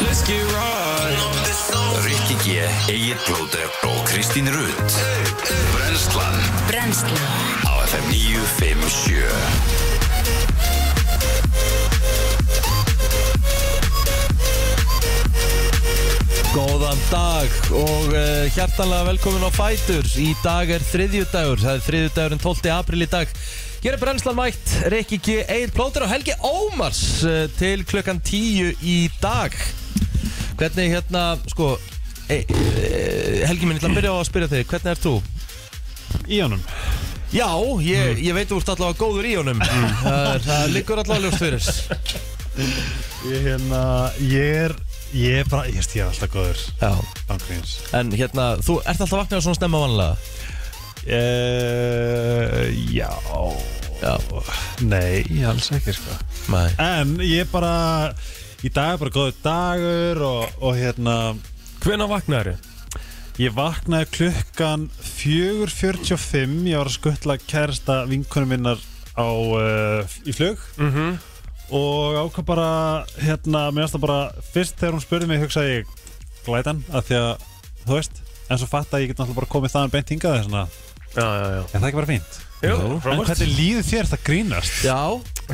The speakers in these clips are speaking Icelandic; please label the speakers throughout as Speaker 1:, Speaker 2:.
Speaker 1: Let's get right
Speaker 2: Rikki G, Egil Blóter og Kristín Rutt Brenslan
Speaker 3: Brennslan
Speaker 2: á FM 957
Speaker 4: Góðan dag og uh, hjartanlega velkomin á Fætur Í dag er þriðjudagur, það er þriðjudagurinn 12. april í dag Hér er brennslan mætt, Rikki G. Egil Plóter og Helgi Ómars uh, til klukkan 10 í dag Hvernig hérna, sko, e, e, Helgi minn, ég ætla að byrja á að spyrja þig, hvernig ert þú?
Speaker 5: í honum
Speaker 4: Já, ég, ég veit þú ert allavega góður í honum það, er- það liggur allavega ljóst fyrir
Speaker 5: Ég, hérna, ég er Ég er bara, ég veist, ég er alltaf góður
Speaker 4: Já,
Speaker 5: Bankriðins
Speaker 4: en hérna, þú ert alltaf vaknað svona snemma vanlega
Speaker 5: uh, Já
Speaker 4: Já,
Speaker 5: Nei, alls ekki sko
Speaker 4: mæ
Speaker 5: En ég er bara Í dag er bara góður dagur Og, og hérna,
Speaker 1: Hvenær vaknaður þið?
Speaker 5: ég vaknaði klukkan 4.45 Ég var að skuttla kærasta vinkunum minnar á, uh, í flug
Speaker 1: Mhm.
Speaker 5: og ákvað bara hérna, mér varst það bara fyrst þegar hún spurði mig hugsaði ég glætan af því að þú veist en svo fatt að ég get náttúrulega bara komið þaðan beint hingað þess vegna
Speaker 1: Já, já, já
Speaker 5: en það er ekki bara fínt
Speaker 1: Jú,
Speaker 5: en
Speaker 1: frábært
Speaker 5: hvernig líður þér það grínast
Speaker 4: Já,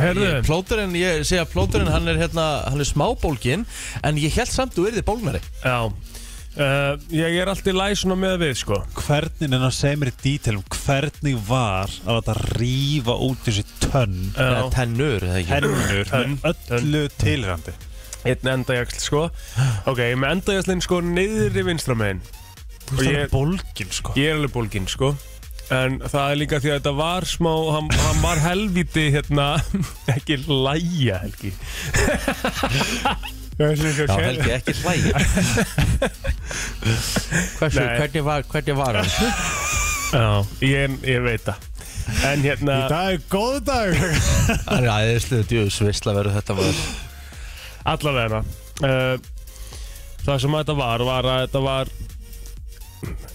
Speaker 1: Heyrðu.
Speaker 4: ég- plóturinn, ég segja plóturinn, hann er hérna, hann er smábólgin En ég held samt þú erði bólnari
Speaker 1: Já uh, Ég er alltaf læg svona með við, sko
Speaker 5: hvernig en að segja mér í dítilum hvernig var að láta rífa út þessi tönn
Speaker 4: Eða
Speaker 1: Já,
Speaker 4: Tennur, eða ekki
Speaker 5: hennur
Speaker 1: Tönn,
Speaker 5: með öllu tilrandi
Speaker 1: einn endajaksl, sko Ok, ég er með endajakslinn, sko, niður í vinstramegin
Speaker 5: þú
Speaker 1: Og
Speaker 5: veist það
Speaker 1: ég-
Speaker 5: er bólgin sko
Speaker 1: Ég er alveg bólginn, sko En það er líka því að þetta var smá Hann, hann var helviti, hérna Ekki læja, Helgi
Speaker 4: Já, Helgi, ekki hlægir Hversu,
Speaker 1: Nei.
Speaker 4: hvernig var, hvernig var hann?
Speaker 1: Já, ég, ég veit það En hérna
Speaker 5: í dag er góð dag
Speaker 4: Hann er aðeinslu, djúðs, visla verður þetta var
Speaker 1: Allavega uh, Það sem þetta var var að þetta var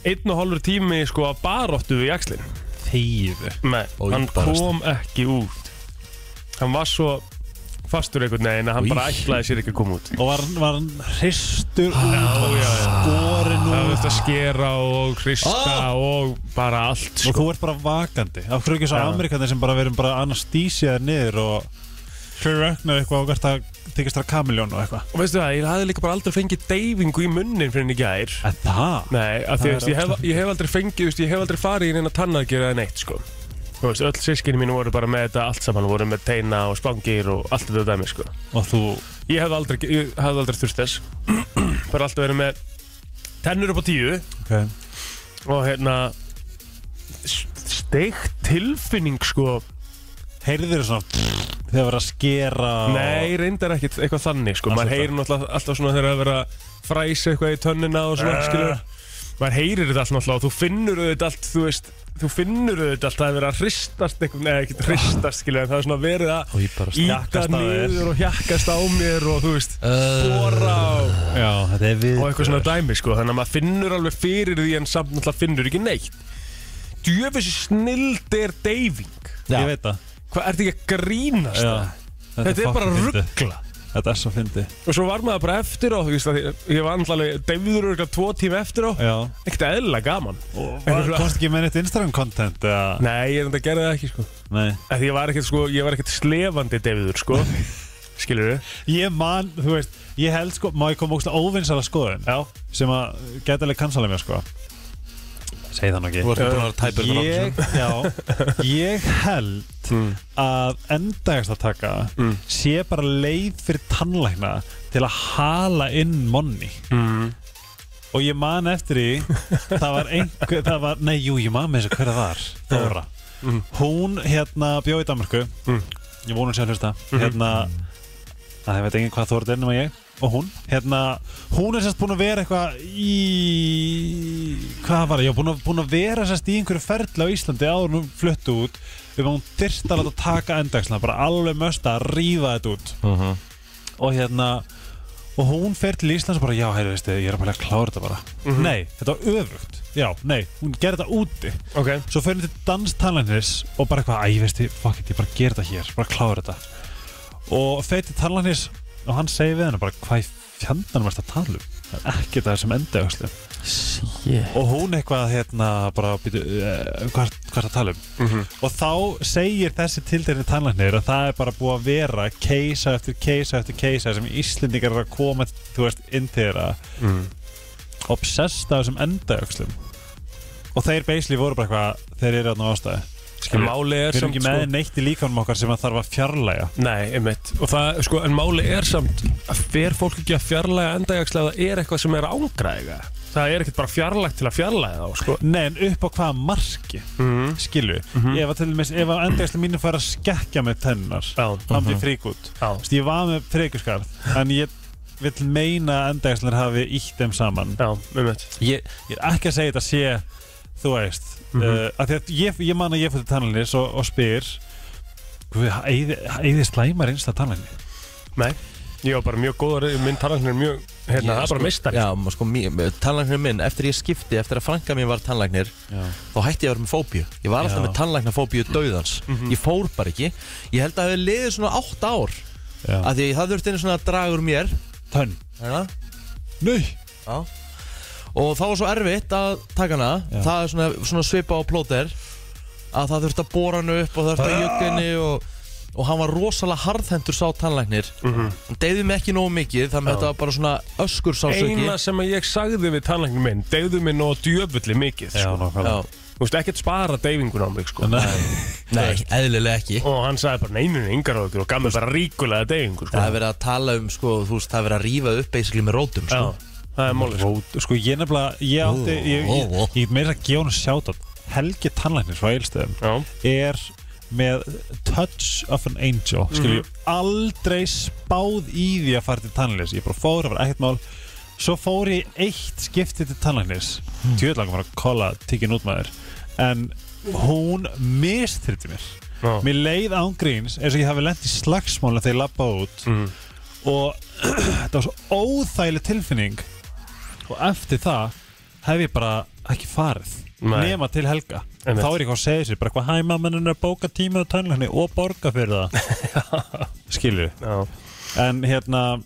Speaker 1: einn og hálfur tími sko að baróttu við jakslinn
Speaker 5: þýðu
Speaker 1: Nei,
Speaker 4: Og
Speaker 1: hann
Speaker 4: íbarast.
Speaker 1: kom ekki út Hann var svo fastur einhvern veginn að hann
Speaker 4: Í.
Speaker 1: bara ætlaði sér ekki að koma út
Speaker 5: og var, var hann hristur út
Speaker 1: já, já.
Speaker 5: skorinn
Speaker 1: Það
Speaker 5: út
Speaker 1: veist að skera og hrista og bara allt
Speaker 5: og
Speaker 1: sko
Speaker 5: þú ert bara vakandi af hverju ekki svo
Speaker 1: Já.
Speaker 5: amerikanir sem bara verðum bara anastísiðar niður og hverju röknar eitthvað og verðt að þykist það kamiljón og eitthvað
Speaker 1: Og veistu það, ég hafði líka bara aldrei fengið deyfingu í munnin fyrir henni gær
Speaker 5: en það
Speaker 1: Nei, af
Speaker 5: Það
Speaker 1: því að
Speaker 5: er
Speaker 1: veist, ég, hef- ég hef aldrei fengið, veist, ég hef aldrei farið í neina tannagjur eða neitt, sko. Þú veist, öll sískinni mín voru bara með þetta allt saman, voru með teina og spangir og allt þetta dæmi, sko.
Speaker 5: og þú
Speaker 1: Ég hef aldrei, ég hef aldrei þurft þess. bara alltaf verið með tennur upp á tíu
Speaker 5: okay.
Speaker 1: og hérna steikt tilfinning, sko.
Speaker 5: heyrðir þér svona þegar verður að skera
Speaker 1: Nei, reyndar ekkit eitthvað þannig, sko.
Speaker 5: Allt
Speaker 1: Maður
Speaker 5: þetta.
Speaker 1: heyrir náttúrulega alltaf svona þegar það er verið að fræsa eitthvað í tönnina og svona,
Speaker 5: Eh.
Speaker 1: skilur. Maður heyrir þetta alltaf náttúrulega og þú finnur þetta allt, þú veist, þú finnur þetta allt að það er verið að hristast eitthvað, neða, ekkit hristast, skilur, en það er svona verið að
Speaker 4: Og ég bara
Speaker 1: íta
Speaker 5: Hjakkast á þér.
Speaker 1: niður og hjakkast á mér og, þú veist,
Speaker 4: Þóra
Speaker 1: bóra
Speaker 5: og
Speaker 1: og,
Speaker 5: já þetta er við
Speaker 1: og eitthvað svona dæmi, sko. Þannig að maður finnur alveg fyrir því en samt náttúrulega finnur ekki neitt. Djöfissi snild er deyfing.
Speaker 5: ég
Speaker 4: Já,
Speaker 5: veit það
Speaker 1: Hvað, ertu ekki að grínast?
Speaker 5: já.
Speaker 1: Þetta er bara
Speaker 5: fucking fyndið.
Speaker 1: ruggla.
Speaker 5: þetta er svo fyndi
Speaker 1: Og svo var maður bara eftir á, þú veist að ég- ég var náttúrulega deyfður örgulega tvo tíma eftir á.
Speaker 5: já
Speaker 1: Ekkert eðlilega gaman.
Speaker 5: og
Speaker 1: var-
Speaker 5: komst ekki með neitt Instagram content eða
Speaker 1: Nei, ég er enda að gera það ekki, sko.
Speaker 5: nei
Speaker 1: Af Því ég var ekkert, sko, ég var ekkert slefandi deyfður, sko. Skilur þau?
Speaker 5: ég man, þú veist, ég held sko má ég koma ógst óvinnsala skoðun
Speaker 1: Já.
Speaker 5: sem að geta alveg kansala mér sko segi það nú ekki
Speaker 4: þú varst búin að vera tæpur fyrir
Speaker 5: ég, já, ég held
Speaker 1: sko. Mm.
Speaker 5: að endagastátaka
Speaker 1: Mm.
Speaker 5: sé bara leið fyrir tannlækna til að hala inn monni
Speaker 1: Mm.
Speaker 5: og ég man eftir því það var einhver, það var, nei jú ég man með þessu hverða var, Dóra
Speaker 1: Mm.
Speaker 5: hún hérna bjóð í Danmarku
Speaker 1: Mm. Mhm.
Speaker 5: ég vonum sér að hlusta hérna, að ég veit ekki hvað Þóra er nema ég og hún, hérna, hún er sérst búin að vera eitthvað í hvað var það, já, búin að, búin að vera sérst í einhverju ferli á Íslandi áður en hún fluttu út um að hún dyrst að láta taka endagsla bara alveg möst að rífa þetta út
Speaker 4: Mhm.
Speaker 5: og hérna og hún fer til Íslands og bara já, heyrðu, veistu, ég er bara að klára þetta bara nei, þetta var öfugt, já, nei hún gerir þetta úti,
Speaker 1: Ok.
Speaker 5: svo fer hún til danstanlæknis og bara eitthvað, æ, ég veistu, fuck it ég bara ger þetta hér, bara klára þetta og fer til tannlæknis og hann segir við hennar bara hvað í fjandarn varst að tala um það er ekki það sem enda öxlu
Speaker 4: yeah.
Speaker 5: og hún eitthvað hérna bara býtu, uh, hvað, hvað er að tala um
Speaker 1: Mhm.
Speaker 5: og þá segir þessi tildeirni tannlæknir að það er bara búið að vera keisa eftir keisa eftir keisa sem Íslendingar eru að koma þú veist inn til þeirra
Speaker 1: Mhm.
Speaker 5: obsessed af þessum endaöxlum og þeir basically voru bara eitthvað þeir eru þarna á ástæði
Speaker 1: En
Speaker 5: Skilur,
Speaker 1: máli
Speaker 5: við
Speaker 1: er
Speaker 5: erum
Speaker 1: samt
Speaker 5: ekki
Speaker 1: sko,
Speaker 5: með neitt í líkanum okkar sem að þarf að fjarlæga
Speaker 1: Nei, einmitt Og það, sko, en máli er samt að Fer fólk ekki að fjarlæga endajagslega Það er eitthvað sem er ángræðiga Það er ekkert bara fjarlægt til að fjarlæga þá, sko
Speaker 5: Nei, en upp á hvaða marki
Speaker 1: Mhm.
Speaker 5: skilu, ef að til dæmis ef að endaðislega mínu fara að skekkja með tennar
Speaker 1: Já, Mhm.
Speaker 5: hann fyrir frík út
Speaker 1: já,
Speaker 5: Þú veist, ég var með frekjuskarð en ég vil meina að endaðislega hafi ítt þeim saman
Speaker 1: já, einmitt
Speaker 5: ég, ég er ekki að segja þetta sé þú veist mm
Speaker 1: Mhm.
Speaker 5: að því að ég, ég man að ég fyrir tannlænis og, og spyr eða slæmar einsta tannlæni
Speaker 1: Nei, ég var bara mjög góður Minn talagnir er mjög, hérna, það er bara mistar
Speaker 4: Já, maður sko, mér- tannlæknir minn, eftir ég skipti, eftir að franga mér var tannlæknir
Speaker 5: Já.
Speaker 4: þá hætti ég að vera með fóbíu Ég var alltaf
Speaker 5: Já.
Speaker 4: með tannlæknafóbíu dauðans
Speaker 1: Mhm.
Speaker 4: Ég fór bara ekki Ég held að það hefði liðið svona 8 ár
Speaker 5: Já.
Speaker 4: Af því að það þurfti einu svona að draga úr mér
Speaker 5: tönn
Speaker 4: hérna,
Speaker 5: Nei.
Speaker 4: já. Og það var svo erfitt að taka hana
Speaker 5: Já.
Speaker 4: Það er svona, svona svipa á plóter Að það þurfti að bóra hana upp og það þurfti að jökka
Speaker 5: Ah.
Speaker 4: henni og, og hann var rosalega harðhendur sá tannlæknir
Speaker 5: Mhm.
Speaker 4: Hann deyði mig ekki nógu mikið Þannig að þetta var bara svona öskur sásöki
Speaker 1: Eina sem að ég sagði við tannlæknir minn Deyðu minn og djöfulli mikið
Speaker 5: Já,
Speaker 1: sko.
Speaker 5: nákvæmlega.
Speaker 4: Já,
Speaker 1: Þú veist, ekkert spara deyfingun á mig sko.
Speaker 5: Nei.
Speaker 4: nei, eðlilega ekki
Speaker 5: Oh.
Speaker 1: Og hann sagði bara neyninu yngar á ykkur Og gaf mér bara ríkulega deyfingu sko.
Speaker 4: Það er verið að tala um, sko, þú veist, það er verið að rífa upp basically með rótum, sko.
Speaker 1: Já, það er máli sko.
Speaker 5: Rót, sko ég nefnilega ég átti, ég, ég,
Speaker 4: ó, ó.
Speaker 5: ég, ég get meira að gefa hún að sjáta Helgi tannlæknir frá Eilstöðum
Speaker 1: Já,
Speaker 5: er með Touch of an Angel skilju, aldrei spáð í því að fara til tannlæknis ég bara fór, það var ekkert mál svo fór ég eitt skipti til tannlæknis mm. tjóðlangum var að kolla tíkin út maður en hún mistriti mér
Speaker 1: já,
Speaker 5: mér leið án gríns eins og ég hafi lent í slagsmála þegar ég lappa út
Speaker 1: Mhm.
Speaker 5: og þetta var svo óþægileg tilfinning og eftir það hef ég bara ekki farið
Speaker 1: Nei.
Speaker 5: nema til helga
Speaker 1: Einmitt.
Speaker 5: þá er ég hvað að segja sér, bara hvað hæma menninu að bóka tíma á tannlækni og borga fyrir það skilju,
Speaker 1: já.
Speaker 5: en hérna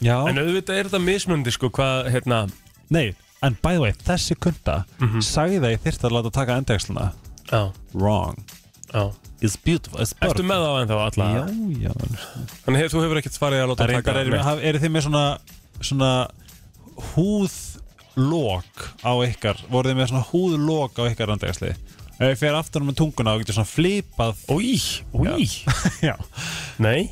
Speaker 5: já,
Speaker 1: En auðvitað er þetta mismundi sko hvað, hérna
Speaker 5: nei en by the way, þessi kunda
Speaker 1: Mhm.
Speaker 5: sagði það ég þyrfti að láta taka endegsluna
Speaker 1: Já,
Speaker 5: wrong,
Speaker 1: já
Speaker 5: it's beautiful, it's
Speaker 1: Ertu með þá ennþá alla?
Speaker 5: já, já,
Speaker 1: Þannig hef, þú hefur ekkert farið að láta
Speaker 5: Það reyndar er,
Speaker 1: Nei.
Speaker 5: haf- eru þið með svona, svona húðlok á ykkar voruð þið með svona húðlok á ykkar randegasli ef ég fer aftur með tunguna og getur svona flipað
Speaker 1: Új, új
Speaker 5: Já.
Speaker 1: Nei,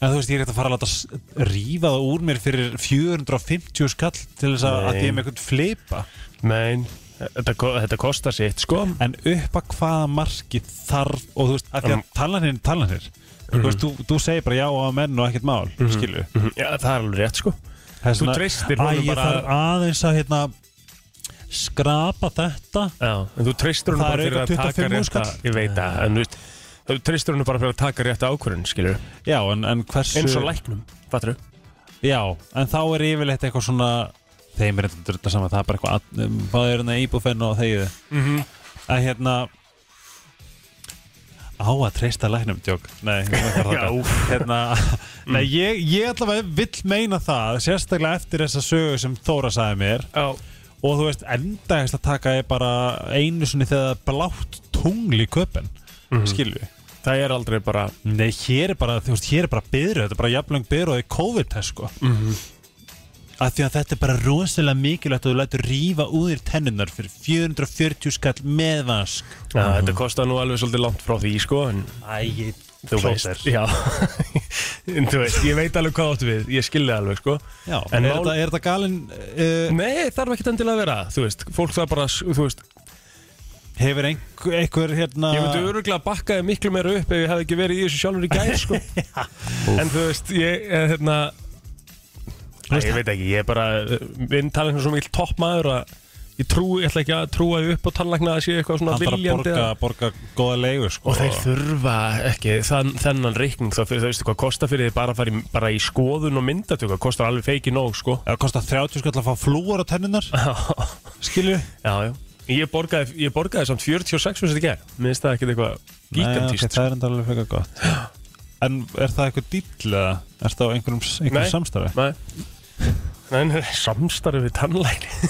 Speaker 5: en þú veist ég er ekkert að fara að láta s- rífa það úr mér fyrir 450 skall til þess að,
Speaker 1: Nei.
Speaker 5: að ég er með eitthvað flipa
Speaker 1: nein Þetta, ko- þetta kostar sitt sko
Speaker 5: en upp að hvaða marki þarf og þú veist, af
Speaker 1: Um.
Speaker 5: því að talanir er talanir þú veist,
Speaker 1: Mhm.
Speaker 5: þú, þú segir bara já á menn og ekkert mál, skilu
Speaker 1: Já, það er alveg rétt sko
Speaker 5: Þess
Speaker 1: Þú
Speaker 5: vegna-
Speaker 1: treystir
Speaker 5: Æ,
Speaker 1: honum
Speaker 5: ég
Speaker 1: bara-
Speaker 5: þarf aðeins að hérna, skrapa þetta
Speaker 1: Já, en þú treystur hún
Speaker 5: Það
Speaker 1: bara
Speaker 5: er
Speaker 1: fyrir að
Speaker 5: auka
Speaker 1: taka
Speaker 5: 25
Speaker 1: rétta
Speaker 5: skall.
Speaker 1: Ég veit að, en þú veist Þú treystur hún bara fyrir að taka rétta ákvörðin, skilur
Speaker 5: Já, en, en hversu
Speaker 1: Eins og læknum, fattur
Speaker 5: Já, en þá er yfirleitt eitthvað svona Þeim er eitthvað drönda saman Það er bara eitthvað um, Hvað er hérna íbúfenn og þegið
Speaker 1: mm -hmm.
Speaker 5: En hérna Á að treysta læknum djók Nei, ég var að raka.
Speaker 1: Já, Mm.
Speaker 5: hérna, Nei, ég, ég allavega vill meina það Sérstaklega eftir þessa sögu sem Þóra sagði mér
Speaker 1: já,
Speaker 5: Og þú veist, enda að taka ég bara Einu sinni þegar það er blátt tungl í köpen mm Skilju
Speaker 1: það er aldrei bara
Speaker 5: Nei, hér er bara, þú veist, hér er bara byrðu, þetta er bara jafnlöng byrðu í COVID-test, sko. Mm Af því að þetta er bara rosalega mikilvægt að þú lætur rífa úr þér tennunar fyrir 440 skall með vask.
Speaker 1: Já, þetta kostar nú alveg svolítið langt frá því, sko En
Speaker 5: Æ,
Speaker 1: þú veist Já, en þú veist, ég veit alveg hvað áttu við Ég skilði alveg, sko
Speaker 5: Já, en
Speaker 1: En
Speaker 5: er,
Speaker 1: mál-
Speaker 5: þetta, er þetta galin, uh,
Speaker 1: Nei, þarf ekki endilega að vera, þú veist Fólk það bara, þú veist
Speaker 5: hefur einhver, einhver hérna...
Speaker 1: Ég myndi öruglega bakkaði miklu meira upp ef ég hef ekki verið í þessu sjálfur í gæð sko. En þú veist, ég eh, hérna, Æ, Ég veit ekki, ég er bara eh, Minn talegna svo mikil topp maður að Ég trúi, ég ætla ekki að trúa því upp á talegna að sé eitthvað svona
Speaker 5: Hann þarf að
Speaker 1: viljandi
Speaker 5: borga,
Speaker 1: að-
Speaker 5: borga góða leigu, sko.
Speaker 1: Og þeir þurfa ekki þann, þennan reikning þá fyrir, þú veistu hvað kostar fyrir þið bara að fara í, bara í skoðun og myndatöku, það kostar alveg feiki nóg sko.
Speaker 5: Það kostar 30 skall að fá flúor á tennunar, skilju.
Speaker 1: já, já. Ég borgaði, ég borgaði samt 46 fyrir þetta gæð, minnst það ekkert eitthvað
Speaker 5: Nei,
Speaker 1: gigantíst
Speaker 5: ok, það er enda alveg frekar gott. En er það eitthvað dýll eða? Er það á einhverjum, einhverjum samstarfi?
Speaker 1: Nei, Nei, nei, samstarfi við tannlækni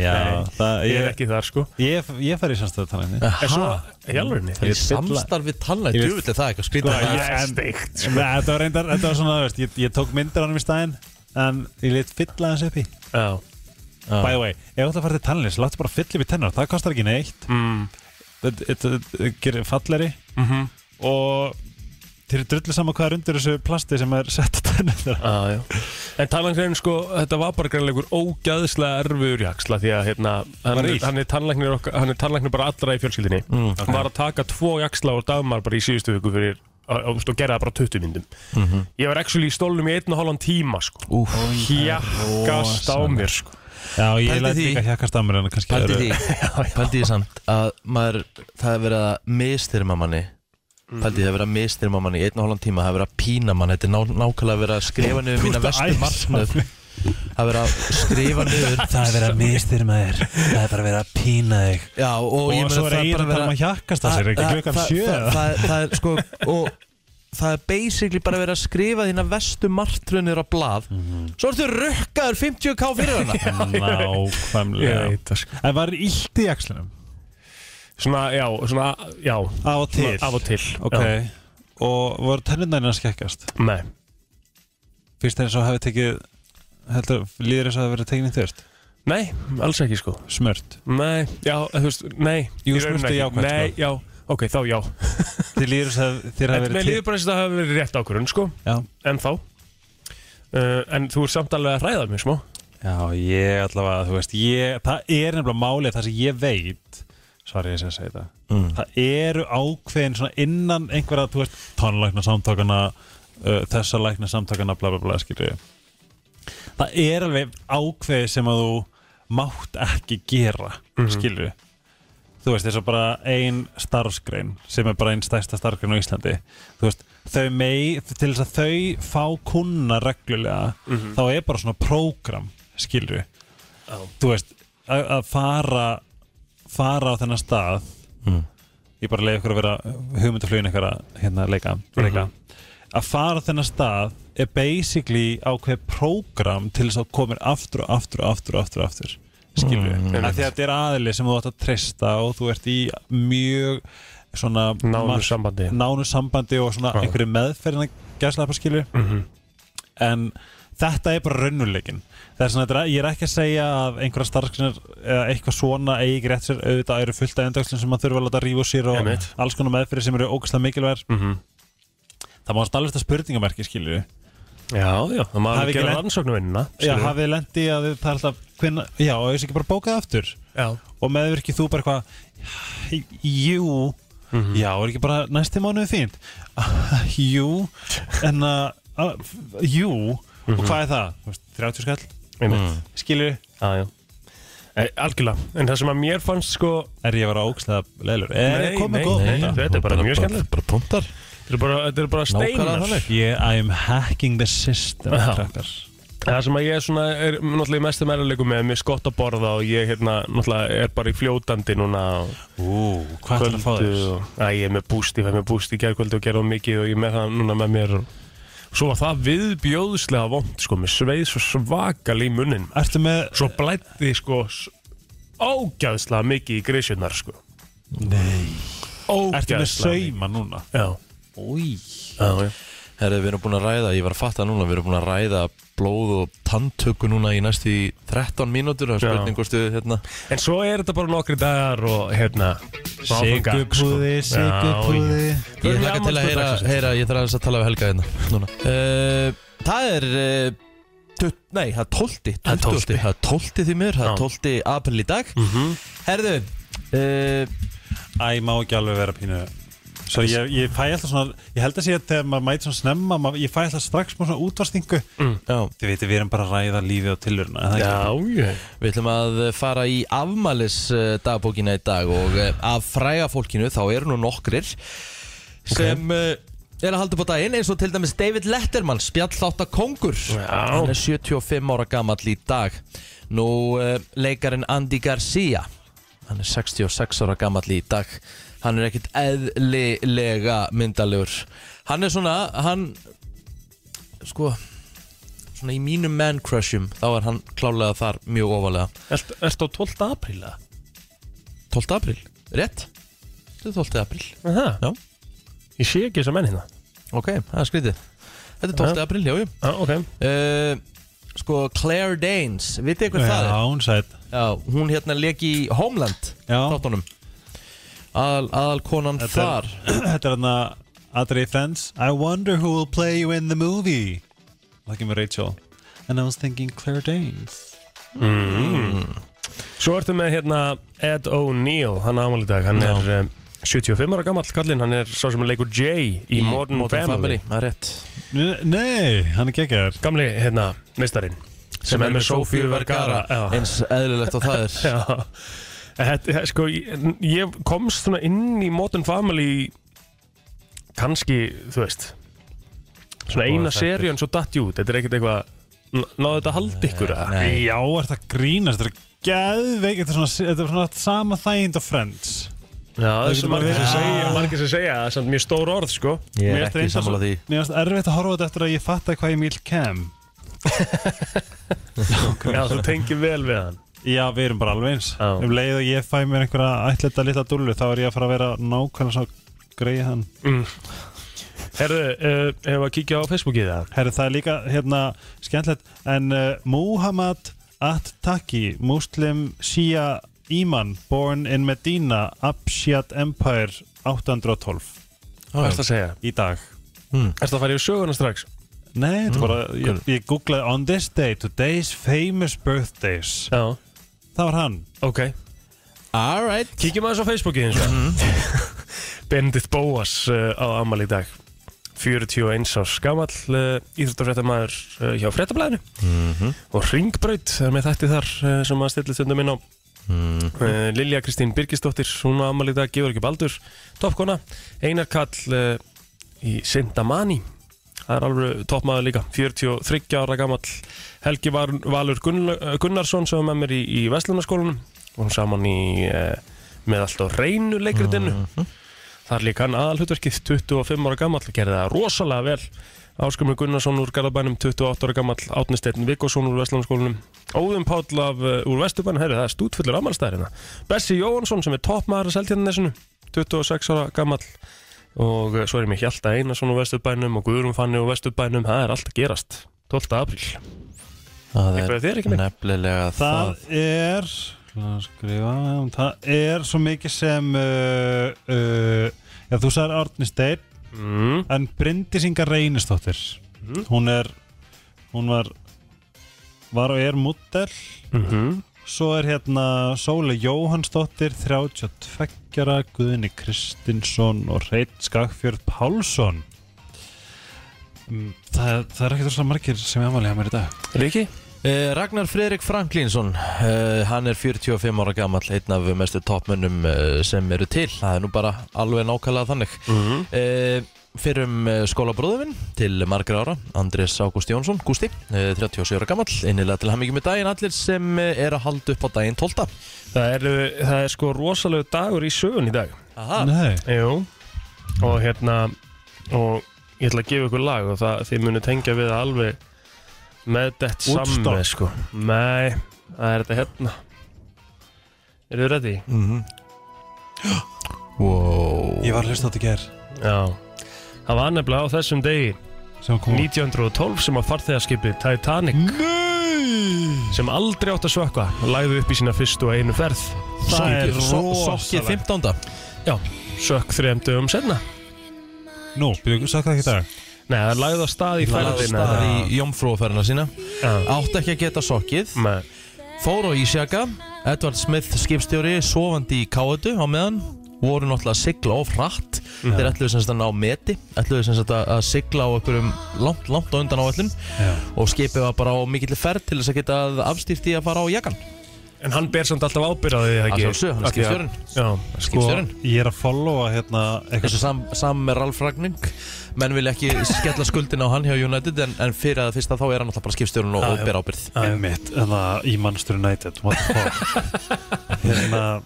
Speaker 4: Já,
Speaker 5: það,
Speaker 1: Ég er
Speaker 5: ég,
Speaker 1: ekki þar sko
Speaker 5: ég, ég fer í samstæðutalæni
Speaker 1: En svo, í alvegni
Speaker 5: Ég fylla-
Speaker 4: Samstarf við tannlæk,
Speaker 5: Ég-
Speaker 4: djúvill er það eitthvað skrítið
Speaker 5: Nei,
Speaker 4: Það er-
Speaker 5: ég- en-
Speaker 1: steikt,
Speaker 5: Nei, Þetta var reyndar, þetta var svona, þú veist, ég, ég tók myndir á hann í stæðin En ég lit fylla hans upp í
Speaker 1: Já,
Speaker 5: By the way, ef þú ætlar að fara til tannlins, láttu bara fylla upp í tennar Það kostar ekki neitt
Speaker 1: mm,
Speaker 5: Þetta- Þetta þetta gerir falleri Mhm. Og þeir eru drullu saman hvað er undir þessu plasti sem er sett á tennar þeirra
Speaker 1: á, já En tannlæknirinn sko, þetta var bara greinleikur ógæðslega erfiður jaksla Því að hérna,
Speaker 4: Var
Speaker 1: hann, er-
Speaker 4: illt?
Speaker 1: hann, er tannlæknir okkar, hann er tannlæknir bara allra í fjölskyldinni mm, Hann var að taka tvo jaksla og dagmar bara í síðustu viku fyrir á- á- Og gera það bara á 20 myndum Ég var actually í stólnum í einn og hálfan tíma sko
Speaker 4: Úff.
Speaker 1: Hjakkast á mér sko
Speaker 5: Já, ég
Speaker 4: Pældi
Speaker 5: læt
Speaker 4: því-
Speaker 5: líka hjakast á mér en kannski
Speaker 4: Pældi
Speaker 5: eru-
Speaker 4: því, pældi því samt að maður, það hefur verið að mistyrma manni
Speaker 5: Mhm.
Speaker 4: Pældi því, það hefur verið að mistyrma manni í einn og hálfan tíma, það hefur verið að pína manni Þetta er ná, nákvæmlega verið að skrifa niður mína
Speaker 5: ert að
Speaker 4: vestu
Speaker 5: æsa
Speaker 4: markmið Það hefur verið að skrifa niður
Speaker 5: Það er verið að mistyrma þér Það er bara verið að pína þig
Speaker 4: Já, og,
Speaker 5: Og,
Speaker 4: ég meina
Speaker 5: svo
Speaker 4: það
Speaker 5: er eigin
Speaker 4: bara
Speaker 5: að tala um
Speaker 4: verið
Speaker 5: að hjakast á sér Ekki
Speaker 4: það-
Speaker 5: klukkan
Speaker 4: það-
Speaker 5: sjö
Speaker 4: það-
Speaker 5: eða?
Speaker 4: það er- Það er sko, og það er basically bara verið að skrifa þína vestu martrunir á blað
Speaker 5: Mhm.
Speaker 4: Svo ertu rökkaður 50k fyrir hana
Speaker 5: Nákvæmlega
Speaker 1: Ég veit það, sko.
Speaker 5: En var illt í jakslinum?
Speaker 1: Svona, já, svona, já
Speaker 5: Af og til
Speaker 1: Af og til
Speaker 5: Ok
Speaker 1: já.
Speaker 5: Og voru tennunarinn að skekkast?
Speaker 1: Nei
Speaker 5: Fyrst eins og hafi tekið Heldur, líður eins og hafi verið tekinni þurft
Speaker 1: Nei, alls ekki sko
Speaker 5: Smört
Speaker 1: Nei, já, þú veist, nei
Speaker 5: Jú,
Speaker 1: í rauninni
Speaker 5: smurftu
Speaker 1: ekki.
Speaker 5: jákvætt,
Speaker 1: Nei,
Speaker 5: sko.
Speaker 1: já, ok, þá já
Speaker 5: Þið líður eins og hafi- þér hafi
Speaker 1: Mér
Speaker 5: verið
Speaker 1: líður bara eins og það hafi verið rétt ákvörðun, sko
Speaker 5: Já
Speaker 1: En þá uh, En þú ert samt alveg að hræða mig, smá
Speaker 5: Já, ég allavega, þú veist, ég, það er nefnilega málið það sem ég veit, svar ég sé að segja þetta, það eru ákveðin svona innan einhverja, þú veist, tónlækna samtókana, uh, þessa lækna samtókana, bla bla bla, skilur ég. Það er alveg ákveði sem að þú mátt ekki gera, mm skilur ég. Þú veist, þess að bara ein starfsgrein sem er bara einn stærsta starfsgrein á Íslandi, þú veist, þau mei, til þess að þau fá kunna reglulega, þá er bara svona prógram, skilur við þú veist, að að fara fara á þennan stað
Speaker 1: Mm.
Speaker 5: ég bara leiði ykkur að vera hugmyndaflugin ykkur að hérna leika,
Speaker 1: Mhm.
Speaker 5: leika. að fara á þennan stað er basically ákveð prógram til þess að þú komir aftur og aftur og aftur og aftur, og aftur skilur við, mm. því að þetta er aðili sem þú átt að treysta og þú ert í mjög svona
Speaker 1: Nánu
Speaker 5: mark-
Speaker 1: sambandi.
Speaker 5: nánu sambandi og svona einhverju meðferðina gæslega skilur en þetta er bara raunuleikin það er svona, þetta er- ég er ekki að segja að einhverja starfskrinar eða eitthvað svona eigi ekki rétt sér auðvitað eru fullt af endöxlun sem maður þurfa að láta rífa úr sér og
Speaker 1: Einmitt.
Speaker 5: alls konar meðfyrir sem eru ógæslega mikilvægir
Speaker 1: Mhm.
Speaker 5: það má alltaf þetta spurningamerki skilju
Speaker 1: Já, já, það maður
Speaker 5: Hafi
Speaker 1: að
Speaker 5: ekki
Speaker 1: gera
Speaker 5: lent-
Speaker 1: rannsóknu vinnuna
Speaker 5: já, hafið lendi að þið- það er alltaf hvenna, já, og þessi ekki bara bókað aftur
Speaker 1: já.
Speaker 5: og meðvirkið þú bara eitthvað jú
Speaker 1: Mhm.
Speaker 5: já, er ekki bara næsti mánuði fínt jú en að að- jú og
Speaker 1: Mhm.
Speaker 5: hvað er það? Þú veist, 30 skall
Speaker 1: Mm.
Speaker 5: skilju
Speaker 1: Já, já e, Algjörlega, en það sem að mér fannst, sko
Speaker 5: Er ég að vera ógæslega leilur? Er ég komið góð?
Speaker 1: nei,
Speaker 5: punkta?
Speaker 1: þetta er bara mjög skemmtilegt
Speaker 4: Bara punktar
Speaker 1: Þetta er bara, þetta er bara
Speaker 4: Nákvæmlega
Speaker 1: steinar
Speaker 4: þannig.
Speaker 5: Ég, I am hacking the system
Speaker 1: Já.
Speaker 5: krakkar.
Speaker 1: Það sem að ég er svona, er náttúrulega mestum erðarleikum með Mér er skott að borða og ég, hérna, náttúrulega er bara í fljótandi núna og
Speaker 5: Ú, hvað ætlar að fá þér?
Speaker 1: og, Æ, ég er með bústi, ég fæ með bústi í gerkvöldu og gerði það mikið og ég er með það núna með mér og svo var það viðbjóðslega vond sko, mér sveið svo svakal í munnin
Speaker 5: Ertu með
Speaker 1: svo blætti sko s- ágæðslega mikið í grísunar sko Nei
Speaker 5: Ertu með sauma núna?
Speaker 1: Já,
Speaker 5: Új
Speaker 1: já, já
Speaker 4: Herri, við erum búin að ræða, ég var að fatta núna, við erum búin að ræða blóð og tanntöku núna í næstu í 13 mínútur, það er
Speaker 1: Já.
Speaker 4: spurning hvort við, hérna,
Speaker 1: En svo er þetta bara nokkri dagar og hérna svo áfram gang, sko.
Speaker 5: Sigupúði, sigupúði
Speaker 4: ég
Speaker 1: Förum í
Speaker 4: hlaka til að
Speaker 1: afmælisbörn
Speaker 4: heyra,
Speaker 1: dagsins.
Speaker 4: heyra ég þarf aðeins að tala við Helga hérna, núna. Uh, það er, uh, tut, nei, það er 12,
Speaker 1: Það er
Speaker 4: 20,
Speaker 1: 12.
Speaker 4: það er 12 því mér, það
Speaker 1: Já.
Speaker 4: er 12 april í dag. Herðu, uh,
Speaker 5: Æ, má ekki alveg vera pínu Svo ég, ég fæ alltaf svona Ég held að sé að þegar maður mæti svona snemma maður, Ég fæ alltaf strax mjög svona útvarstingu
Speaker 4: já,
Speaker 5: Þið veitir, við erum bara að ræða lífið og tilurina
Speaker 1: Já, já
Speaker 4: við ætlum að fara í afmælis uh, dagbókina í dag og uh, af fræga fólkinu þá eru nú nokkrir sem uh, er að halda upp á daginn eins og til dæmis David Letterman, spjallþátt kongur. Hann er 75 ára gamall í dag. Nú uh, leikarinn Andy Garcia, hann er 66 ára gamall í dag. Hann er ekkit eðlilega myndalegur. Hann er svona, hann, sko, svona svona í mínum man crushum þá er hann klálega þar mjög ofalega
Speaker 1: Ert, ertu á 12. apríla?
Speaker 4: 12. april, rétt? Þetta er 12. april
Speaker 1: Aha.
Speaker 4: Já.
Speaker 1: Ég sé ekki þessa menn hérna
Speaker 4: Ok, það er skrítið Þetta er 12. april, jájú
Speaker 1: Já, ok
Speaker 4: uh, Sko, Claire Danes, vitið ykkur það er?
Speaker 5: Já, hún sætt
Speaker 4: Já, hún hérna leik í Homeland
Speaker 5: Já.
Speaker 4: þáttunum Aðal, aðal konan
Speaker 5: Þetta
Speaker 4: þar
Speaker 5: er- Þetta er hann að Adri Friends I wonder who will play you in the movie Það kemur Rachel And I was thinking Claire Danes
Speaker 1: Svo ertu með hérna Ed O'Neill, hann er ámali dag Hann
Speaker 4: Já.
Speaker 1: er um, 75 ára gamall kallinn Hann er sá sem leikur Jay í, Modern, Family.
Speaker 4: Það er rétt
Speaker 5: Ne- Nei, hann er geggjar
Speaker 1: Gamli, hérna, mistarinn Sem er með Sofíu Vergara Já.
Speaker 4: Eins eðlilegt og það er
Speaker 1: Já Þetta, þetta- sko, ég- ég komst svona inn í Modern Family kannski, þú veist svona eina seríun svo datt ég út þetta er ekkert eitthvað n- náðu þetta að halda ykkur að
Speaker 4: Nei.
Speaker 5: Já, er þetta grínast Þetta er geðveik Þetta er svona, þetta er svona sama þægind og Friends
Speaker 1: já,
Speaker 5: Það
Speaker 1: þessu
Speaker 5: getur
Speaker 1: margir
Speaker 5: bara
Speaker 1: sem
Speaker 5: verið.
Speaker 1: segja margir sem segja, það er samt mjög stór orð, sko
Speaker 4: Ég
Speaker 5: Mér
Speaker 4: er
Speaker 5: finnst
Speaker 4: ekki
Speaker 5: reyndar
Speaker 4: sammála
Speaker 5: svo-
Speaker 4: því
Speaker 5: Mér finnst erfitt að horfa á þetta eftir að ég fatta hvað ég mýl kem
Speaker 1: já, þú tengir vel við hann
Speaker 5: Já, við erum bara alveg eins
Speaker 1: Já.
Speaker 5: Um leið og ég fæ mér einhverja ætlita litla dullu þá er ég að fara að vera nákvæmlega svo greið hann
Speaker 1: Herðu, uh, hefur að kíkja á Facebookið það?
Speaker 5: Herri, það er líka hérna skemmtilegt en uh, Muhammad At-Taki, muslim Shia Iman, born in Medina Abshad Empire 812
Speaker 1: Hvað ertu að segja?
Speaker 5: í dag
Speaker 1: Ertu að fara í söguna strax?
Speaker 5: Nei, þetta er bara, ég, ég googlaði on this day, today's famous birthdays
Speaker 1: Já,
Speaker 5: það var hann
Speaker 1: ok
Speaker 4: Alright
Speaker 1: Kíkjum aðeins á Facebookið eins og Mhm. Benedikt Bóas uh, á Amal í dag 41 árs gamall uh, íþróttafréttamaður uh, hjá fréttablaðinu og Ringbraut það er með þætti þar uh, sem að stilla stundum inn á uh, Lilja Kristín Birgisdóttir hún á Amal í dag, Georgi Baldur toppkona, Einar Kall uh, í Sindamani það er alveg toppmaður líka 43 ára gamall Helgi var, Valur Gunnar, Gunnarsson sem var með mér í, í Vestlunarskólanum og saman í uh, með allt á reynu leikritinu Þar líka hann aðalhutverkið 25 ára gamall gerði það rosalega vel Áskumur Gunnarsson úr Garðabænum 28 ára gamall Átnisteinn Vikkosson úr Vestlandskólanum Óðum Páll af, uh, úr Vesturbænum Herri, það er stútfullur afmælstæðina Bessi Jóhansson sem er toppmaður að seltjarnesinu 26 ára gamall og uh, svo er ég með Hjalta Einarsson úr Vesturbænum og Guðrún Fanni úr Vesturbænum það er allt að gerast 12. apríl
Speaker 4: Það
Speaker 1: Eitthvað
Speaker 4: er
Speaker 1: þér ekki minn?
Speaker 4: nefnilega það
Speaker 5: það er hvað að skrifa, það er svo mikið sem uh, uh, já, þú sagði Árni Steinn
Speaker 1: Mm.
Speaker 5: En Bryndís Inga Reynistóttir Hún er Hún var Var og er múttel
Speaker 1: Mm
Speaker 5: Svo er hérna Sóli Jóhansdóttir 32 Guðinni Kristinsson Og Reit Skagfjörð Pálsson Mm, Það, það er ekkert rosalega margir sem ég aðmæli hjá mér í dag
Speaker 1: Riki?
Speaker 4: Eh, Ragnar Fredrik Franklinsson eh, hann er 45 ára gamall einn af mestu toppmönnum eh, sem eru til það er nú bara alveg nákvæmlega þannig mm
Speaker 1: Mhm.
Speaker 4: -hmm. fyrrum eh, skólabróðuminn til margra ára Andrés Ágúst Jónsson, Gústi eh, 37 ára gamall, innilega til hamingjum í daginn allir sem eh, eru að halda upp á daginn 12
Speaker 1: Það er, uh, það er sko rosalegu dagur í sögun í dag
Speaker 4: Aha,
Speaker 5: Nei,
Speaker 1: Jú Og hérna Og ég ætla að gefa ykkur lag Og það, þið munu tengja við það alveg Með dett samme
Speaker 5: Woodstock.
Speaker 1: sko Nei, það er þetta hérna Eru þið ready?
Speaker 4: wow
Speaker 5: Mhm. ég var hlust á þetta í ger
Speaker 1: Já Hm. Það var nefnilega á þessum degi
Speaker 5: Sem kom
Speaker 1: 1912 sem að farþegarskipið Titanic
Speaker 5: Nei
Speaker 1: sem aldrei átt að sökva lagði upp í sína fyrstu og einu ferð
Speaker 5: Það er
Speaker 4: Sokkið- so-
Speaker 5: rosalegt.
Speaker 4: Sokkið 15
Speaker 1: Já, sökk þrejum dögum senna
Speaker 5: Nú, byrjuðu, sagði það ekki í dag
Speaker 1: Nei, það lagði á stað í ferðina
Speaker 4: það er í jómfrúferðina sína
Speaker 1: Já.
Speaker 4: átt ekki að geta sokkið
Speaker 1: Nei,
Speaker 4: Fór á Ísjaka, Edvard Smith skipstjóri sofandi í káetu á meðan voru náttúrulega að sigla of hratt þeir ætluðu sem sagt að ná meti ætluðu sem sagt að að sigla á einhverjum langt, langt á undan áallum og skipið var bara á mikill ferð til þess að geta afstýrt í að fara á jakan
Speaker 1: En hann ber samt alltaf ábyrðaði
Speaker 4: Að sjálfsögðu, hann er
Speaker 1: Af því að-
Speaker 4: skipstjórinn.
Speaker 1: Já,
Speaker 5: Sko,
Speaker 4: skipstjórinn
Speaker 5: Ég er að followa hérna eitthvað
Speaker 4: þessu sam, sam með Ralf Ragning menn vil ekki skella skuldin á hann hjá United en, en fyrir að fyrsta þá er hann náttúrulega bara skipstjórinn og, og ber ábyrð
Speaker 5: Einmitt, þannig að í Manchester United What the fuck eh, Hérna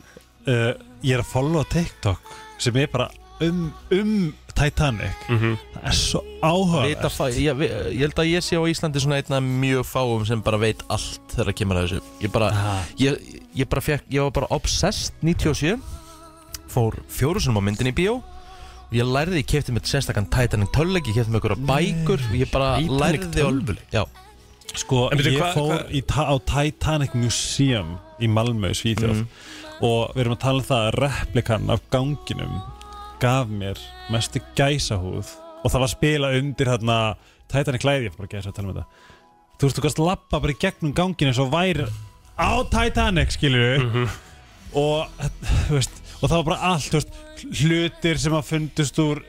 Speaker 5: uh, Ég er að followa TikTok sem er bara um, um Titanic Það er svo áhugavert
Speaker 4: Vita, fæ- ég, ég held að ég sé á Íslandi svona einn af mjög fáum sem bara veit allt þegar að kemur að þessu ég bara,
Speaker 5: Ah.
Speaker 4: ég, ég bara fekk, ég var bara obsessed 97 fór fjórusunum á myndin í bíó og ég lærði, ég kefti með sérstakann Titanic tölvleik, ég kefti með einhverja bækur og ég bara
Speaker 5: Titanic
Speaker 4: lærði og-
Speaker 5: tölvuleik?
Speaker 4: Já,
Speaker 5: Sko,
Speaker 1: En byrju,
Speaker 5: ég
Speaker 1: hva-
Speaker 5: fór
Speaker 1: hva-
Speaker 5: í ta á Titanic Museum í Malmö, Svíþjóð og við erum að tala um það að replikan af ganginum gaf mér mestu gæsahúð og það var að spila undir hérna Titanic klæði, ég fór bara að gæsa að tala um þetta Þú veist, þú kannast lappa bara í gegnum ganginu eins og væri á Titanic, skilur við og, þú veist, og það var bara allt, þú veist hlutir sem að fundust úr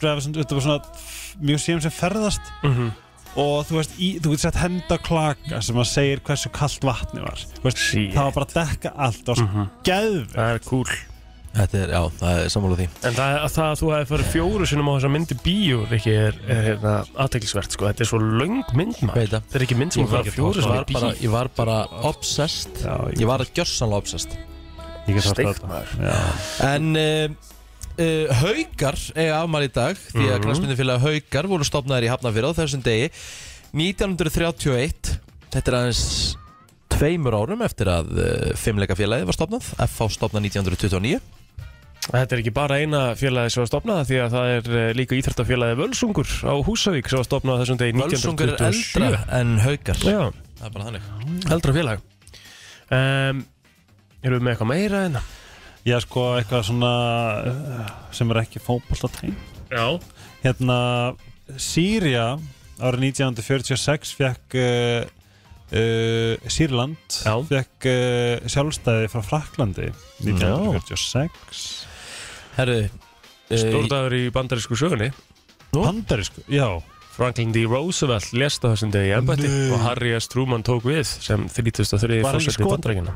Speaker 5: þetta var svona museum sem ferðast og þú veist, í, þú veist sett henda klaka sem að segir hversu kallt vatni var Þú veist,
Speaker 1: Shit.
Speaker 5: það var bara að dekka allt og mm -hmm. geðvegt
Speaker 1: Það er cool
Speaker 4: þetta er, já, það er sammála því
Speaker 1: En það, að það að þú hefði farið fjóru sinum á þessa myndi bíó Rikki, er, er hérna aðteglisvert sko. Þetta er svo löng mynd
Speaker 4: Veit
Speaker 1: maður
Speaker 4: það.
Speaker 1: Þetta er ekki mynd sem
Speaker 4: ég
Speaker 1: þú
Speaker 4: var,
Speaker 1: farið
Speaker 4: ég
Speaker 1: fjóru sinum
Speaker 4: var, bara, ég var bara obsessed
Speaker 5: Já, ég-
Speaker 4: ég var að gjörsanlega obsessed
Speaker 5: ég get
Speaker 1: Steikt,
Speaker 5: þetta. Já.
Speaker 4: En uh, uh, Haukar eiga afmæli í dag Því að mm. knastmyndufélag Haukar voru stopnaðir í Hafnafjörð á þessum degi 1931 Þetta er aðeins tveimur árum eftir að uh, fimmleikafélagið var stopnað FH stopnað 1929
Speaker 1: Þetta er ekki bara eina félagi sem var stopnað Því að það er eh, líka íþrættafélagi Völsungur á Húsavík sem var stopnað á þessum degi
Speaker 4: Völsungur er eldra
Speaker 1: 1927
Speaker 4: en Haukar
Speaker 1: Já,
Speaker 4: Það er bara þannig
Speaker 1: eldra félag um, Erum við með eitthvað meira hérna? en
Speaker 5: ég er sko eitthvað svona uh, sem er ekki fótbolta tæm
Speaker 1: Já
Speaker 5: hérna, Sýria árið 1946 fekk uh, uh, Sýrland
Speaker 1: Já.
Speaker 5: fekk uh, sjálfstæði frá Fraklandi 1946
Speaker 4: Herru uh,
Speaker 1: Stórdagur í bandarísku sögunni
Speaker 4: Nú?
Speaker 5: Pandarísku, já
Speaker 1: Franklin D. Roosevelt lést á þessum degi í embætti
Speaker 5: Nei.
Speaker 1: og Harry S. Truman tók við sem 33.
Speaker 5: Var hann í
Speaker 1: fórsætti
Speaker 5: Skotlandi?
Speaker 1: bandaríkina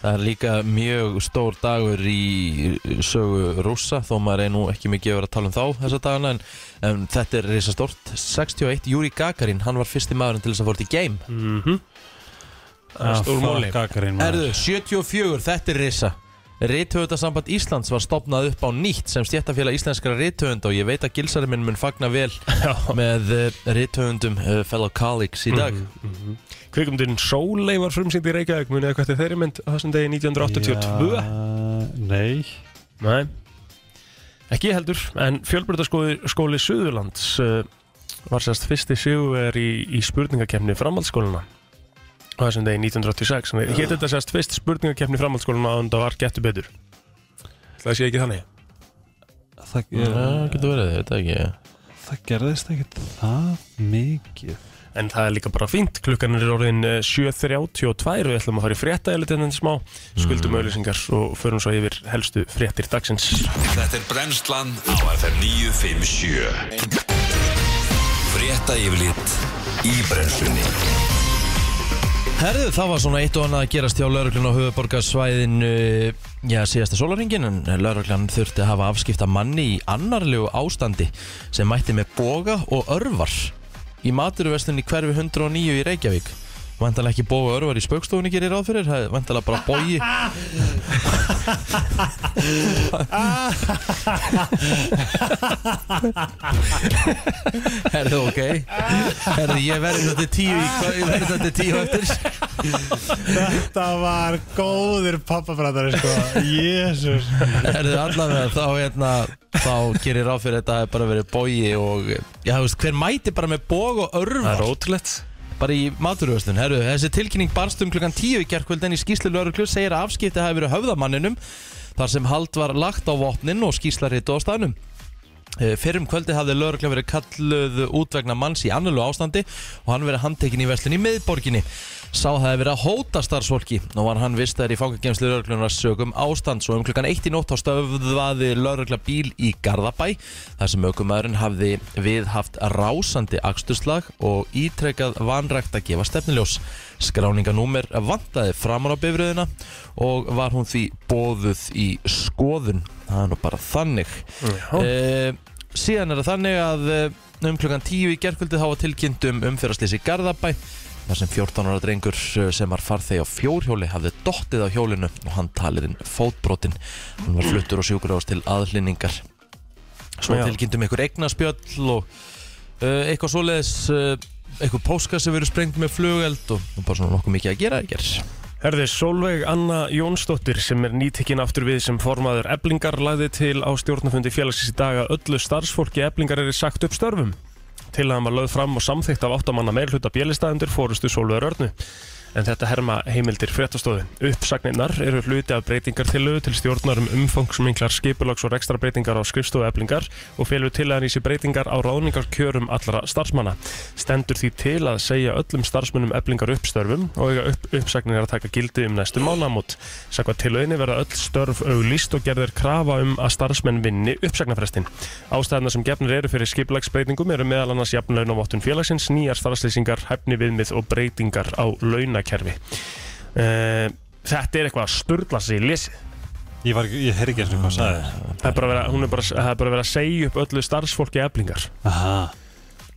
Speaker 4: Það er líka mjög stór dagur í sögu rúsa þó maður er nú ekki mikið að vera að tala um þá þessa dagana en, en þetta er reysa stórt 61, Júri Gagarin, hann var fyrsti maðurinn til þess að fórt í game
Speaker 1: mm -hmm.
Speaker 5: Ah,
Speaker 1: Það er stór máli
Speaker 5: Gagarin
Speaker 4: Erðu, 74, þetta er reysa Rithöfundasamband Íslands var stopnað upp á nýtt sem stjættafélag íslenskara rithöfunda og ég veit að gilsari minn mun fagna vel með uh, rithöfundum uh, fellow colleagues í dag
Speaker 1: Mhm, Kvikmyndin Sólei var frumsýnd í Reykjavík munið eitthvað til þeirri mynd á þessum degi 1982
Speaker 5: Nei
Speaker 1: Nei Ekki heldur, en fjölbrytaskóli skóli Suðurlands uh, var sérst fyrsti sigurver í, í spurningakefni framhaldsskóluna á þessum degi 1986 uh. Hétt þetta sérst fyrst spurningakefni framhaldsskóluna og það var getur betur Það sé ekki þannig
Speaker 5: Það,
Speaker 4: Það getur verið, þetta ekki
Speaker 5: það gerðist ekkert það mikið
Speaker 1: En það er líka bara fínt, klukkan er orðin eh, 7.32 og við ætlum að fara í frétta eða þetta smá, skuldum auðlýsingar og förum svo yfir helstu fréttir dagsins.
Speaker 2: Þetta er brennslan á FM 957 Frétta yfirlit í brennslunni
Speaker 4: Herðu, það var svona eitt og annað að gerast hjá lauruglun á höfuborgarsvæðinu já, síðasta sólaringin en lauruglun þurfti að hafa afskipta manni í annarlegu ástandi sem mætti með boga og örvar í maturvestunni hverfi 109 í Reykjavík Vandalega ekki boga og örvar í spaukstofunni gerir ráð fyrir það er Vandalega bara bogi Herðu, ok Herðu, ég verði þetta til tíu í- Ég verði þetta til tíu eftir
Speaker 5: Þetta var góður pappabræðari sko Jésús
Speaker 4: Erðu allavega þá hérna þá gerir ráð fyrir þetta að bara verið bógi og já þú veist hver mæti bara með bóg og
Speaker 1: Það
Speaker 4: örvar
Speaker 1: er ótrúlegt.
Speaker 4: bara í maturöðslun herru þessi tilkynning barst um klukkan 10 í gerkvöld en í skýslu lauruglu segir að afskipti hafi verið höfðamanninum þar sem hald var lagt á vopnin og skýslarritu á staðnum Eh, Fyrr um kvöldi hafði laurugla verið kalluð út vegna manns í annarlu ástandi og hann verið handtekinn í veslun í miðborginni. Sá það hefði verið að hóta starfsfólki og var hann vistaður í fangagemslu lauruglunar sögum ástand svo um klukkan 1 í nótt þá stöfðvaði laurugla bíl í Garðabæ þar sem aukumæðurinn hafði við haft rásandi aksturslag og ítrekað vanrækt að gefa stefniljós. Skráninganúmer vantaði framar á bifröðina og var hún því bóðuð í skoðun. Það er nú bara þannig. Uh, síðan er það þannig að eh, um klukkan 10 í gerkvöldi þá var tilkynnt um umfyrastlýs í Garðabæ þar sem 14 ára drengur eh, sem var farþegi á fjórhjóli hafði dottið á hjólinu og hann talirinn fótbrotinn hann var fluttur og sjúkur til aðhlynningar Svo
Speaker 1: Já.
Speaker 4: tilkynntum einhver eignaspjöll og uh, eitthvað svoleiðis uh, eitthvað póska sem verið sprengt með flugeld og, og bara svona nokkuð mikið að gera ekkert
Speaker 1: Herði, Solveig Anna Jónsdóttir sem er nýtikinn aftur við sem formaður Eblingar lagði til á stjórnafundi félagsins í dag að öllu starfsfólki Eblingar er sagt upp störfum. Til að hann var lögð fram og samþygt af áttamanna meirhluta bjélistæðendur fórustu Solveigur Örnu. En þetta herma heimildir fréttastofu. Uppsagnirnar eru hluti af breytingartillögu til stjórnar um umfangsminglar skipulags og rekstrarbreytingar á skrifstofu eblingar og félur til að nýsi breytingar á ráðningarkjörum allra starfsmanna. Stendur því til að segja öllum starfsmunum eblingar uppstörfum og eiga upp, uppsagnir að taka gildi um næstu mánamót. Sakvað tilöginni verða öll störf auglýst og gerðir krafa um að starfsmenn vinni uppsagnarfrestin. Ástæðina sem gefnir eru fyrir skipulagsbreytingum eru meðal annars jafnlaun og vottun félagsins, nýjar starfslýsingar, hæfni viðmið og breytingar á launakerfi. Uh, þetta er eitthvað að sturla sig í lesi.
Speaker 5: Ég, var, ekki- ég heyr ekki eins og hvað sagði þér
Speaker 1: Það er bara að vera, hún er bara, það er bara að vera að segja upp öllu starfsfólki eblingar.
Speaker 5: Aha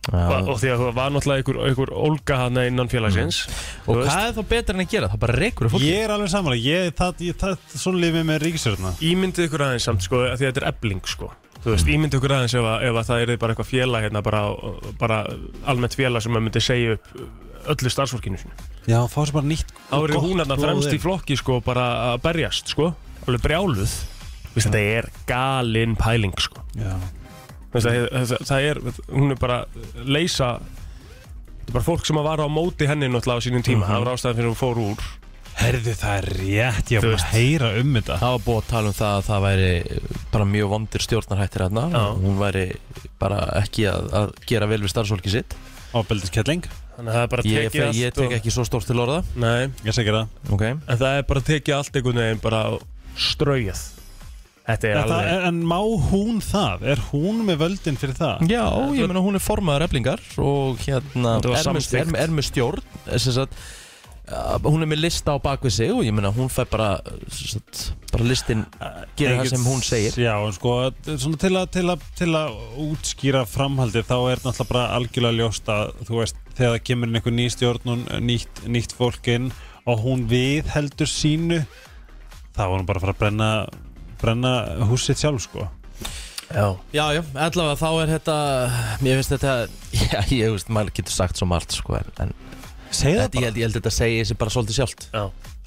Speaker 1: Og, og því að það var náttúrulega einhver, einhver olga hana innan félagsins.
Speaker 4: Mm. og
Speaker 1: Þú veist,
Speaker 4: hvað er þá betra en að gera? Það bara reykur að fólki
Speaker 5: Ég er alveg samanlega, ég, það, ég, það, svona lifið með ríkisjörna
Speaker 1: Ímyndið ykkur aðeins samt sko, af því að þetta er ebling sko Þú veist,
Speaker 4: Mm.
Speaker 1: ímyndið ykkur aðeins ef, að, ef að það er bara eitthvað félag hérna, bara, bara almennt félag sem að myndi segja upp öllu starfsfólkinu sínu
Speaker 5: Já, fá sér bara nýtt
Speaker 1: Þá eru
Speaker 5: gott
Speaker 1: hún hérna
Speaker 5: blóð
Speaker 1: fremst í
Speaker 5: inn.
Speaker 1: flokki sko bara að berjast sko, alveg brjáluð Þú veist, þetta er galin pæling sko
Speaker 5: Já,
Speaker 1: Þú veist, það, það, það er, hún er bara að leysa Þetta er bara fólk sem að vara á móti henni náttúrulega á sínum
Speaker 4: Mhm.
Speaker 1: tíma Það var ástæðan fyrir hún fór úr
Speaker 5: herðu það er rétt, ég
Speaker 1: Þú
Speaker 5: var bara
Speaker 1: veist.
Speaker 5: að heyra um þetta
Speaker 4: Það var búið að tala um það að það væri bara mjög vondir stjórnarhættir hérna
Speaker 1: Já.
Speaker 4: hún væri bara ekki að, að gera vel við starfsfólki sitt
Speaker 5: Ábeldiskelling,
Speaker 1: Þannig að það er bara
Speaker 4: Ég,
Speaker 1: tekið
Speaker 4: ég, ég
Speaker 1: allt
Speaker 4: tek ekki svo stórt til orða
Speaker 1: Nei,
Speaker 5: ég segir það
Speaker 4: okay.
Speaker 1: En það er bara að tekið allt einhvern veginn bara ströyð Þetta er
Speaker 5: Þetta,
Speaker 1: alveg
Speaker 5: er, en má hún það? Er hún með völdin fyrir það?
Speaker 4: Já, ég meina hún er formaður eflingar og hérna
Speaker 1: Þetta
Speaker 4: er með-
Speaker 1: var
Speaker 4: er
Speaker 1: samþykkt.
Speaker 4: með- er með stjórn eh, sem sagt, uh, hún er með lista á bakvið sig og ég meina hún fær bara sem sagt, bara listin gera það
Speaker 5: Ekkert-
Speaker 4: sem hún segir
Speaker 5: Já, en sko, svona til að, til að, til að útskýra framhaldið þá er náttúrulega bara algjörlega ljóst að þú veist, þegar það kemur inn einhver ný stjórn og nýtt, nýtt fólk inn og hún við heldur sínu þá er hún bara að fara að brenna brenna húsið sjálf sko
Speaker 1: Já,
Speaker 4: Já, já, allavega þá er þetta mér finnst þetta, já, ég veist maður getur sagt svo margt, sko, en, en
Speaker 5: Segðu
Speaker 4: þetta, ég, held, ég held þetta segi sér bara svolítið sjálft
Speaker 1: já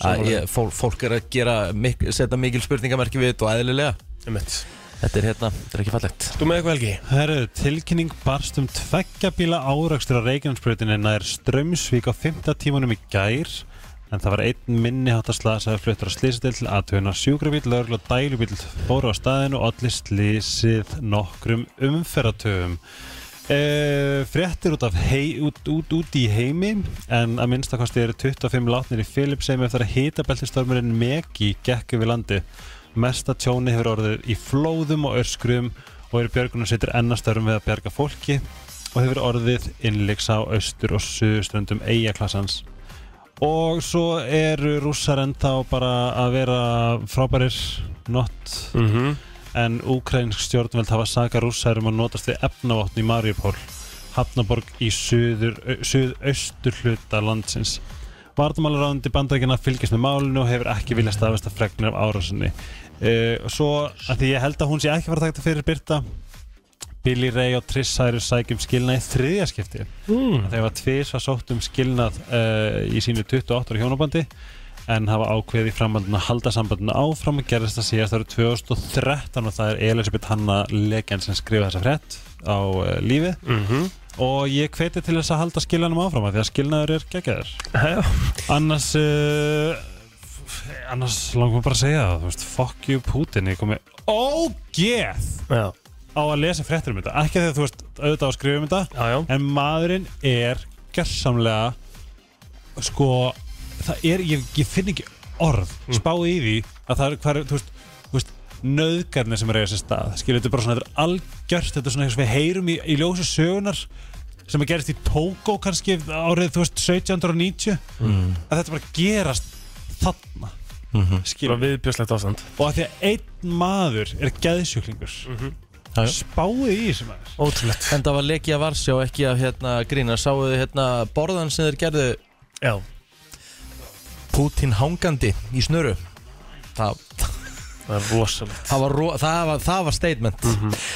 Speaker 4: að ég, fólk, fólk er að gera mik, setja mikil spurningamerki við þetta og eðlilega
Speaker 1: Einmitt.
Speaker 4: þetta er hérna, þetta er ekki fallegt
Speaker 1: Þú með eitthvað helgi?
Speaker 5: Herru, tilkynning barst um tveggja bíla árakstur á Reykjanesbrautinni nær strömsvík á 5. tímanum í gær en það var einn minni hátta slasaði fluttur á slisadil til aðtöðuna sjúkrabíl, lögl og dælubíl fóru á staðinu og allir slisið nokkrum umferðatöfum e, Fréttir út, af hei, út, út, út í heimi en að minnstakosti eru 25 látnir í Filipsheim eftir að hitabeltistormurinn Megi gekk yfir landi Mesta tjóni hefur orðið í flóðum og öskrum og eru björgunarsveitir ennastörum við að bjarga fólki og hefur orðið innleiks á austur og suðuströndum eigaklassans og svo eru rússar ennþá bara að vera frábærir not
Speaker 1: Mm -hmm.
Speaker 5: en ukrainsk stjórnveld hafa saka rússar um að notast við efnavotn í Mariupol Hafnaborg í suður, au- suðaustur hluta landsins Vardamálaráðandi bandrækina fylgist með málinu og hefur ekki vilja staðvesta fregnir af árásinni uh, Svo að því ég held að hún sé ekki fara að taka þetta fyrir Birta Billy Ray og Triss Cyrus sækjum skilnað í þriðja skipti
Speaker 1: mm.
Speaker 5: Þeir var tvisa sótt um skilnað uh, í sínu 28 ára hjónabandi en hafa ákveðið í framhaldinu að halda sambandinu áfram og gerðist það síðast árið 2013 og það er Elisabeth Hanna legend sem skrifa þessa frett á uh, lífið
Speaker 1: Mhm.
Speaker 5: og ég hveti til þess að halda skilnanum áfram af því að skilnaður er geggjaður
Speaker 1: Já,
Speaker 5: annars uh, f- annars langum bara að segja það þú veist, fuck you Putin ég komið ógeð
Speaker 1: já,
Speaker 5: á að lesa frettir um þetta ekki þegar þú veist auðvitað á að skrifa um þetta
Speaker 1: já, já.
Speaker 5: en maðurinn er gerðsamlega sko það er, ég, ég finn ekki orð spáði í því að það er hvar, þú veist, þú veist nöðgarnir sem er eiga sér stað skilur þetta er bara svona, þetta er algjört þetta er svona eins og við heyrum í, í ljósi sögunar sem er gerist í Tókó kannski árið, þú veist, 1790 að þetta bara gerast þarna mm -hmm.
Speaker 1: Bara viðbjörslegt ástand
Speaker 5: og að því að einn maður er geðsjúklingur
Speaker 4: Já, já.
Speaker 5: spáði í þessu maður
Speaker 1: Ótrúlegt
Speaker 4: en það var leki að varsjá ekki að hérna grína sáuðu hérna borðan sem þeir gerðu
Speaker 1: Já,
Speaker 4: Putin hangandi í snöru það
Speaker 1: Það er rosalegt
Speaker 4: Það var, ro- það var, það var statement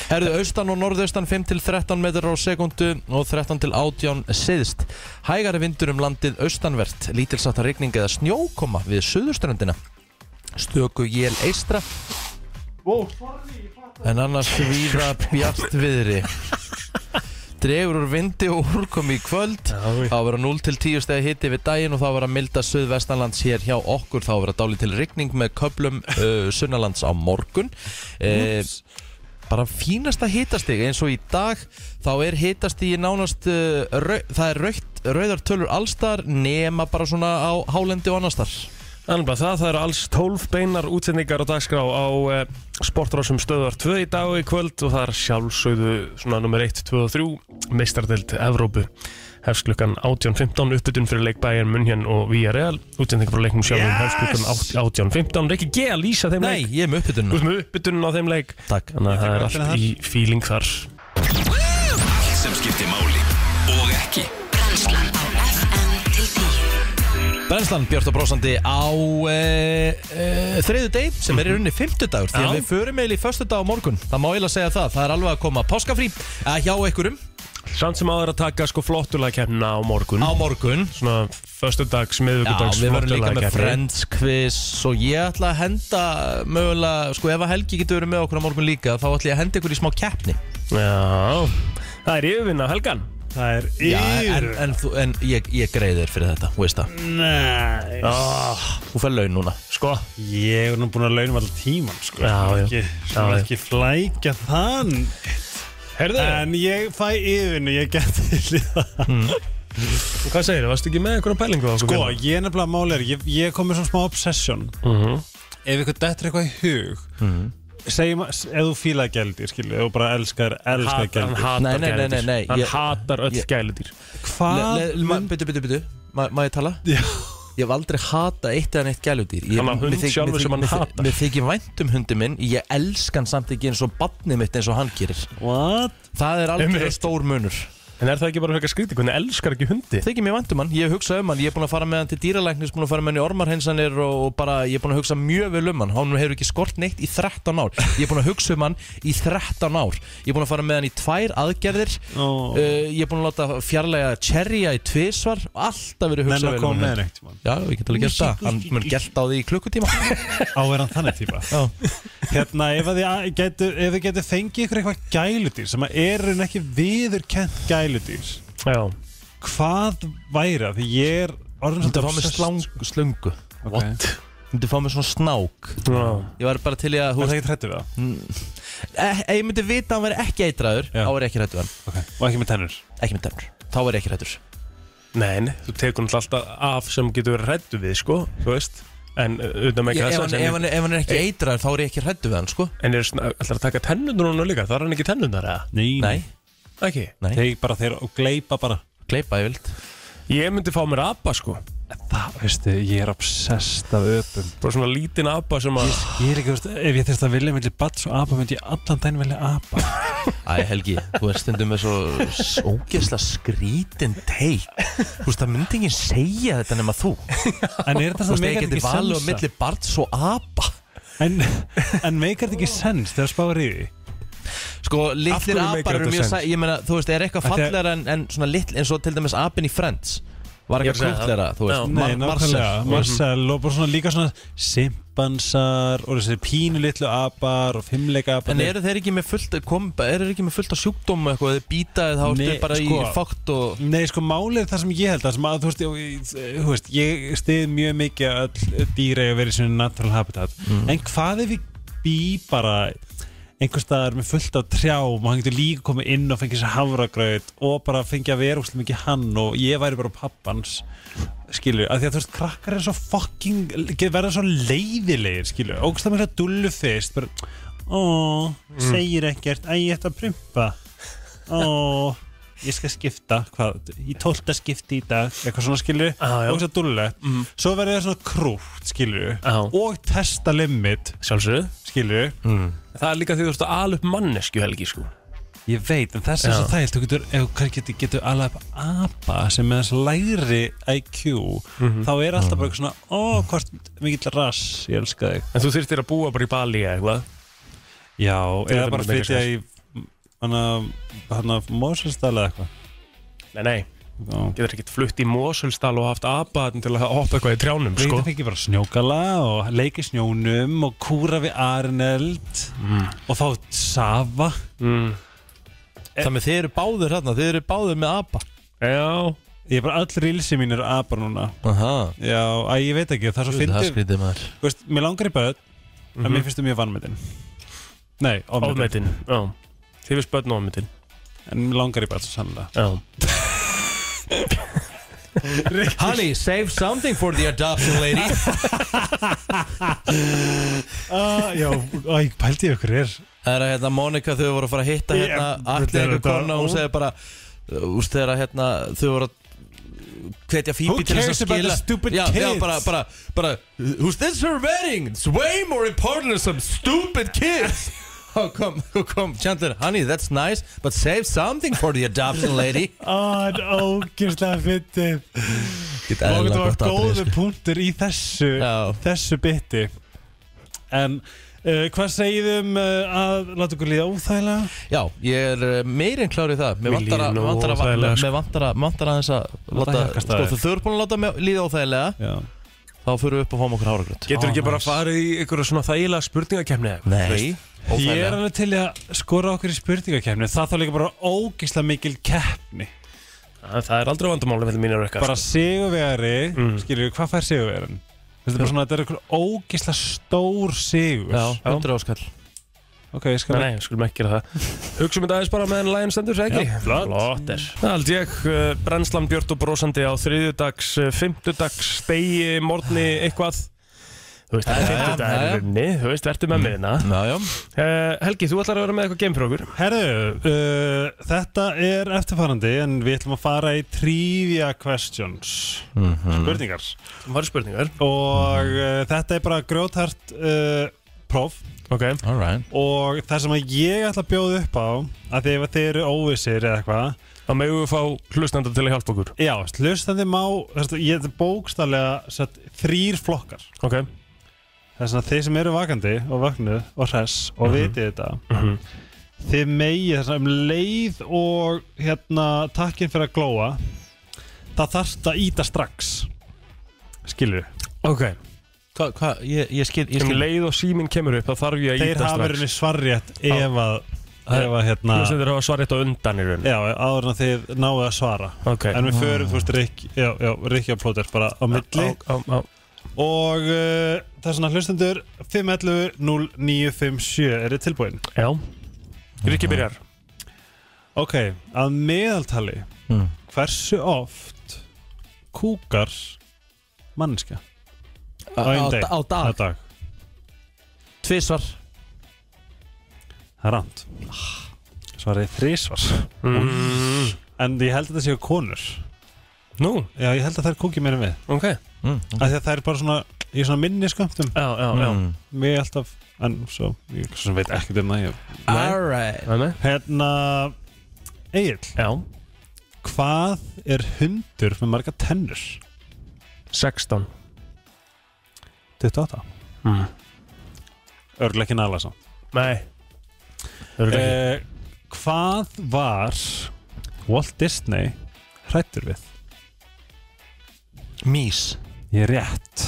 Speaker 4: Herðu austan og norðaustan 5 til 13 metrar á sekundu og 13 til 18 siðst Hægari vindur um landið austanvert lítilsáttar rigning eða snjókoma við suðuströndina Stöku jél eistra En annars víða bjart viðri Dregur úr vindi og úrkom í kvöld
Speaker 1: Já,
Speaker 4: Það á að vera 0 til 10 stegi hitti við daginn og það á að vera milda suðvestanlands hér hjá okkur Það á að vera dálitil rigning með köplum uh, sunnalands á morgun uh, Bara fínasta hitastig eins og í dag þá er hitastigi nánast uh, rau, Það er raukt, rauðar tölur allstar nema bara svona á hálendi og annarstar
Speaker 1: Þannig að það, það eru alls 12 beinar útsendingar á dagskrá á eh, sportrásum stöðar 2 í dag og í kvöld og það er sjálfsögðu svona nummer 1, 2 og 3 meistardelt Evrópu hefst klukkan 18.15 uppbytun fyrir leik Bayern München og Villarreal útsendingar frá leiknum sjálfum yes! hefst klukkan 18.15 Rikki G að lýsa þeim
Speaker 4: Nei,
Speaker 1: leik
Speaker 4: ég er með uppbytunum
Speaker 1: Þú veist með uppbytunum á þeim leik
Speaker 4: Takk
Speaker 1: Þannig að það er
Speaker 5: Ég tek
Speaker 1: allt í feeling þar
Speaker 2: Allt sem skiptir máli og ekki
Speaker 3: Brennslan á FM til 10
Speaker 4: Brennslan Björn og Brósandi á e, e, þriðu deg sem er í rauninni fymtudagur því
Speaker 1: Já.
Speaker 4: að við förum eiginlega í förstu dag á morgun það má eiginlega segja það, það er alveg að koma páskafrí að hjá einhverjum
Speaker 1: Samt sem áður að taka sko flottulega kemna á morgun
Speaker 4: á morgun
Speaker 1: Svona föstudags,
Speaker 4: Já,
Speaker 1: miðvikudags
Speaker 4: við verðum líka með
Speaker 1: flottulegakeppni.
Speaker 4: Friends quiz og ég ætla að henda mögulega, sko ef að Helgi getur verið með okkur á morgun líka þá ætla ég að henda ykkur í smá keppni
Speaker 1: Já, það er yfirvinna á helgan
Speaker 5: Það er
Speaker 4: Já, en,
Speaker 5: yfir
Speaker 4: en, þú, en ég, ég greiðir fyrir þetta, þú veist það
Speaker 5: Mm.
Speaker 4: Ah,
Speaker 5: Nei
Speaker 1: oh,
Speaker 4: Þú fær laun núna
Speaker 1: Sko,
Speaker 5: Ah, Ég er nú búin að launum alltaf tíman sko.
Speaker 1: Já, já.
Speaker 5: Ekki,
Speaker 1: Já,
Speaker 5: já,
Speaker 1: já.
Speaker 5: ekki flækja þann
Speaker 1: heyrðu,
Speaker 5: En ég fæ yfirinu, ég geti til í það
Speaker 1: hvað segir þið? Varstu ekki með einhverjum pælingu á okkur?
Speaker 5: Sko, ég er nefnilega máli er Ég, ég kom með svona smá obsession
Speaker 1: Mhm.
Speaker 5: Ef ykkur dettur eitthvað í hug Segjum að, ef þú fílaði gældi, skilju Ef þú bara elskar, elskar
Speaker 1: Hatar, hann
Speaker 5: gældi
Speaker 1: hatar
Speaker 4: Nei, nei, nei,
Speaker 1: gæludýr.
Speaker 4: nei, nei,
Speaker 1: Hann
Speaker 4: ég-
Speaker 1: hatar öll
Speaker 4: ég-
Speaker 1: gæludýr
Speaker 5: Hvað mynd-
Speaker 4: Byttu, byttu, byttu, má ég tala?
Speaker 5: Já.
Speaker 4: Ég hef aldrei hatað eitt eða neitt gæludýr ég,
Speaker 1: Hann á hund
Speaker 4: mér þykir-
Speaker 1: sjálfur
Speaker 4: mér
Speaker 1: sem hann
Speaker 4: þykir- mér
Speaker 1: hatar.
Speaker 4: þykir- Mér þykir vænt um hundi minn Ég elska hann samt ekki eins og badnið mitt eins og hann gerir
Speaker 5: What?
Speaker 4: Það er aldrei
Speaker 1: Einmitt.
Speaker 4: stór munur
Speaker 1: En er það ekki bara eitthvað skrítið? Hvernig elskar ekki hundi?
Speaker 4: Þykir mér vænt um hann, ég hef hugsað um hann Ég er búin að fara með hann til dýralæknis Búin að fara með hann í ormarhensanir Og, og bara, ég er búin að hugsa mjög vel um hann Hann hefur ekki skort neitt í 13 ár Ég er búin að hugsa um hann í 13 ár Ég er búin að fara með hann í tvær aðgerðir
Speaker 5: Ó.
Speaker 4: uh, Ég er búin að láta fjarlæga Cherrya í tvisvar Alltaf verið
Speaker 5: Nenna
Speaker 4: hugsað vel
Speaker 5: að
Speaker 4: um hann
Speaker 5: koma með hann eitt
Speaker 4: Já, við getum alveg gert það Hann mun gert á því í klukkutíma
Speaker 5: Áverðan þannig típa
Speaker 4: Já.
Speaker 5: Hérna, ef að þið getu, ef þið getu fengið ykkur eitthvað gæludýr sem að eru en ekki viðurkent gæludýr
Speaker 1: Já,
Speaker 5: hvað væri það? Því ég er orðin
Speaker 4: Þú
Speaker 5: svolítið
Speaker 4: fá mér
Speaker 5: obsessed.
Speaker 4: slang, slungu
Speaker 5: Ok.
Speaker 4: Þú fá mér svona snák
Speaker 1: já,
Speaker 4: Ég var bara til í að
Speaker 5: Þú
Speaker 4: þú
Speaker 5: ert
Speaker 4: veist
Speaker 5: ekki trættu við það?
Speaker 4: Ef ég myndi vita að hann væri ekki eitraður
Speaker 5: Já.
Speaker 4: Þá væri ég ekki rættu hann
Speaker 5: Okay. Og ekki með tennur?
Speaker 4: Ekki með tennur Þá væri ég ekki rættur
Speaker 1: nei, nei, þú tekur náttúrulega alltaf af sem getur verið hrættu við, sko, þú veist En auðvitað með
Speaker 4: Ef
Speaker 1: ekki
Speaker 4: hann- ef
Speaker 1: þess
Speaker 4: hann ef hann er ekki eitraður Þá er ég ekki rættu við hann sko
Speaker 1: En er alltaf að taka tennundur núna líka? Það er hann ekki tennundar, eða?
Speaker 4: Nei,
Speaker 1: Ekki
Speaker 4: nei
Speaker 5: Þeir bara þeir og gleipa bara
Speaker 4: Gleipa ég vild
Speaker 1: Ég myndi fá mér apa, sko
Speaker 5: Það, veistu, ég er obsessed af öpum
Speaker 1: Bara svona lítinn apa sem að
Speaker 5: Ég er ekki, veistu, ef ég þurfti að vilja melli bats og apa myndi ég allan daginn vilja apa
Speaker 4: Æ Helgi, þú er stundum með svo s- ógeðslega skrítin teik Þú veist, það myndi enginn segja þetta nema þú Þú
Speaker 5: En er þetta
Speaker 4: veist, ég
Speaker 5: það meikar þetta
Speaker 4: geti valið
Speaker 5: ekki
Speaker 4: á
Speaker 5: sensa?
Speaker 4: milli barns og apa
Speaker 5: En, en meikar þetta ekki sens þegar spáður í því?
Speaker 4: Sko,
Speaker 1: Af hverju
Speaker 4: litlir
Speaker 1: meikar
Speaker 4: apar eru
Speaker 1: þetta
Speaker 4: mjög
Speaker 1: sens?
Speaker 4: sæ... Ég meina, þú veist, er eitthvað
Speaker 5: Af því að-
Speaker 4: fallara en, en svona litl eins og til dæmis apin í Friends Var
Speaker 1: Ég er
Speaker 4: eitthvað
Speaker 1: að segja
Speaker 4: krútlera,
Speaker 1: það.
Speaker 4: þú veist,
Speaker 1: Já.
Speaker 4: Mar
Speaker 5: Nei,
Speaker 4: Marcel
Speaker 5: nákvæmlega, Marcel Mhm. og bara svona líka svona simpansar og þessi pínu litlu apar og fimmleika apar
Speaker 4: En eru þeir ekki með fullt, kom, eru þeir ekki með fullt á sjúkdómu eitthvað, þeir býta eða þá ertu
Speaker 5: Nei,
Speaker 4: bara í
Speaker 5: sko.
Speaker 4: fókt og
Speaker 5: Nei, sko, málið er það sem ég held það sem að, þú veist, ég, eh, þú veist, ég stið mjög mikið að öll dýra eiga að vera í svona natural habitat en hvað ef ég bý bara einhvers staðar með fullt af trjám og hann getur líka komið inn og fengið sér hafragraut og bara fengið að vera úrslega mikið hann og ég væri bara pappans skilur, af því að þú veist, krakkar er svo fucking, verða svo leiðilegir skilur, ógst það mér að dullu fyrst bara, ó, segir ekkert æ, ég ætti að prumpa ó, ég skal skipta hvað, í tólta skipti í dag eitthvað svona skilur,
Speaker 1: Já, já.
Speaker 5: ógst að dullu svo verður það svona krútt skilur
Speaker 1: Já.
Speaker 5: og testa limit
Speaker 1: Sjálfsögðu
Speaker 5: skilur,
Speaker 1: Það er líka því þú ert að ala upp mannesku helgi, sko
Speaker 5: Ég veit, en þess er svo
Speaker 1: Já.
Speaker 5: þægilt, þú getur, ef hvað getur, getur alveg upp apa sem er þess læri IQ, þá er alltaf bara eitthvað svona, ó, hvort mikill rass, ég elska þig.
Speaker 1: En þú þurftir að búa bara í Bali eða eitthvað
Speaker 5: Já, eða
Speaker 1: þetta
Speaker 5: bara
Speaker 1: myndi
Speaker 5: flytja
Speaker 1: make
Speaker 5: í, hana, hana, Mósulstæla eða eitthvað.
Speaker 1: Nei, nei,
Speaker 5: Já.
Speaker 1: getur ekkert flutt í Mosulstal og haft apaðn til að hoppa eitthvað í trjánum
Speaker 5: Sko?
Speaker 1: sko.
Speaker 5: Þetta fengi bara snjókala og leiki snjónum og kúra við Arneld og þá Sava
Speaker 1: mm.
Speaker 5: Eh.
Speaker 4: Þannig að þið eru báður hérna, þið eru báður með apa
Speaker 1: Já,
Speaker 5: Ég er bara all rilsi mín er apa núna
Speaker 4: Aha,
Speaker 5: Já, æ, ég veit ekki, það er svo
Speaker 4: það
Speaker 5: fyndið
Speaker 4: skrítið maður
Speaker 5: Þú veist, Mér langar í börn en
Speaker 4: Mhm.
Speaker 5: mér finnst það mjög vannmetin Nei, ofmetin,
Speaker 1: ofmetin Já, þið finnst börn ofmetin
Speaker 5: En mér langar í börn svo sannlega
Speaker 1: Já,
Speaker 4: Honey, save something for the adoption lady
Speaker 5: uh, Já, æ, pældi ég okkur er
Speaker 4: Það er að hérna Monika þau voru að fara að hitta
Speaker 5: Ég-
Speaker 4: hérna
Speaker 5: þetta
Speaker 4: Allir
Speaker 5: er
Speaker 4: einhver
Speaker 5: þetta-
Speaker 4: kona og hún segir bara Úst þegar að hérna þau voru að hvetja Phoebe
Speaker 5: Who
Speaker 4: til þess að
Speaker 5: cares about
Speaker 4: skila
Speaker 5: the stupid
Speaker 4: já, já,
Speaker 5: kids?
Speaker 4: bara, bara, bara Who's this her wedding? It's way more important than some stupid kids How Oh, come, how come Chandler, honey, that's nice But save something for the adoption lady
Speaker 5: Ah, Það er ógeðslega fyndið
Speaker 4: Get
Speaker 5: Og
Speaker 4: eðlilega
Speaker 5: þetta var
Speaker 4: gott atriði,
Speaker 5: góðu
Speaker 4: sko.
Speaker 5: punktur í þessu
Speaker 4: Já.
Speaker 5: þessu bytti En uh, hvað segiðum uh, að láta okkur líða óþægilega?
Speaker 4: Já, ég er eh, meir en klár í það Mér
Speaker 1: Mér
Speaker 4: vantar að
Speaker 1: líður nú
Speaker 4: vantar að-
Speaker 1: óþægilega,
Speaker 4: mér vantar að- vantar aðeins að láta-
Speaker 5: sko. hjarkast
Speaker 4: Sko,
Speaker 5: aðeins.
Speaker 4: þau eru búin að láta mig líða óþægilega
Speaker 5: Já
Speaker 4: Þá fyrir við upp og fáum okkur háragrönd
Speaker 1: getur
Speaker 5: Ó,
Speaker 1: ekki bara
Speaker 5: nice.
Speaker 1: farið í einhverja svona þægilega spurningakefni eða eitthvað?
Speaker 4: Nei
Speaker 5: Ég er alveg til í að skora okkur í spurningakefni Það þá líka bara ógeðslega mikil keppni
Speaker 1: Það það er aldrei vandamáli með mínir eitthvað
Speaker 5: Bara sigurvegari,
Speaker 1: Mm.
Speaker 5: skilur við, hvað fær sigurvegarin? Þetta er bara svona, þetta er okkur ógeðslega stór sigur
Speaker 4: Já, 100 áskall
Speaker 5: Ok, ég skal
Speaker 1: Nei, nei, skulum ekki gera það Hugsum þetta aðeins bara meðan lægin stendur, það ekki?
Speaker 5: Já, flott.
Speaker 1: Flott er Það held ég, eh, brennslan björt og brósandi á þriðjudags, eh, fimmtudags, stegi, morgni, eitthvað Þú veist, það er
Speaker 4: já, já.
Speaker 1: fimmtudagur unni, þú veist, verður með mér hérna
Speaker 4: Já, já
Speaker 1: Eh, Helgi, þú ætlar að vera með eitthvað game fyrir okkur
Speaker 5: Herru, uh, þetta er eftirfarandi En við ætlum að fara í trivia questions
Speaker 4: Mhm.
Speaker 5: Spurningar
Speaker 1: Þú farið spurningar
Speaker 5: og
Speaker 1: Mhm.
Speaker 5: uh, þetta er bara grjóthart uh, próf
Speaker 1: Ok
Speaker 4: Alright
Speaker 5: og það sem að ég ætla að bjóða upp á að því ef að þið eru óvissir eða eitthvað
Speaker 1: Það megum við fá hlustanda til að hjálpa okkur
Speaker 5: já, hlustandi má þess, ég þetta er bókstallega satt, þrýr flokkar
Speaker 1: Ok
Speaker 5: þess að þeir sem eru vakandi og vöknu og hress og vitið þetta
Speaker 1: Mhm.
Speaker 5: þið megið þess að um leið og hérna takkinn fyrir að glóa það þarft að íta strax skilur
Speaker 1: Ok
Speaker 4: Hvað, hvað, ég, ég skil, ég
Speaker 1: Um
Speaker 4: skil
Speaker 1: leið og síminn kemur upp, þá þarf ég að
Speaker 5: þeir
Speaker 1: íta
Speaker 5: hafa
Speaker 1: strax
Speaker 5: verið svarrétt ef að, ef að hérna
Speaker 1: Hlustandir hafa svarið þetta undan í rauninni
Speaker 5: Já, áður en að þið náðu að svara
Speaker 1: Ok
Speaker 5: En við förum, þú veist, Rik, já, já, Rikki og Plóter bara á milli
Speaker 1: Á- á- á-
Speaker 5: Og uh, það er svona hlustendur 511-0957 Er þið tilbúin?
Speaker 1: Já Rikki byrjar
Speaker 5: Ok, að meðaltali
Speaker 4: Mm.
Speaker 5: Hversu oft kúkar manneskja?
Speaker 4: Á, á,
Speaker 5: einum degi.
Speaker 4: á
Speaker 5: Það
Speaker 4: dag
Speaker 5: er dag
Speaker 4: Tvisvar
Speaker 5: Það er rand Svarið þrísvar
Speaker 1: Mm.
Speaker 5: En ég held að þetta séu konur
Speaker 1: Nú,
Speaker 5: Já, ég held að þær kúki meira en við
Speaker 1: ok Já,
Speaker 4: Mm,
Speaker 5: Af því að þær bara svona Í svona minni skömmtum
Speaker 1: já, já
Speaker 4: Mm.
Speaker 5: Mér alltaf En svo Ég svo sem veit ekkert um það ég
Speaker 4: Alright
Speaker 1: Það er með
Speaker 5: Hérna Egil,
Speaker 1: Já
Speaker 5: hvað er hundur með marga tennur?
Speaker 1: 16
Speaker 5: 28
Speaker 1: Mm.
Speaker 5: Örgulega ekki nála samt
Speaker 1: Nei Það eru ekki
Speaker 5: eh, Hvað var Walt Disney hrættur við?
Speaker 4: Mís
Speaker 5: Ég er rétt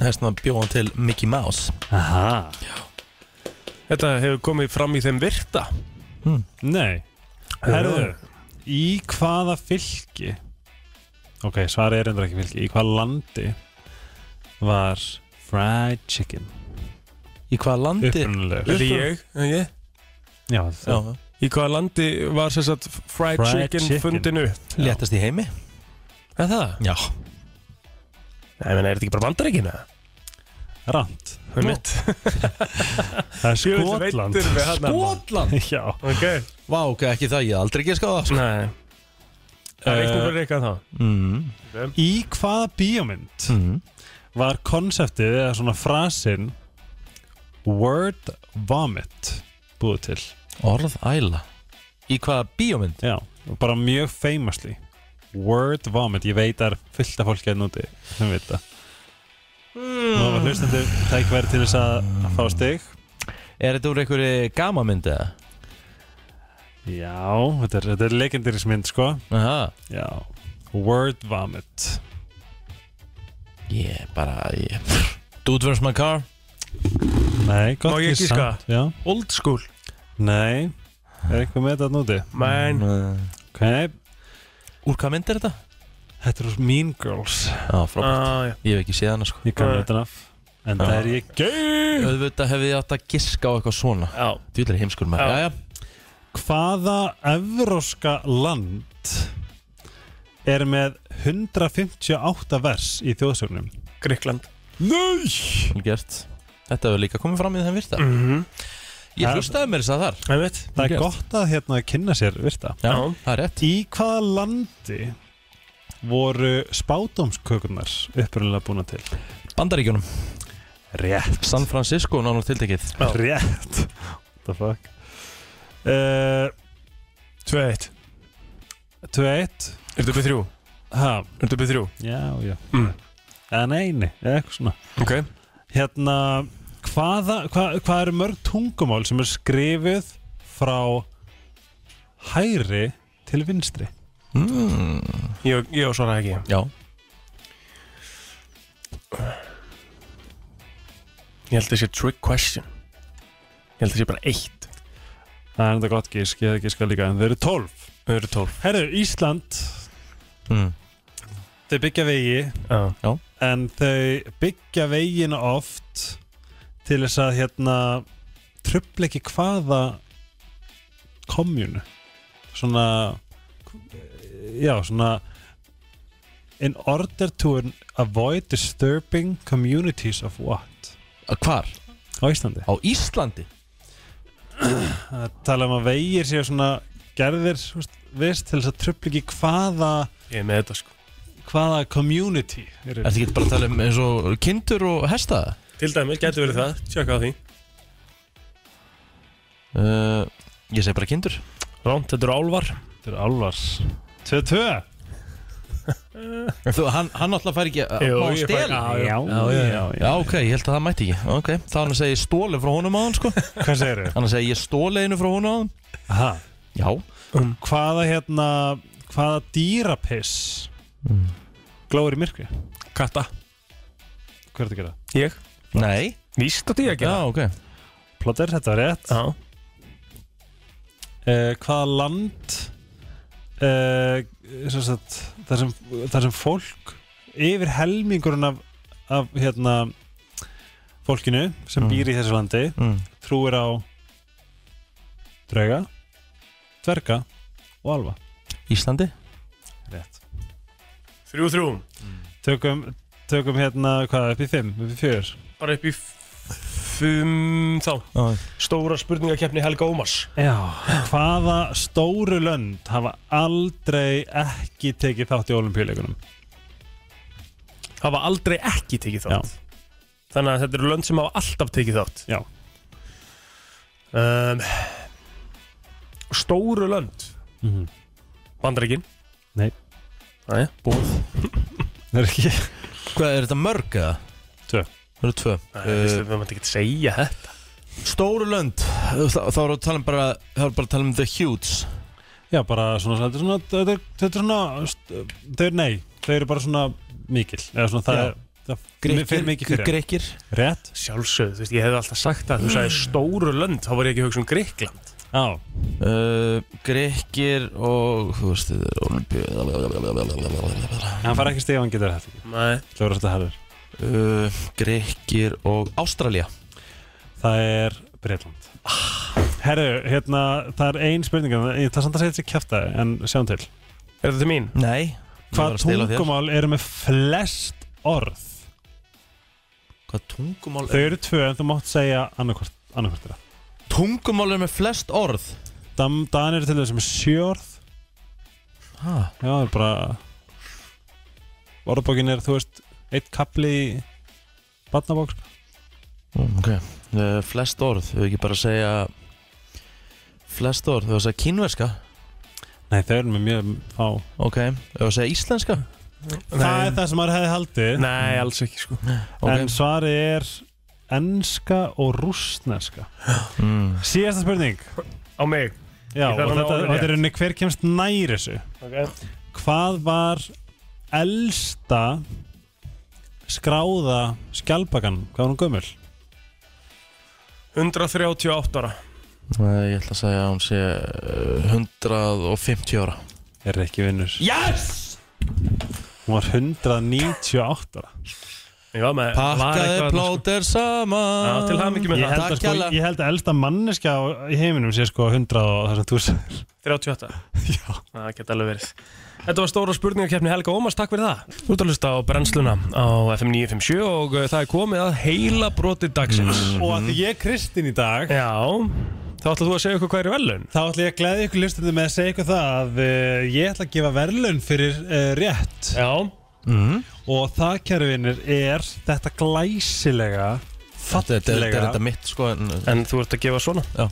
Speaker 4: Það er svona bjóðan til Mickey Mouse
Speaker 5: Aha.
Speaker 1: Þetta hefur komið fram í þeim virta
Speaker 5: Nei Herðu, í hvaða fylki Ok, svarið er endur ekki fylki Í hvaða landi var fried chicken
Speaker 4: Í hvaða landi
Speaker 5: upprunulegur?
Speaker 1: Þetta er ég, en ég
Speaker 5: Já,
Speaker 4: Já,
Speaker 5: það
Speaker 1: Í hvaða landi var sem sagt fried,
Speaker 5: Fried
Speaker 1: chicken,
Speaker 5: chicken.
Speaker 1: chicken fundinu
Speaker 4: léttast í heimi
Speaker 1: Er það?
Speaker 4: Já
Speaker 1: Nei, menn, er þetta ekki bara bandaríkina?
Speaker 5: er rand
Speaker 1: Það er mitt
Speaker 5: Það er Skotland
Speaker 4: hérna um
Speaker 1: Skotland?
Speaker 5: Já
Speaker 1: Ok
Speaker 4: Vá, ok, ekki það, ég hef aldrei ekki skáða
Speaker 1: Nei Eh, Það er eitthvað fyrir eitthvað þá
Speaker 4: mm.
Speaker 5: Í hvaða bíómynd
Speaker 4: Mm.
Speaker 5: var konseptið eða svona frasin Word Vomit búið til?
Speaker 4: Orðæla Í hvaða bíómynd?
Speaker 5: Já, og bara mjög famously Word vomit, ég veit að það er fullt af fólki að núti sem veit það mm. og það var hlustandi tækverð til þess að að fá stig
Speaker 4: Er þetta úr einhverju gamamynd eða?
Speaker 5: Já, þetta er, þetta er legendirismynd sko
Speaker 4: Aha.
Speaker 5: Já, word vomit
Speaker 4: Ég bara, ég Dude vs. my car
Speaker 5: Nei, gott
Speaker 1: Má ég
Speaker 5: giss
Speaker 1: giska?
Speaker 5: samt, Já,
Speaker 1: Old school
Speaker 5: nei Er eitthvað með þetta að núti?
Speaker 1: Man
Speaker 5: Ok,
Speaker 4: Úr hvaða mynd er þetta?
Speaker 5: þetta eru Mean Girls
Speaker 4: Já, frábært
Speaker 1: ah, já.
Speaker 4: Ég hef ekki séð hana sko
Speaker 5: Ég gaf
Speaker 1: Nei.
Speaker 5: þetta naf En það er ég gay
Speaker 4: Auðvitað hefði ég átt að giska á eitthvað svona
Speaker 1: Já.
Speaker 4: Dvílar heimskur maður
Speaker 1: Já.
Speaker 4: Jæja,
Speaker 5: Hvaða evróska land er með 158 vers í þjóðsögnum?
Speaker 1: Gríkland
Speaker 5: Nei!
Speaker 4: vel gert Þetta hefur líka komið fram í þeim virta
Speaker 1: Mhm.
Speaker 4: Ég
Speaker 5: Ja.
Speaker 4: hlustaði mér þess að þar
Speaker 1: Það veit
Speaker 5: Það er
Speaker 4: Gert.
Speaker 5: gott að hérna kynna sér, virta.
Speaker 4: Já,
Speaker 1: Já.
Speaker 4: það er rétt
Speaker 5: Í hvaða landi voru spátumskökurnar upprunalega búna til?
Speaker 4: Bandaríkjunum
Speaker 5: Rétt.
Speaker 4: San Francisco nánar tiltekið
Speaker 1: Já.
Speaker 5: Rétt. What the fuck? Uh,
Speaker 1: 2-1
Speaker 5: Tveit.
Speaker 1: Er þetta uppið þrjú?
Speaker 5: Ha,
Speaker 1: Er þetta uppið þrjú?
Speaker 5: já, já.
Speaker 1: Mm.
Speaker 5: Eða neini, eða eitthvað svona.
Speaker 1: Ok
Speaker 5: hérna hvaða, hva, hvað eru mörg tungumál sem er skrifuð frá hæri til vinstri
Speaker 4: mm,
Speaker 1: Ég, ég svara ekki
Speaker 4: Já,
Speaker 1: Ég held að það sé trick question Ég held að það sé bara eitt
Speaker 5: það er enda gott gísk, ég hefði gískað líka en þau eru 12
Speaker 1: Þau eru tólf
Speaker 5: herru, Ísland,
Speaker 4: mm,
Speaker 5: þau byggja vegi
Speaker 1: Já
Speaker 5: en þau byggja vegin oft til þess að hérna trubla ekki hvaða komjunu svona eh, já, svona in order to avoid disturbing communities of what
Speaker 4: Að hvar?
Speaker 5: á Íslandi
Speaker 4: Á Íslandi?
Speaker 5: að tala um að vegir séu svona gerðir þú veist, vist til þess að trubla ekki hvaða
Speaker 1: Ég er með þetta sko
Speaker 5: hvaða community eru.
Speaker 4: Ertu ekki bara að tala um eins og kindur og hesta?
Speaker 1: Til dæmis, getur verið það Tjökk á því
Speaker 4: Uh, ég segi bara kindur
Speaker 1: Ránt, þetta eru álvar
Speaker 5: þetta er álvars 2-2
Speaker 4: Þú, hann, hann alltaf fær ekki að má
Speaker 1: ég
Speaker 4: stela
Speaker 1: fæ- já,
Speaker 5: já, já, já.
Speaker 4: Já, ok, ég held að það mætti ekki Ok, þá hann að segja ég stóli frá honum áðan sko
Speaker 5: hvað segir
Speaker 4: Hann að segja ég stóli einu frá honum áðan
Speaker 5: þau?
Speaker 4: Já,
Speaker 5: hvaða hérna hvaða dýrapiss Mm. glóður í myrkri
Speaker 1: Katta
Speaker 5: hvað er þetta að gera?
Speaker 1: Ég
Speaker 4: nei
Speaker 1: Víst átti ég að
Speaker 4: Já,
Speaker 1: gera
Speaker 4: ok
Speaker 5: Plotter, þetta var rétt
Speaker 1: Já
Speaker 5: uh, hvaða land uh, sem sagt, þar, sem, þar sem fólk yfir helmingurinn af, af hérna fólkinu sem
Speaker 4: Mm.
Speaker 5: býr í þessu landi
Speaker 4: mm.
Speaker 5: trúir á drauga dverga og alva
Speaker 4: Íslandi?
Speaker 5: rétt
Speaker 1: Þrjú, þrjú
Speaker 5: tökum, tökum hérna hvað upp í fimm, upp í fjör
Speaker 1: Bara upp í Fum þá
Speaker 4: Já,
Speaker 1: Stóra spurningakeppni Helga Ómars
Speaker 5: Já, hvaða stóru lönd hafa aldrei ekki tekið þátt í olimpíuleikunum?
Speaker 1: Hafa aldrei ekki tekið þátt Þannig að þetta eru lönd sem hafa alltaf tekið þátt
Speaker 5: Já.
Speaker 1: um, Stóru lönd
Speaker 5: Mhm.
Speaker 1: Bandaríkin
Speaker 5: Nei.
Speaker 1: Æja, búið
Speaker 5: Það er ekki
Speaker 4: Hvað, er þetta mörg eða?
Speaker 5: Tvö.
Speaker 4: Það eru tvö
Speaker 1: Það uh, maður ekki að segja þetta
Speaker 4: Stóru lönd Þá, þá erum við að tala um bara Þá erum við bara að tala um the huge
Speaker 5: Já, bara svona, þetta er svona, þetta er, þetta er svona, st- þau eru nei, þau eru bara svona mikil, eða svona það
Speaker 4: Já.
Speaker 5: er, það fer mikið fyrir.
Speaker 4: Greikir
Speaker 5: Rétt?
Speaker 1: Sjálfsögðu, þú veist, ég hefði alltaf sagt það Þú sagði stóru lönd, þá var ég ekki að hugsa um Gríkland
Speaker 5: Já,
Speaker 4: uh, Greikir og Þú veist, þetta er olimpíu
Speaker 5: hann fara ekki stig ef hann getur þetta ekki,
Speaker 1: Nei
Speaker 5: það voru þetta herður.
Speaker 4: uh, Greikir og Ástralja
Speaker 5: Það er Breitland. Herru, hérna, það er ein spurning, ég ætla samt að segja þetta sér kjæfta, en sjáum til.
Speaker 1: Er þetta til mín?
Speaker 4: Nei ég var
Speaker 5: Hvað
Speaker 4: að stela þér.
Speaker 5: tungumál eru með flest orð?
Speaker 4: Hvað tungumál
Speaker 5: Þau eru tvö, en þú mátt segja annarkvort, annarkvort þeirra.
Speaker 4: Tungumál er með flest orð
Speaker 5: Dan, Dan eru til þess með sjörð
Speaker 4: ha.
Speaker 5: Já, það er bara Orðbókin er, þú veist Eitt kapli í sko. Batnabók
Speaker 4: Mm, Ok uh, Flest orð Þau ekki bara að segja Flest orð, þú veist að kínverska
Speaker 5: Nei, þau eru með mjög fá
Speaker 4: Ok, þú veist að íslenska
Speaker 5: Það er það sem maður hefði haldið
Speaker 1: Nei, alls ekki sko
Speaker 4: okay.
Speaker 5: En svari er Enska og rústneska
Speaker 4: mm.
Speaker 5: Síðasta spurning
Speaker 1: Á mig
Speaker 5: Já,
Speaker 1: Ég
Speaker 5: og
Speaker 1: þarf að ná
Speaker 5: þetta,
Speaker 1: alveg
Speaker 5: og þetta er
Speaker 1: rétt.
Speaker 5: henni hver kemst nær þessu
Speaker 1: okay.
Speaker 5: Hvað var elsta skráða skjálpakan? Hvað var hún gömul?
Speaker 1: 138 ára
Speaker 4: Nei, Eh, Ég ætla að segja að hún sé eh, 150 ára
Speaker 5: Er ekki vinnur
Speaker 4: Yes!
Speaker 5: Hún var 198 ára
Speaker 1: Ég var með var
Speaker 4: Pakkaði
Speaker 1: eitthvað þarna, sko.
Speaker 4: plóter saman
Speaker 1: Já, til hamingju með
Speaker 5: Ég
Speaker 1: það.
Speaker 5: held, að,
Speaker 4: Takk
Speaker 5: sko,
Speaker 4: hérlega.
Speaker 5: ég held að elsta manneskja á- í heiminum sé sko 100 og það sem þú sagðir
Speaker 1: 38 Já Það geta alveg verið Þetta var stóra spurningakefni Helga Ómars, takk fyrir það. Þú ert að hlusta á brennsluna á FM 957 og uh, það er komið að heila broti dagsins.
Speaker 5: Og að því ég er kristinn í dag
Speaker 1: Já, þá ætlaðu þú að segja okkur hvað er í velun.
Speaker 5: Þá ætla ég að gleðja ykkur hlustandi með að segja ykkur það að uh, ég ætla að gefa verðlaun fyrir uh, rétt
Speaker 1: Já,
Speaker 4: Mhm.
Speaker 5: og það kjærvinir er þetta glæsilega
Speaker 4: Þetta er- þetta er- þetta er
Speaker 5: fallega
Speaker 4: þetta mitt sko en,
Speaker 1: en þú ert að gefa svona.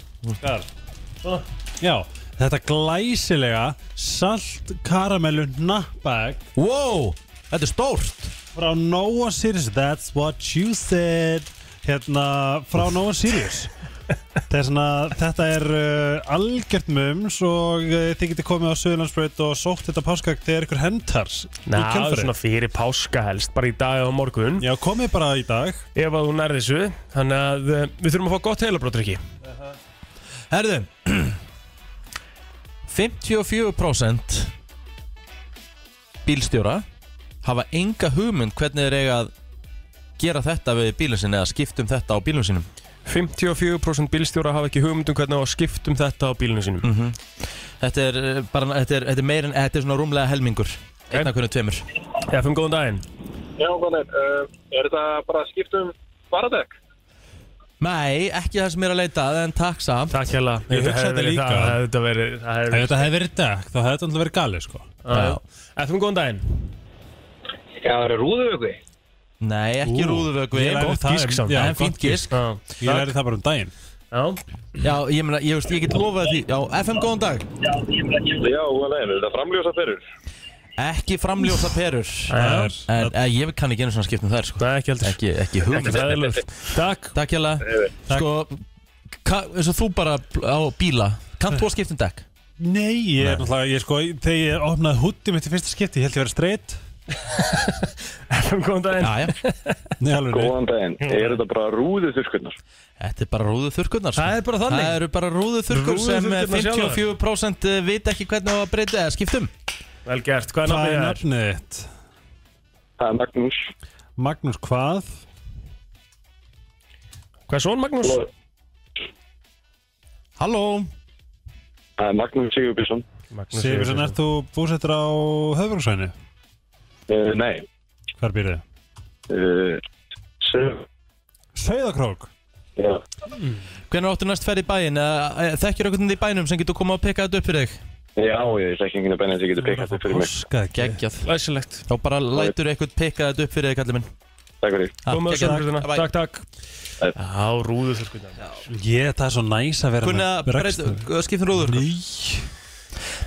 Speaker 5: Já, þetta glæsilega salt karamellu nappag
Speaker 4: Wow, þetta er stórt
Speaker 5: frá Noah Sirius That's what you said Hérna, frá Noah Sirius Þetta er svona, þetta er uh, algjört mums og uh, þið getið komið á Suðurlandsbraut og sótt þetta páskag þegar ykkur hentar
Speaker 1: Ná, svona fyrir páska helst, bara í dag og á morgun.
Speaker 5: Já, komið bara í dag
Speaker 1: Ef að þú nærði þessu, þannig að uh, við þurfum að fá gott heilabrót, Rikki.
Speaker 4: Herðu 54% bílstjóra hafa enga hugmynd hvernig þeir eiga að gera þetta við bílinn sinni eða skiptum þetta á bílinn sínum
Speaker 1: 54% bílstjóra hafa ekki hugmyndum hvernig á að skiptum þetta á bílunum sínum.
Speaker 4: Mhm. Þetta er, eh, bara, þetta er, þetta er meir en þetta er svona rúmlega helmingur einna hvernig tveimur
Speaker 1: Já, fyrir góðan daginn.
Speaker 6: Já, hvernig, uh, er þetta bara að skipta um faradekk?
Speaker 4: Nei, ekki það sem ég er að leita að en takk samt
Speaker 1: Takk hella.
Speaker 5: Ég hugsa þetta líka.
Speaker 1: Það hefði þetta verið, það hefði
Speaker 5: Ef
Speaker 1: verið.
Speaker 5: þetta hefði verið dag, þá hefði þetta alltaf verið galið sko
Speaker 1: Já. Ef fyrir góðan daginn.
Speaker 6: Já, það eru rúðuvöku.
Speaker 4: Nei, ekki
Speaker 5: Ú,
Speaker 4: rúðuvögvi
Speaker 5: ég lærði
Speaker 4: Gott
Speaker 5: það
Speaker 4: gísk
Speaker 5: um-
Speaker 4: samt
Speaker 5: já,
Speaker 4: En fínt
Speaker 5: gott
Speaker 4: gísk
Speaker 1: Já.
Speaker 5: Ég lærði það bara um daginn
Speaker 1: Já.
Speaker 4: Já, ég meina, ég veist, ég get lofað því Já, FM góðan dag
Speaker 6: Já, hvernig, er þetta framljósa perur?
Speaker 4: Ekki framljósa perur
Speaker 5: Það
Speaker 1: Já.
Speaker 5: er-
Speaker 4: En eh, ég kann ekki einu svona skiptum þær sko
Speaker 1: Nei, ekki heldur.
Speaker 4: Ekki, ekki hugmynd
Speaker 1: Ekki það er lögt. Takk.
Speaker 4: Takk hérlega Sko, ka- eins og þú bara á bíla Kannt þú að skipta um dekk?
Speaker 5: Nei, ég er náttúrulega, ég sko, þegar ég opnaði hútti mitt í fyrsta skipti, ég held ég verið streitt
Speaker 1: Fyrir góðan daginn.
Speaker 4: Já, já
Speaker 5: Nei,
Speaker 2: Sko,
Speaker 5: alveg nei.
Speaker 6: Góðan daginn, er þetta bara rúðu þurrkunnar?
Speaker 4: Þetta er bara rúðu þurrkurnar sko.
Speaker 1: Það er bara þannig.
Speaker 4: Það eru bara rúðu þurrkur sem eh,
Speaker 1: Rúðuþurrkurnar sjálfar.
Speaker 4: 54% veit eh, ekki hvernig á að breyta eða um. skiptum
Speaker 1: Vel gert. Hvað
Speaker 5: Hvað
Speaker 1: er nafnið
Speaker 5: er
Speaker 1: þér?
Speaker 5: nafnið þitt?
Speaker 6: Það er Magnús.
Speaker 5: Magnús hvað?
Speaker 1: Hvað er svon, Magnús?
Speaker 4: Halló
Speaker 6: Það er Magnús Sigurbjörnsson.
Speaker 1: Magnús
Speaker 5: Sigursson, ert þú búsettur á höfðvörgsvæðinu?
Speaker 6: Uh, nei,
Speaker 5: Hvar býr þið?
Speaker 6: uh, Sigur.
Speaker 5: Sauðakrók
Speaker 6: Já.
Speaker 4: Hvernig áttu næst ferð í bæinn? Eh, eh, Þekkir okkur í bænum sem getur komað að pikka þetta upp fyrir þig?
Speaker 6: Já, ég þekki enginn að benna sem getur pekað þetta fyrir mig.
Speaker 5: Páskaegg
Speaker 4: Geggjað
Speaker 1: Læsilegt.
Speaker 4: Þá bara lætur eitthvað pikka þetta upp fyrir þig, kallið minn
Speaker 6: Takk fyrir.
Speaker 4: Ha,
Speaker 1: Komið á
Speaker 4: geggjað.
Speaker 1: sjóngröðina.
Speaker 4: Bye-bye.
Speaker 1: Takk, takk. Já, rúðu þurrkurnar.
Speaker 5: Ég, það er svo næs að vera
Speaker 4: Kunni að breyta,
Speaker 5: rekstur.
Speaker 4: skiptum rúður
Speaker 5: Ný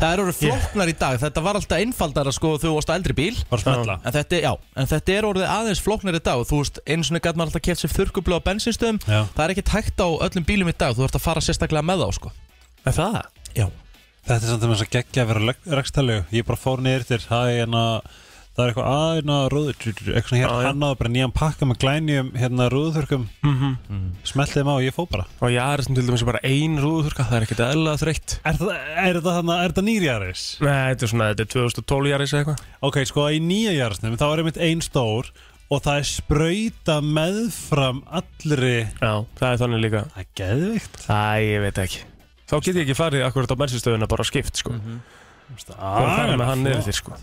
Speaker 4: Það eru orðið flóknar í dag, þetta var alltaf einfaldara sko þegar þú varst á eldri bíl
Speaker 5: Bara smetla
Speaker 4: En þetta, já, en þetta er orðið aðeins flóknar í dag Þú veist, einu svona gæt maður alltaf keft sér þurrkublu á bensinstöðum
Speaker 5: Já.
Speaker 4: Það er ekki tækt á öllum bílum í dag, þú ert að fara sérstaklega með þá sko
Speaker 1: Er það?
Speaker 4: Já
Speaker 5: Þetta er samt að mér svo geggja að vera rekstælu Ég bara fór niður til Það er hérna Það er eitthvað hérna, aðeina rúður Eitthvað svona
Speaker 1: Já, já.
Speaker 5: hér Hann áður bara nýjan pakka með glænjum Hérna rúðurþurkum mm -hmm. Smeltið þeim á og ég fó bara
Speaker 1: Og Jarisn til dæmis er bara ein rúðu það er ekkert eðlilega þreytt.
Speaker 5: Er það, er það, þarna- er það nýrjaris?
Speaker 1: Nei, þetta er svona, þetta er 2012 Jaris eða eitthvað.
Speaker 5: Ok, sko í nýja jarisnum Þá er einmitt ein stór Og það er sprauta meðfram allri
Speaker 1: Já, það er þannig líka.
Speaker 5: Það er geðvikt
Speaker 1: Æ, ég veit ekki. Þá get ég ekki farið akkurat á bensinstöðuna bara á skipt, sko. Mm
Speaker 4: Mhm.
Speaker 5: Það
Speaker 1: farið með hann niður þér, sko.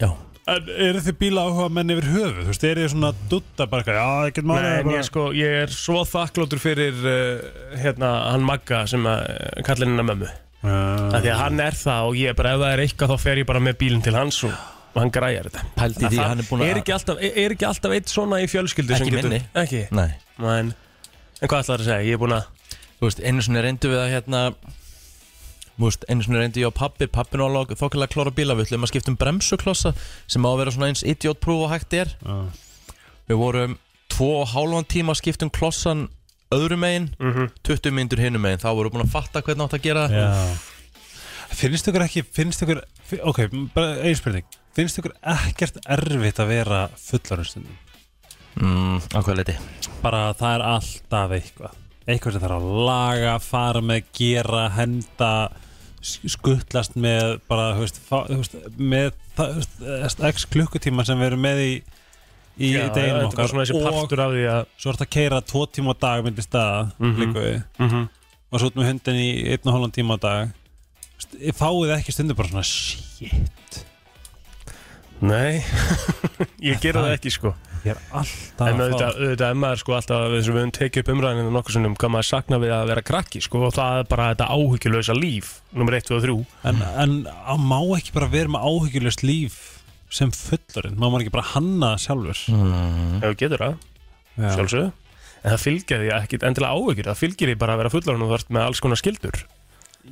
Speaker 4: Já
Speaker 5: En eru þið bíla áhuga menn yfir höfu? Þú veist, eru þið svona dutta bara eitthvað, Já, ekkert máli
Speaker 1: Nei,
Speaker 5: það er
Speaker 1: en ég
Speaker 5: bara...
Speaker 1: sko, ég er svo þakklótur fyrir uh, hérna, hann Magga sem að uh, kallir hennar mömmu
Speaker 5: uh,
Speaker 1: af
Speaker 4: Ah.
Speaker 1: því að hann er það og ég er bara, ef það er eitthvað þá fer ég bara með bílinn til hans og, og hann græjar þetta
Speaker 4: Pældi í því,
Speaker 1: Það
Speaker 4: hann er búin að
Speaker 1: er, ekki alltaf, er, er ekki alltaf eitt svona í fjölskyldu
Speaker 4: Ekki
Speaker 1: sem getur-
Speaker 4: minni.
Speaker 1: Ekki,
Speaker 4: Nei
Speaker 1: Nei, en, en hvað ætlar það að segja, ég er búin að
Speaker 4: Þú veist, einu svona reyndu við að hérna Þú veist, einu svona reyndi ég á pappi, pappin á lók, þokkilega klóra bílavullu, maður skiptum um bremsuklossa sem á að vera svona eins idiotprúf og hægt er. Við vorum tvo og hálfan tíma að skiptum klossan öðrum megin, 20 myndur hinum megin, þá vorum við búin að fatta hvernig átt að gera það.
Speaker 5: Já Finnst ykkur ekki, finnst ykkur fi- Ok, bara ein spurning Finnst ykkur ekkert erfitt að vera fullarunstundum?
Speaker 4: Mm, á hvað leiti?
Speaker 5: Bara það er alltaf eitthvað Eitthvað sem þarf að laga, fara með, gera, henda sk- skuttlast með bara, þú veist, fá, þú veist með það, þú veist, x klukkutíma sem við erum með í í
Speaker 1: Já, þetta er
Speaker 5: deginum
Speaker 1: bara
Speaker 5: okkar
Speaker 1: svona þessi
Speaker 5: og
Speaker 1: partur af því að
Speaker 5: svo ertu að keira tvo tíma á dag myndi staða mm
Speaker 1: Mhm. Mhm.
Speaker 5: og svo út með hundin í einn og hálfan tíma á dag St- fáið ekki stundu bara svona shit
Speaker 1: Nei, ég gera
Speaker 5: það
Speaker 1: það ekki sko
Speaker 5: ég er alltaf
Speaker 1: En
Speaker 5: að fá
Speaker 1: auðvitað, auðvitað er maður sko alltaf við sem við höfum tekið upp umræðinu nokkur sinnum hvað maður sakna við að vera krakki sko og það er bara þetta áhyggjulösa líf nummer 1, 2 og 3
Speaker 5: en, en að má ekki bara vera með áhyggjulust líf sem fullorinn, má maður ekki bara hanna það sjálfur
Speaker 4: Mm.
Speaker 1: ef þú getur það,
Speaker 5: Já.
Speaker 1: sjálfsögðu en það fylgir því ekkit endilega áhyggjur það fylgir því bara að vera fullorinn og þú ert með alls konar skildur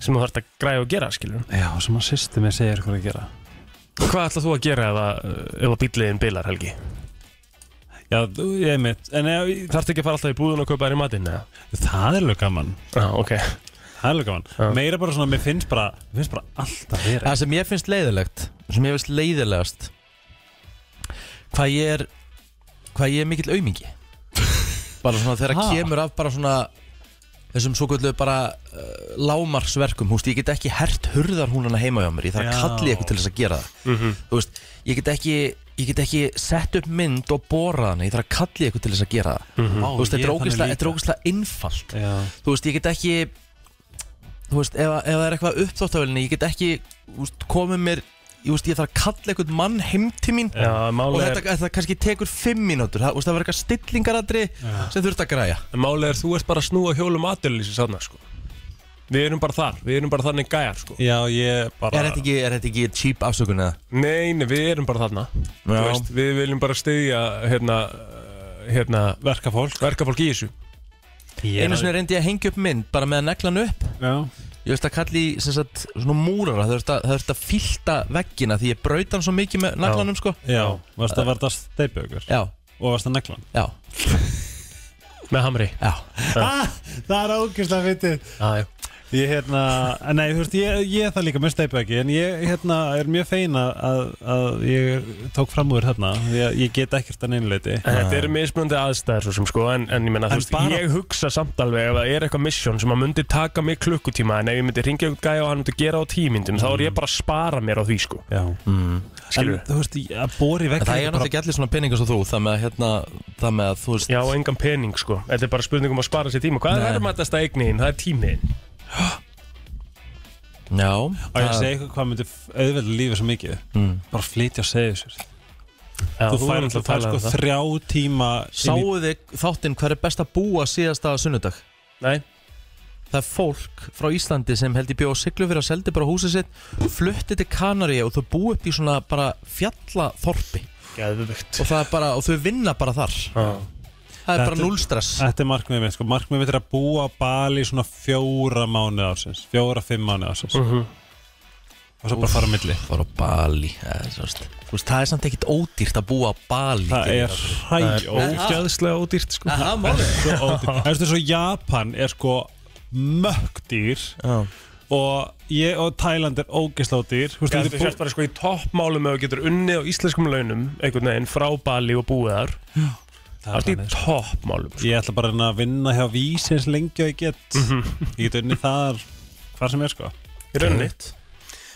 Speaker 1: sem þú þarft að græða og gera skilur
Speaker 5: Já, sem að sýsti mig segir hvað að gera
Speaker 1: Hvað ætlað þú að gera ef að, ef að bíliðin bilar Helgi?
Speaker 5: Já, þú, ég mitt, en ef,
Speaker 1: Þarft ekki að fara alltaf í búðun og kaupa þér í matinn eða?
Speaker 5: það er alveg gaman
Speaker 1: Já, ok
Speaker 5: það er alveg gaman,
Speaker 1: Já.
Speaker 5: meira bara svona, mér finnst bara mér finnst bara alltaf vera
Speaker 4: Það sem ég finnst leiðilegt, sem ég finnst leiðilegast, hvað ég er, hvað ég er mikill aumingi. Bara svona þegar
Speaker 5: Ha?
Speaker 4: kemur af bara svona þessum svo bara uh, lámarsverkum, húst, ég get ekki hert hurðarhúnana heima hjá mér, ég þarf að
Speaker 5: Já. Mhm.
Speaker 4: kalli eitthvað til þess að gera það. Þú veist, ég get ekki ég get ekki sett upp mynd og bóra hann ég þarf að kalli eitthvað til þess að gera það
Speaker 5: Vá,
Speaker 4: Mhm. þú veist,
Speaker 5: ég
Speaker 4: þetta er
Speaker 5: þannig
Speaker 4: ógeðslega-
Speaker 5: líka.
Speaker 4: þetta er ógeðslega innfalt
Speaker 5: Já.
Speaker 4: þú veist, ég get ekki þú veist, ef, ef það er eitthvað uppþóttavelinni ég get ekki, þú veist, komið mér ég veist, ég þarf að kalla eitthvað mann heim til mín
Speaker 1: Já,
Speaker 4: og
Speaker 1: málega
Speaker 4: þetta, þetta kannski tekur fimm mínútur það, þú veist, það verður eitthvað stillingaradri sem þurft að græja
Speaker 1: Málega er þú ert bara að snúa hjólum aðdöðlýsi sann sko. Við erum bara þar, við erum bara þannig gæjar sko.
Speaker 5: Já, ég bara
Speaker 4: er þetta ekki, er þetta ekki cheap afsökun eða?
Speaker 1: Nei, nei, við erum bara þarna Þú
Speaker 4: Já.
Speaker 1: veist, Við viljum bara styðja hérna, uh, hérna,
Speaker 5: verka fólk
Speaker 1: verka fólk í þessu
Speaker 4: einu sinni reyndi ég að hengja upp mynd bara með að negla hann upp
Speaker 5: Já,
Speaker 4: Ég veist að kalli í, sem sagt, svona múrara Það þurft að, það þurfti að fylta veggina Því ég braut hann svo mikið með naglanum sko
Speaker 5: já, varst að verða steipu ykkur
Speaker 4: Já,
Speaker 5: og varst að negla hann
Speaker 4: já,
Speaker 1: Með hamri
Speaker 4: já
Speaker 5: ah, Það er ógæslega fyndið
Speaker 1: ah,
Speaker 5: Ég hérna, en nei, þú veist, ég, ég er það líka með steipu ekki En ég hérna er mjög fein að- að, að ég tók fram úr hérna Því að ég get ekkert að neynileiti
Speaker 1: Þetta eru mismunandi aðstæður svo sem sko En, en ég
Speaker 5: En
Speaker 1: menna, þú veist,
Speaker 5: bara-
Speaker 1: ég hugsa samt alveg Ef það er eitthvað misjón sem að myndi taka mig klukkutíma En ef ég myndi ringja ykkur gæja og hann myndi gera á tímyndum Þá er ég bara að spara mér á því sko
Speaker 5: Já, en
Speaker 1: Skilur
Speaker 5: þú veist, ég- að bori vekk
Speaker 4: En það er náttúrulega ekki allir svona peningar svo þú Það með að, hérna, það með að þú veist
Speaker 1: Já, engan pening sko Þetta er bara spurning um að spara sér tíma Hvað
Speaker 4: Nei.
Speaker 1: er verðmættasta eignin? Það er tímiðin
Speaker 4: Já,
Speaker 5: Og ég segi eitthvað hvað myndi auðvelda lífið svo mikið Bara flytja og segja sér
Speaker 1: Já,
Speaker 5: Þú fær
Speaker 1: hefur
Speaker 5: alltaf
Speaker 1: náttúrulega
Speaker 5: fær
Speaker 1: talað um
Speaker 5: sko þrjá tíma inn í-
Speaker 4: Sáuðu þið þáttinn hver er best að búa síðasta sunnudag?
Speaker 1: Nei,
Speaker 4: Það er fólk frá Íslandi sem held ég bjóð á siglu fyrir að seldi bara húsið sitt Flutti til Kanari og þau búi upp í svona bara fjallaþorpi
Speaker 1: geðvögt
Speaker 4: Og það er bara, og þau vinna bara þar Það er
Speaker 5: Þetta-
Speaker 4: bara núlstress
Speaker 5: Þetta er markmiðið mitt, sko, markmiðið mitt er að búa á Bali í svona fjóra mánuð ársins, fjóra, fimm mánuð ársins og svo bara fara á milli.
Speaker 4: bara á Bali eða, þú veist. Þú veist, það er samt ekkit ódýrt að búa á Bali
Speaker 5: Það er
Speaker 4: er-
Speaker 5: hægjó.
Speaker 1: Ógæðslega ódýrt sko
Speaker 4: það er málið
Speaker 5: Það er svo Japan er sko mögdýr og, ég, og Thailand er ógeslátýr. Þú veist,
Speaker 1: Já,
Speaker 5: þú
Speaker 1: þú sérst
Speaker 5: getur bú-
Speaker 1: bara sko í toppmálum ef þú getur unnið á íslenskum launum einhvern veginn frá Bali og búið þar
Speaker 5: Það er
Speaker 1: allt í
Speaker 5: þannig, sko.
Speaker 1: toppmálum sko.
Speaker 5: Ég ætla bara að reyna að vinna hjá vísi eins lengi og ég get. Ég get unni þar hvar sem er sko.
Speaker 1: í rauninni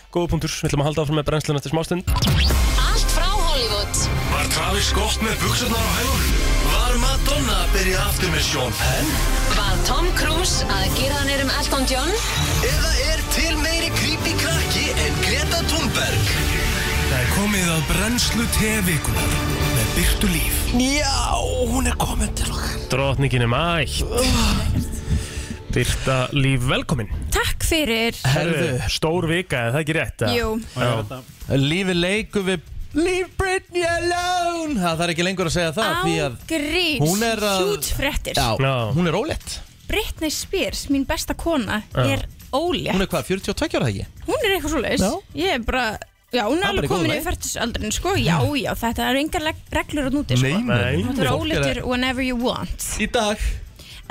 Speaker 1: Góða punktur, við ætlum að halda áfram með brennslun eftir smástund
Speaker 3: Allt frá Hollywood
Speaker 2: Var Travis Scott með buksarnar á hælunum? Var Madonna að byrja aftur með Sean Penn?
Speaker 3: Var Tom Cruise að gera hann erum Elton John?
Speaker 2: Eða er til meiri creepy krakki en Greta Thunberg? Það er komið að brennslu tevikunar með byrtu líf.
Speaker 4: Já, hún er komin til okkar
Speaker 1: Drotningin er mætt Byrta Líf, velkomin
Speaker 7: Takk fyrir
Speaker 4: Herðu,
Speaker 1: Stór vika, er það ekki rétt? eða?
Speaker 7: Jú,
Speaker 1: Já.
Speaker 4: lífi leiku við Leave Britney alone Það þarf ekki lengur að segja það því
Speaker 7: án
Speaker 4: að
Speaker 7: gríns
Speaker 4: hún er að-
Speaker 7: Hjút fréttir
Speaker 4: Já,
Speaker 1: Já.
Speaker 4: hún er ólétt
Speaker 7: Britney Spears, mín besta kona Er
Speaker 4: Hún
Speaker 7: ólétt
Speaker 4: er hvað, 42 ára þegar ekki?
Speaker 7: Hún er eitthvað svo leis
Speaker 4: Já.
Speaker 7: Ég er bara, já, hún er
Speaker 4: Það er bara í
Speaker 7: alveg
Speaker 4: góðu
Speaker 7: komin
Speaker 4: lagi.
Speaker 7: í færtisaldrin sko. Já, já, þetta eru engar leg- reglur á núti sko.
Speaker 1: Nei.
Speaker 7: Þú er
Speaker 4: Fólk er-
Speaker 7: óléttur whenever you want
Speaker 4: Í dag?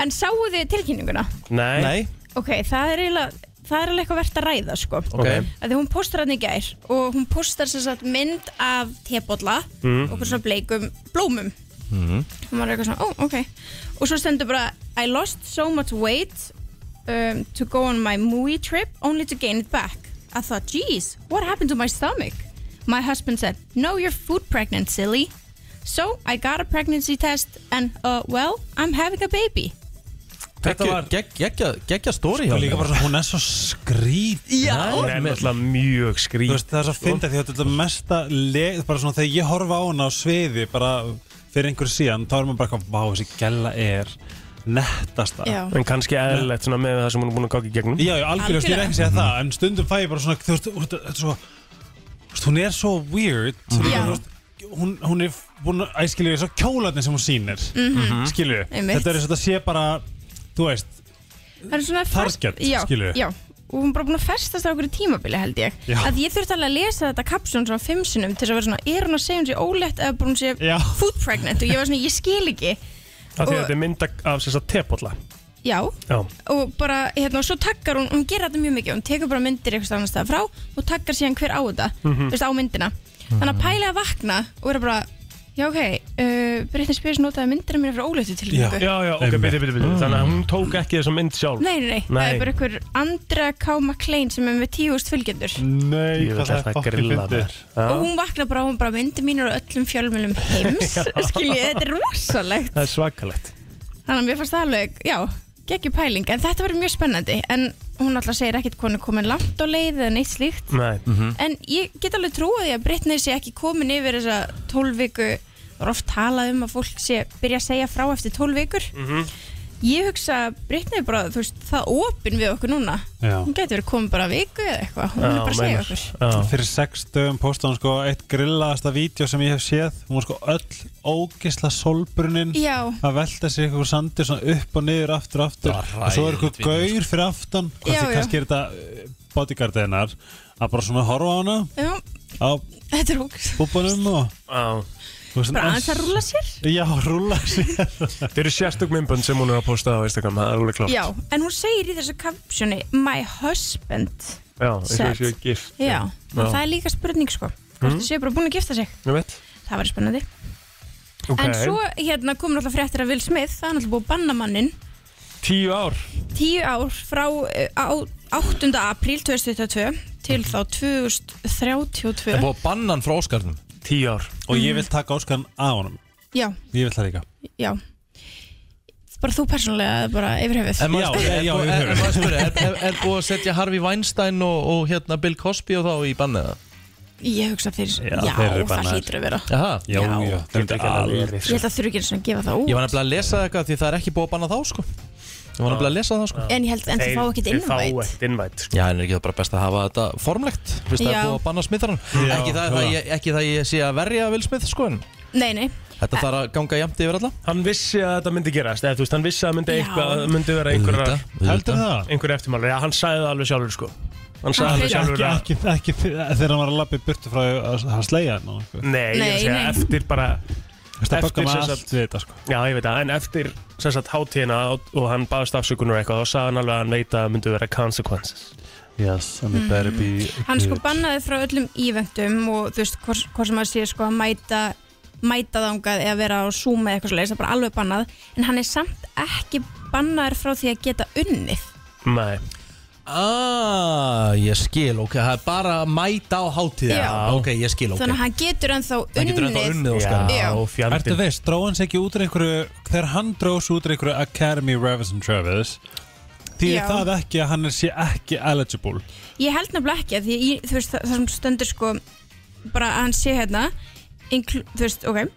Speaker 7: En sáu þið tilkynninguna?
Speaker 1: Nei,
Speaker 4: Nei,
Speaker 7: Ok, það er eiginlega Það er alveg eitthvað verðt að ræða sko
Speaker 4: ok
Speaker 7: að því hún postar hann í gær og hún postar sem sagt mynd af tebolla og okkur svona bleikum blómum og maður er eitthvað svona, ó, ok og svo stendur bara, I lost so much weight um, to go on my movie trip only to gain it back I thought, geez, what happened to my stomach? My husband said, no, you're food pregnant, silly So, I got a pregnancy test and, uh, well, I'm having a baby
Speaker 4: Þetta var gegg- geggja geggja stóri hjá
Speaker 5: Og Sko, líka bara svona, hún er svo skrít
Speaker 1: hún er
Speaker 4: Já,
Speaker 1: náttúrulega mjög
Speaker 5: Þú
Speaker 1: skrýt
Speaker 5: veist, það er svo fyndið því að þetta er mesta leið, bara svona þegar ég horfa á hana á sviði bara fyrir einhver síðan, þá er maður bara eitthvað, vá, þessi gælla er nettasta.
Speaker 7: Já,
Speaker 1: En kannski eðlilegt svona með það sem hún er búin að gangi í gegnum
Speaker 5: Já, já, algjörlega, ég er ekki að segja það, en stundum fæ ég bara svona, þú veist, þú veist, þetta er svo, þú veist, hún er svo weird,
Speaker 7: Mhm. Já.
Speaker 5: líka, þú veist, hún, hún er búin að, æ, skilur ég, svo kjólarnir sem hún sýnir, mm -hmm. skilur ég,
Speaker 7: Mhm. Einmitt.
Speaker 5: þetta er eins og þetta sé bara, þú veist,
Speaker 7: það er svona fest-
Speaker 5: Target,
Speaker 7: já,
Speaker 5: skilurðu.
Speaker 7: já, og hún er bara búin að festast á einhverju tímabili held ég
Speaker 5: Já.
Speaker 7: að ég þurfti alveg að lesa þetta kapsjón svona fimm sinnum til þess að vera svona, er hún að segja hún sé ólegt eða bara hún sé
Speaker 5: Já.
Speaker 7: food pregnant og ég var svona, ég skil ekki
Speaker 1: Af því að
Speaker 7: Og-
Speaker 1: þetta er mynda af þess að tepolla
Speaker 7: já,
Speaker 1: Já,
Speaker 7: og bara, hérna, og svo takkar hún hún gerir þetta mjög mikið, hún tekur bara myndir eitthvað annars það frá og takkar síðan hver á þetta
Speaker 5: Mhm.
Speaker 7: þú veist, á myndina, þannig að pæla að vakna og vera bara, já ok uh, Brittany Spears notaði myndina mér frá ólötu til
Speaker 1: já, já, ok,
Speaker 5: Einmitt.
Speaker 1: byrju, byrju, byrju Þannig að hún tók ekki þessa mynd sjálf
Speaker 7: Nei, nei, nei, það
Speaker 1: Nei.
Speaker 7: er bara einhver Andra K. McLean sem er með tíðust fylgjendur
Speaker 5: nei,
Speaker 1: Ég vil þetta grilla mér
Speaker 7: og hún vaknar bara, hún bara myndi mínur á öllum fjölmjölum heims skiljið, þetta er rosalegt
Speaker 1: Það er svakalegt
Speaker 7: þannig að mér fannst það alveg, já, geggjum pæling en þetta verður mjög spennandi en hún alltaf segir ekkert hvað hún er komin langt á leið eða neitt slíkt
Speaker 1: Nei,
Speaker 7: en ég get alveg trúið því að Brittany sé ekki komin yfir þessa 12 viku það er oft talað um að fólk sé byrja að segja frá eftir 12 vikur
Speaker 1: Mhm.
Speaker 7: ég hugsa að Brittany er bara, þú veist, það opin við okkur núna
Speaker 5: Já.
Speaker 7: hún getur verið komin bara viku eða eitthvað hún er bara að segja okkur
Speaker 1: Já,
Speaker 5: fyrir sex dögum postaði hún sko eitt grillaðasta vídeo sem ég hef séð hún var sko öll ógisla solbrunin
Speaker 7: Já.
Speaker 5: að velta sér eitthvað sandi svona upp og niður aftur og aftur
Speaker 4: Það var
Speaker 5: og svo er
Speaker 4: hræðilegt
Speaker 5: eitthvað gaur fyrir aftan
Speaker 7: Já,
Speaker 5: kannski,
Speaker 7: já.
Speaker 5: kannski er þetta eh, bodyguard hennar að bara svona horfa á hana
Speaker 7: já,
Speaker 5: á
Speaker 7: þetta er ógst
Speaker 5: búbanum og
Speaker 1: já
Speaker 5: þú veist,
Speaker 7: bara
Speaker 5: en-
Speaker 7: aðeins að rúla sér
Speaker 5: já, rúla sér
Speaker 1: Þeir eru sérstök myndbönd sem hún er að posta á Instagram, það er alveg klart.
Speaker 7: Já, en hún segir í þessu kapsjóni My husband
Speaker 1: Já, eins og
Speaker 7: Set.
Speaker 1: þessi gift.
Speaker 7: Já, og það er líka spurning sko Hvort þið séu bara búin að gifta sig
Speaker 1: Ég veit.
Speaker 7: Það var spennandi
Speaker 1: Ok.
Speaker 7: En svo hérna komur alltaf fréttir af Will Smith Það er alltaf búið að banna mannin
Speaker 1: Tíu ár.
Speaker 7: Tíu ár frá eh, á, 8. apríl 2022 Til þá 2032
Speaker 4: Það er búið að banna hann frá Óskarnum
Speaker 1: Tíu ár.
Speaker 5: og ég vil taka áskan að honum
Speaker 7: Já,
Speaker 5: ég vil það líka
Speaker 7: já Bara þú persónulega eða bara yfir höfuð
Speaker 4: En maður-
Speaker 5: Já,
Speaker 4: en-
Speaker 5: já,
Speaker 4: en-
Speaker 5: yfir
Speaker 4: en-
Speaker 5: höfuð.
Speaker 4: en maður spyrir, Er er- er búið að setja Harvey Weinstein og, og hérna Bill Cosby og þá í banniða?
Speaker 7: Ég hugsa fyrir Já,
Speaker 5: þeir eru
Speaker 7: það
Speaker 5: bannaðir.
Speaker 7: hlýtur að vera
Speaker 4: Jaha
Speaker 5: já,
Speaker 7: Já.
Speaker 5: já, það er ekki alveg
Speaker 7: Ég held að þurfi ekki einu sinni að gefa það út
Speaker 4: Ég var nefnilega að lesa eitthvað því það er ekki búið að banna þá sko Ég var nefnilega að lesa það sko
Speaker 7: En ég held en þið fá ekkert um
Speaker 1: Þeir fá
Speaker 7: innvægt
Speaker 1: ekkert innvægt. sko.
Speaker 4: Já, en er ekki það bara best að hafa þetta formlegt Fyrst það er
Speaker 7: Já.
Speaker 4: búið að banna smitharan ekki, það- það
Speaker 5: já.
Speaker 4: ég- ekki það ég sé að verja Will Smith sko en
Speaker 7: Nei, nei,
Speaker 4: Þetta þarf að ganga jæmt yfir alla
Speaker 1: Hann vissi að þetta myndi gerast, eða þú veist, hann vissi að myndi
Speaker 7: Já.
Speaker 1: eitthvað, myndi vera einhverja,
Speaker 4: Auðvitað, auðvitað.
Speaker 5: heldur það
Speaker 1: einhverja eftirmálar. Já, hann sagði það alveg sjálfur, sko. Hann sagði
Speaker 7: Hann
Speaker 1: alveg
Speaker 7: hreif-
Speaker 1: sjálfur að...
Speaker 5: ekki, ekki, ekki þegar hann var að lappi burtu frá að, að slega hann og eitthvað.
Speaker 1: Nei, ég er að
Speaker 7: Nei,
Speaker 1: segja
Speaker 7: nei.
Speaker 1: eftir bara...
Speaker 5: það
Speaker 1: Eftir
Speaker 5: böggar
Speaker 1: sem
Speaker 5: maður
Speaker 1: sagt-
Speaker 5: allt við þetta sko
Speaker 1: Já, ég veit það, en eftir sem sagt hátíðina og og hann baðast afsökunar og eitthvað, þá sagði hann alveg að hann veit að það myndi vera consequences.
Speaker 5: Yes, and it better be
Speaker 7: hann sko bannaði frá öllum íventum og þú veist, hvort hvort sem að sé sko að mæta mæta þangað eða vera á Zoom eða eitthvað svoleiðis, það er bara alveg bannað en hann er samt ekki bannaður frá því að geta unnið
Speaker 1: Nei.
Speaker 4: Ah, ég skil, ok, það er bara að mæta á hátíð
Speaker 7: Já.
Speaker 4: Ok, ég skil, ok
Speaker 7: þannig að hann getur ennþá unnið
Speaker 4: Hann getur ennþá unnið Óskarinn.
Speaker 7: Já.
Speaker 1: Já, og
Speaker 5: Ertu
Speaker 1: fjandinn.
Speaker 5: veist, dróð hans ekki út úr einhverju þegar hann dróðs út úr einhverju Academy Revis and Travis því
Speaker 7: Já.
Speaker 5: það ekki að hann er sé ekki eligible
Speaker 7: Ég held nefnilega ekki að því ég, þú veist, það, það sem stöndur sko bara að hann sé hérna inclu, þú veist, ok uh,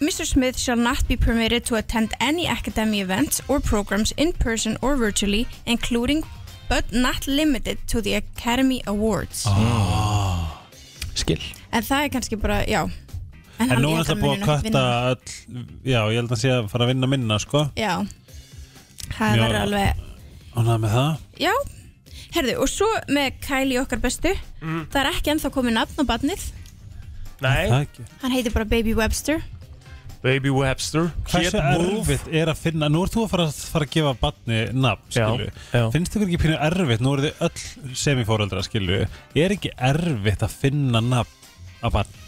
Speaker 7: Mr. Smith shall not be permitted to attend any academy events or programs in person or virtually including but not limited to the Academy Awards
Speaker 5: Ah.
Speaker 4: Skil
Speaker 7: en það er kannski bara, já
Speaker 5: en
Speaker 7: hann-
Speaker 5: nú
Speaker 7: ég
Speaker 5: er
Speaker 7: held
Speaker 5: það búið
Speaker 7: muni nú
Speaker 5: að
Speaker 7: ekki
Speaker 5: kvarta
Speaker 7: vinna.
Speaker 5: öll já, ég held að hann sé að fara að vinna minna sko
Speaker 7: Já, það
Speaker 5: Mjög
Speaker 7: verður
Speaker 5: ánægð.
Speaker 7: alveg
Speaker 5: og með það
Speaker 7: Já, Herðu, og svo með Kylie okkar bestu Það er ekki ennþá komið nafn á badnið
Speaker 1: Nei,
Speaker 5: Það ekki
Speaker 7: Hann heitir bara Baby Webster
Speaker 1: Baby Webster
Speaker 5: Hversu
Speaker 1: Kid Wolf.
Speaker 5: erfitt er að finna, nú ert þú að fara, fara að gefa batni nafn, skilu
Speaker 1: Já, já.
Speaker 5: Finnst ykkur ekki pínu erfitt, nú eru þið öll semifóreldra, skilu Er ekki erfitt að finna nafn að batni?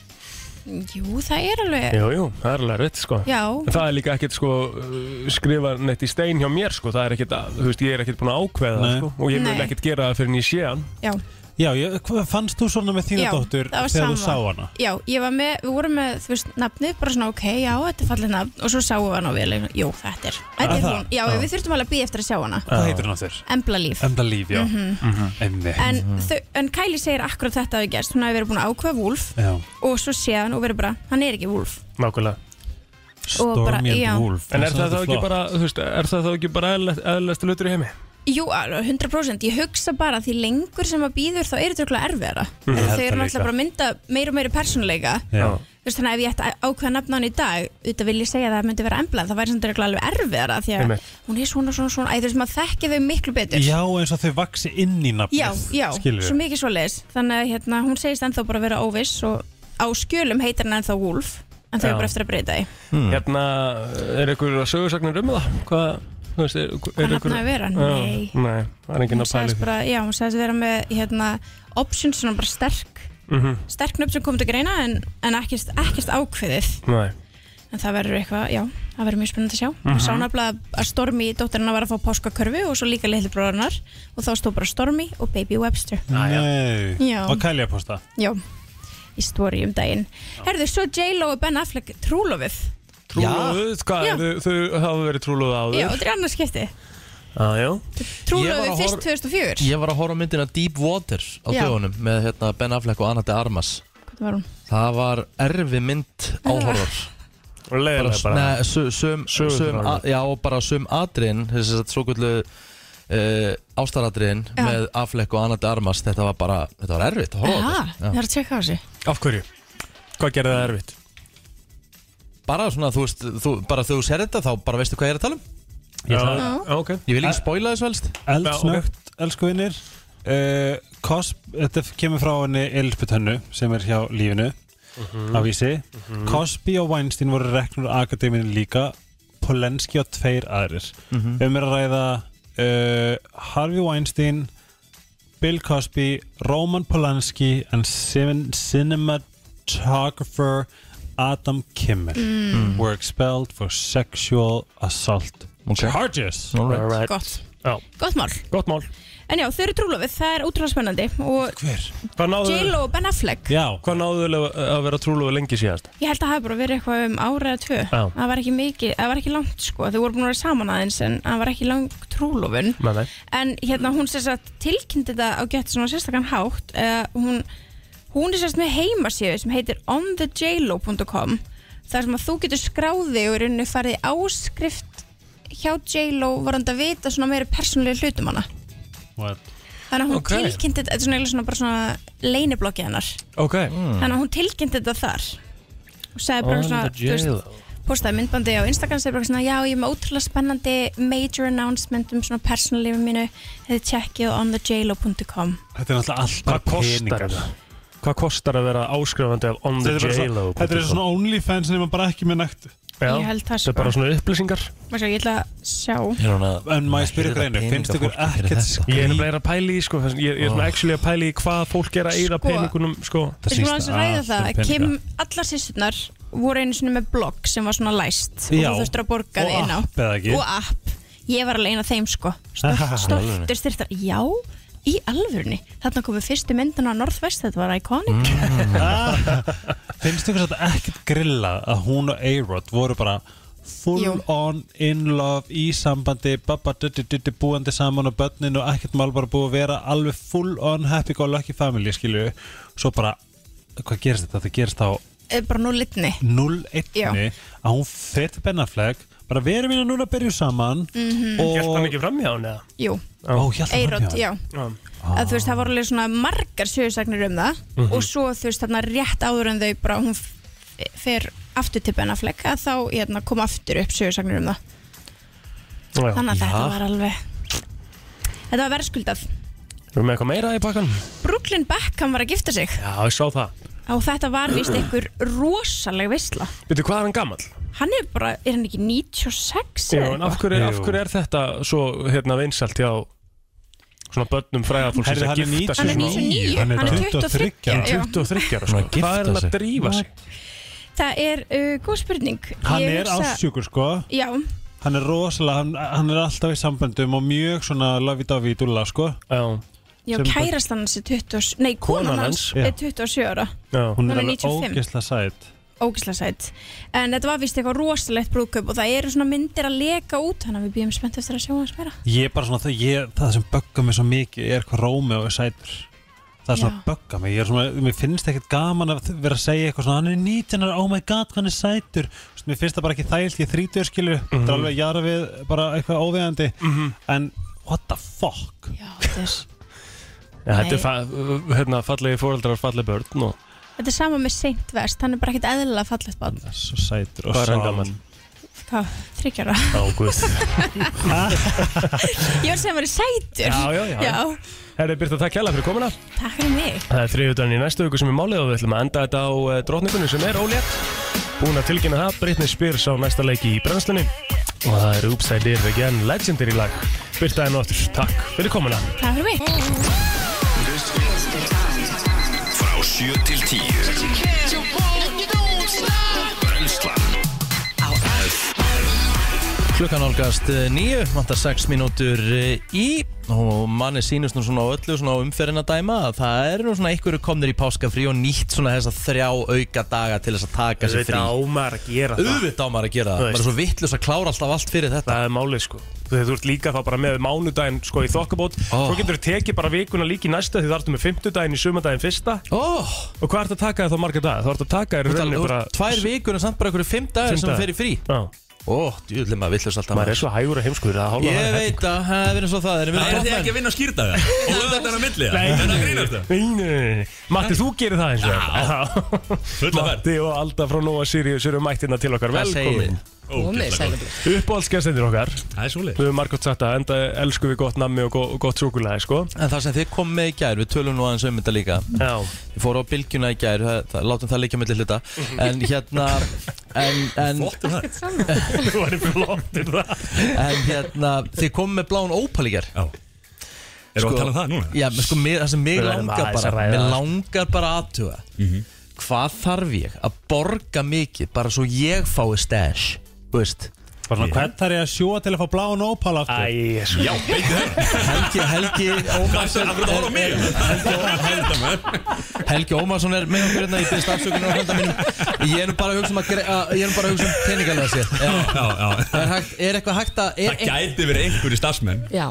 Speaker 7: Jú, það er alveg
Speaker 1: Jú, jú, það er alveg rétt sko
Speaker 7: Já.
Speaker 1: En það er líka ekkert sko uh, skrifa neitt í stein hjá mér sko Það er ekkert, að- þú veist, ég er ekkert búin að ákveða það
Speaker 5: Nei.
Speaker 1: sko Og ég
Speaker 7: Nei.
Speaker 1: vil ekkert gera það fyrir en ég sé hann
Speaker 7: Já,
Speaker 5: Já, ég, hvað fannst þú svona með þína
Speaker 7: já,
Speaker 5: dóttur
Speaker 7: það var
Speaker 5: þegar þú sá
Speaker 7: sama.
Speaker 5: hana?
Speaker 7: Já, ég var með, við vorum með, þú veist, nafnið Bara svona, ok, já, þetta er fallið nafn Og svo sáum við hana og við erum, jú, þetta er, þetta er
Speaker 5: það?
Speaker 7: hún Já, við þurftum alveg að býja eftir að sjá hana
Speaker 5: Hvað heitir hann á þér?
Speaker 7: Embla líf
Speaker 5: Enda líf, já
Speaker 7: Mhm.
Speaker 5: Emmi
Speaker 7: En, þau, en Kylie segir akkurat þetta að við gerst Hún hafi verið búin að ákveða Wolf
Speaker 5: Já,
Speaker 7: Og svo sé hann og verið bara, hann er ekki Wolf
Speaker 1: Nákvæmlega
Speaker 7: Og bara,
Speaker 5: Stormy
Speaker 7: já.
Speaker 5: and Wolf
Speaker 1: En er
Speaker 5: fannst
Speaker 1: það
Speaker 5: þetta
Speaker 1: þá ekki
Speaker 5: flott?
Speaker 1: bara, þú veist, er það þá ekki bara eðlæstu hlutur í heimi?
Speaker 7: Jú, alveg, 100% Ég hugsa bara að því lengur sem að býður þá er þetta okkur erfiðara mm,
Speaker 5: Ég held
Speaker 7: Þau
Speaker 5: það
Speaker 7: eru náttúrulega
Speaker 5: líka.
Speaker 7: bara að mynda meira og meira persónuleika
Speaker 5: Já.
Speaker 7: Þú veist, Þannig að ef ég ætti að ákveða nafna hann í dag auðvitað vil ég segja að það myndi vera embla en það væri samt örugglega alveg erfiðara því að
Speaker 1: Einmitt.
Speaker 7: hún er svona, svona, svona Æ, þú veist, maður þekki þau miklu betur
Speaker 5: Já, eins og þau vaksi inn í nafnið
Speaker 7: já, já,
Speaker 5: Skilur
Speaker 7: svo mikið svoleiðis Þannig að hérna, hún segist ennþá bara vera óviss og á skjölum heitir hann ennþá Wolf en þau
Speaker 1: Já.
Speaker 7: eru bara eftir að breyta því
Speaker 4: Hmm.
Speaker 5: Mm.
Speaker 1: Hérna, er ykkur sögursagnir um það? Hvað, þú veist, er,
Speaker 7: Hvað
Speaker 1: er
Speaker 7: nafn
Speaker 1: ykkur
Speaker 7: að vera?
Speaker 1: Já,
Speaker 7: Nei.
Speaker 1: Nei, það er enginn
Speaker 7: Hún
Speaker 1: að pæli
Speaker 7: sagðist
Speaker 1: því
Speaker 7: bara, já, hún sagðist vera með hérna, options svona bara sterk
Speaker 1: Mhm.
Speaker 7: sterk nöfn sem kom til greina en, en ekkert, ekkert ákveðið
Speaker 1: Nei,
Speaker 7: en það verður eitthvað, já, það verður mjög spennandi að sjá mm sá
Speaker 4: Mhm.
Speaker 7: nafnilega að Stormi, dóttirina var að fá páskakörfu og svo líka litli bróðarnar og þá stóð bara Stormi og Baby Webster
Speaker 5: Nei,
Speaker 7: Já.
Speaker 5: og Kælja posta
Speaker 7: já, í stóri um daginn Herðu, svo J.Lo og Ben Affleck trúlofið
Speaker 1: trúluð, hvað,
Speaker 7: Já.
Speaker 1: þau, þau hafa verið trúluð áður
Speaker 7: já, þetta er annars skipti
Speaker 1: ah, já.
Speaker 4: Ég var
Speaker 7: trúlofið
Speaker 4: að
Speaker 7: fyrst
Speaker 4: horfa-
Speaker 7: 2004
Speaker 4: Ég var að horfa á myndina Deep Water á
Speaker 7: Já.
Speaker 4: dögunum með hérna, Ben Affleck og Anna de Armas
Speaker 7: hvernig var hún?
Speaker 4: Það var erfi mynd áhorfar
Speaker 1: Og leiðilega bara
Speaker 4: Nei, sum, sum,
Speaker 1: Sögurnar
Speaker 4: sum, a,
Speaker 1: alveg.
Speaker 4: Já, og bara sum atriðin Þessi að svo kvöldu uh, ástaradriðin
Speaker 7: Já.
Speaker 4: með Affleck og Anna de Armas Þetta var bara, þetta var erfitt að horfa á
Speaker 7: Aha,
Speaker 4: þessu.
Speaker 7: það er að tjekka á þessu
Speaker 1: Af hverju? Hvað gerði það erfitt?
Speaker 4: Bara svona, þú veist, þú, bara þegar þú sér þetta þá bara veistu hvað ég er að tala um
Speaker 5: Ég
Speaker 1: Já,
Speaker 5: ætla-
Speaker 1: já, ok
Speaker 4: Ég vil ekki spoila þessu helst
Speaker 5: Eldsnögt, elsku vinnir uh, Cosp, þetta kemur frá henni Elisabeth Hönnu sem er hjá lífinu á vísi Cosby og Weinstein voru reknur akademinu líka Polenski og tveir aðrir
Speaker 7: Mhm.
Speaker 5: um er að ræða uh, Harvey Weinstein Bill Cosby, Roman Polanski and cin- cinematographer Adam Kimmel were expelled for sexual assault
Speaker 4: Okay.
Speaker 5: charges
Speaker 1: Alright.
Speaker 7: gott,
Speaker 1: Já.
Speaker 7: gott mál
Speaker 1: Gott mál
Speaker 7: En já, þau eru trúlofið, það er útrúlega spennandi og
Speaker 5: Hver?
Speaker 1: Hvað náðu,
Speaker 7: J.Lo og Ben Affleck
Speaker 5: Já,
Speaker 1: hvað náðu þau að vera trúluð lengi síðast?
Speaker 7: Ég held að það hafi bara verið eitthvað um ára eða tvö
Speaker 1: Já.
Speaker 7: Það var ekki mikið, það var ekki langt sko Þau voru búin að vera saman aðeins en það var ekki langt trúlofun
Speaker 1: Nei, nei
Speaker 7: En hérna hún sér satt tilkynnti þetta á gett svona sérstakann hátt uh, hún, hún er sérst með heimasíðu sem heitir onthejlo.com þar sem að þú getur skráði og í rauninni farið í áskrift hjá J.Lo varandi að vita svona meira persónulega hlutum hana
Speaker 5: what?
Speaker 7: Þannig að hún
Speaker 1: Ok.
Speaker 7: okay. tilkynnti þetta, þetta er svona, eiginlega svona, bara svona leiniblokkið hennar
Speaker 1: Ok
Speaker 7: þannig að hún tilkynnti þetta þar og sagði bara svona,
Speaker 1: Hmm. On the
Speaker 7: þú
Speaker 1: jail.
Speaker 7: veist, postaði myndbandi á Instagram sagði bara svona, já, ég er með ótrúlega spennandi major announcement um svona persónalífi mínu þið tjekkið á onthejlo.com
Speaker 5: Þetta er náttúrulega allt
Speaker 1: Hvað
Speaker 5: bara
Speaker 1: kostar
Speaker 5: peningar.
Speaker 1: það? Hvað kostar að vera áskrifandi af On the
Speaker 5: Þetta er bara
Speaker 1: J-Lo?
Speaker 5: svo- þetta er svona OnlyFans nema bara ekki með nættu
Speaker 1: Já,
Speaker 7: Ég held það,
Speaker 1: Þetta er bara
Speaker 7: sko.
Speaker 1: svona upplýsingar
Speaker 7: og svo ég ætla að sjá
Speaker 4: Er hún að-
Speaker 5: En maður spyrir
Speaker 4: Hirða
Speaker 5: greinu,
Speaker 4: peninga
Speaker 5: finnst ykkur
Speaker 4: fólki fyrir
Speaker 5: ekkert
Speaker 4: þetta?
Speaker 5: skil-
Speaker 1: Ég er nefnilega að pæla í sko þess- Ég, ég er svona actually að pæla í hvað fólk er að eyða
Speaker 7: Sko.
Speaker 1: peningunum sko
Speaker 7: við skulum aðeins ræða það,
Speaker 5: um
Speaker 7: Kim, allar sýsturnar voru einu svona með blogg sem var svona læst
Speaker 5: Já.
Speaker 7: og þú þurftur að borga
Speaker 5: Og
Speaker 7: þig inn á
Speaker 5: app eða ekki?
Speaker 7: og app, ég var alveg eina þeim sko
Speaker 5: Aha.
Speaker 7: Stolt- stoltur styrtar, já í alvörni, þarna komu fyrstu myndin á Northwest, þetta var iconic
Speaker 5: Mm. Finnst ykkur þetta ekkert grilla að hún og A-Rod voru bara full
Speaker 7: Jú.
Speaker 5: on in love í sambandi, babba, dutti, dutti, búandi saman og börnin og ekkert mál bara búið að vera alveg full on happy go lucky family skilju, svo bara hvað gerist þetta? Þetta gerist á
Speaker 7: Eh, bara nú litni
Speaker 5: 0-1
Speaker 7: Já.
Speaker 5: að hún fer til Ben Affleck bara við erum hérna núna að byrja saman
Speaker 1: Hjælt hann
Speaker 5: og
Speaker 1: ekki fram hjá hann eða?
Speaker 7: Jú,
Speaker 5: Ó, hélt hann
Speaker 7: Eirot,
Speaker 5: framhjá?
Speaker 7: Mhm. já
Speaker 1: Já.
Speaker 7: að, Þú veist, það voru alveg svona margar sögursagnir um það og svo þú veist, þarna rétt áður en þau bara, hún f- fer aftur til Ben Affleck að þá hérna, kom aftur upp sögursagnir um það
Speaker 1: Já.
Speaker 7: þannig að þetta var alveg þetta var verðskuldað
Speaker 1: Erum við með eitthvað meira í pakkan?
Speaker 7: Brooklyn Beckham var að gifta sig
Speaker 1: Já, ég sá það
Speaker 7: og þetta var vist einhver rosaleg veisla
Speaker 1: Veitu, hvað er hann gamall?
Speaker 7: hann er bara, er hann ekki 96
Speaker 1: Jú,
Speaker 7: eða
Speaker 1: en
Speaker 7: eitthvað?
Speaker 1: af hverju, af hverju er þetta svo hérna vinsalt hjá svona börnum fræðafólk
Speaker 5: Herri,
Speaker 1: sem
Speaker 5: hann er
Speaker 1: að gifta
Speaker 7: hann
Speaker 1: sig
Speaker 7: er 99, hann er 23 já.
Speaker 1: 23 ára
Speaker 4: Svona
Speaker 1: sko.
Speaker 4: að gifta
Speaker 1: Hvað er hann að
Speaker 4: sig.
Speaker 1: drífa sig?
Speaker 7: það er uh, góð spurning
Speaker 5: Hann
Speaker 7: Ég
Speaker 5: er
Speaker 7: hugsa-
Speaker 5: ásjúkur sko
Speaker 7: já,
Speaker 5: Hann er rosalega, hann, hann er alltaf í samböndum og mjög svona lafi-dafi í dúlla sko
Speaker 1: Já,
Speaker 7: já
Speaker 5: Sem-
Speaker 7: kærast hans er 20, nei
Speaker 1: Konan
Speaker 7: konan hans
Speaker 1: hans,
Speaker 5: já.
Speaker 7: er 27 ára
Speaker 1: já
Speaker 5: Hún
Speaker 7: Hún er
Speaker 5: er alveg
Speaker 7: 95.
Speaker 5: ógeðslega sætt
Speaker 7: ógislega sætt en þetta var vist eitthvað rosalegt brúðkaup og það eru svona myndir að leka út þannig að við býjum spennt eftir að sjá hans meira
Speaker 5: Ég er bara svona, það, ég, það sem böggar mig svo mikið er hvað Rómi og sætur Það er svona
Speaker 7: Já.
Speaker 5: að bögga mig, ég er svona, mér finnst ekkert gaman að vera að segja eitthvað svona Hann er 19 ára, oh my god, hvað hann er sætur Svo Mér finnst það bara ekki þægilt, ég þrítur skilur Það
Speaker 1: Mhm.
Speaker 5: er alveg jara við, bara eitthvað óvegandi En what the fuck
Speaker 7: já, þetta er,
Speaker 1: Já, þetta
Speaker 7: Nei.
Speaker 1: er fa hérna, fallegi fóreldrar, fallegi börn og
Speaker 7: þetta er sama með Saint Vest hann er bara ekkit eðlilega fallegt bán
Speaker 5: Það er Svo sætur og
Speaker 1: Hvað er hann
Speaker 5: sá-
Speaker 1: gamall?
Speaker 7: hvað, þryggjara
Speaker 1: Já, guð
Speaker 7: ég var að segja að vera sætur
Speaker 1: Já, já, já,
Speaker 7: já,
Speaker 1: Herri, Birta, takk kjalla fyrir komuna
Speaker 7: takk fyrir mig
Speaker 1: Það er þriðjúdæðin í næstu viku sem er málið og við ætlum að enda þetta á eh, drottningunni sem er ólétt Búin að tilkynna það, Britney Spears á næsta leiki í brennslunni og það er Upside Down Again Legendary lag Birta enn og aftur, takk fyrir komuna
Speaker 7: takk fyrir mig
Speaker 2: Frá 7 til 10 Brenslan
Speaker 4: Klukkan álgast nýju, vantar 6 mínútur eh, í og manni sýnust nú svona á öllu svona á umferðin að dæma að það er nú svona einhverju komnir í páskafrí og nýtt svona þessa þrjá auka daga til þess að taka sér frí
Speaker 1: ámar að gera
Speaker 4: Auðvitað á maður að gera
Speaker 1: Þú
Speaker 4: það, maður
Speaker 1: veist.
Speaker 4: er svo vittlust að klára alltaf allt fyrir þetta
Speaker 1: Það er málið sko Þegar þú ert líka þá bara með mánudaginn sko í þokkabót
Speaker 4: Ó.
Speaker 1: Svo getur þú tekið bara vikuna líki næsta því þarftu með fimmtudaginn í sumardaginn fyrsta
Speaker 4: Ó,
Speaker 1: Og hvað ert að taka þér þá marga daga? Þá ert að taka þér í
Speaker 4: þú
Speaker 1: rauninni bara
Speaker 4: talar tvær vikur en samt bara einhverju fimm dagar
Speaker 1: Fimm
Speaker 4: sem þú
Speaker 1: dagar.
Speaker 4: fer í frí
Speaker 1: Já,
Speaker 4: Ó, djúðlega maður vittlust alltaf
Speaker 1: maður er svo hægur og heimskur að hálfa
Speaker 4: Ég veit að það er eins og það er
Speaker 2: Það er þið ekki að vinna skýrdaga Og lögðar á milli það er að grínast það
Speaker 1: Nei, nei, nei, nei. Matti, þú gerir það eins og það
Speaker 2: Fulla verð
Speaker 1: Matti og Alda frá Nóa Sirius eru mættina til okkar
Speaker 4: Hvað
Speaker 1: Velkomin
Speaker 4: segirðu?
Speaker 2: Ógeðslega gott.
Speaker 1: Uppáhaldsgestendur okkar
Speaker 2: Það er svolítið
Speaker 1: Við höfum margótt sagt að enda elsku við gott nammi og go- og gott súkulæði sko
Speaker 4: En það sem þið kom með í gær, við tölum nú aðeins um þetta líka
Speaker 1: Já,
Speaker 4: Ég fór á bylgjuna í gær, það, það, látum það líka millir hluta En hérna, en, en,
Speaker 2: Flottur það
Speaker 1: þú varum flottir það
Speaker 4: en hérna, þið kom með bláun ópal í gær
Speaker 2: Já Erum við að tala um það núna?
Speaker 4: Já, men sko, mér, það sem mig
Speaker 1: Við verðum
Speaker 4: langar
Speaker 1: aðeins að
Speaker 4: bara
Speaker 1: ræða
Speaker 4: Mér
Speaker 1: það.
Speaker 4: langar bara aðtuga Hvað þarf ég að borga mikið Bara svo ég fái stash Þú veist
Speaker 5: Bara svona, hvern þarf ég að sjúa til að fá bláun ópal aftur?
Speaker 1: Æ, sko
Speaker 2: Já, beiti það
Speaker 4: Helgi, Helgi
Speaker 2: Hvað er
Speaker 4: Ómarsson
Speaker 2: það að
Speaker 4: er-
Speaker 2: horfa á mig? Helga maður
Speaker 4: Helgi Ómarsson er með okkur hérna Ég byrðist afsökunar á handa mínum Ég er nú bara að hugsa um að, gre- að Ég er nú bara að hugsa um peningalega sér Já.
Speaker 2: Já, já
Speaker 4: Er, hægt, er eitthvað hægt að er,
Speaker 2: Það gæti verið einhverju starfsmenn
Speaker 8: Já,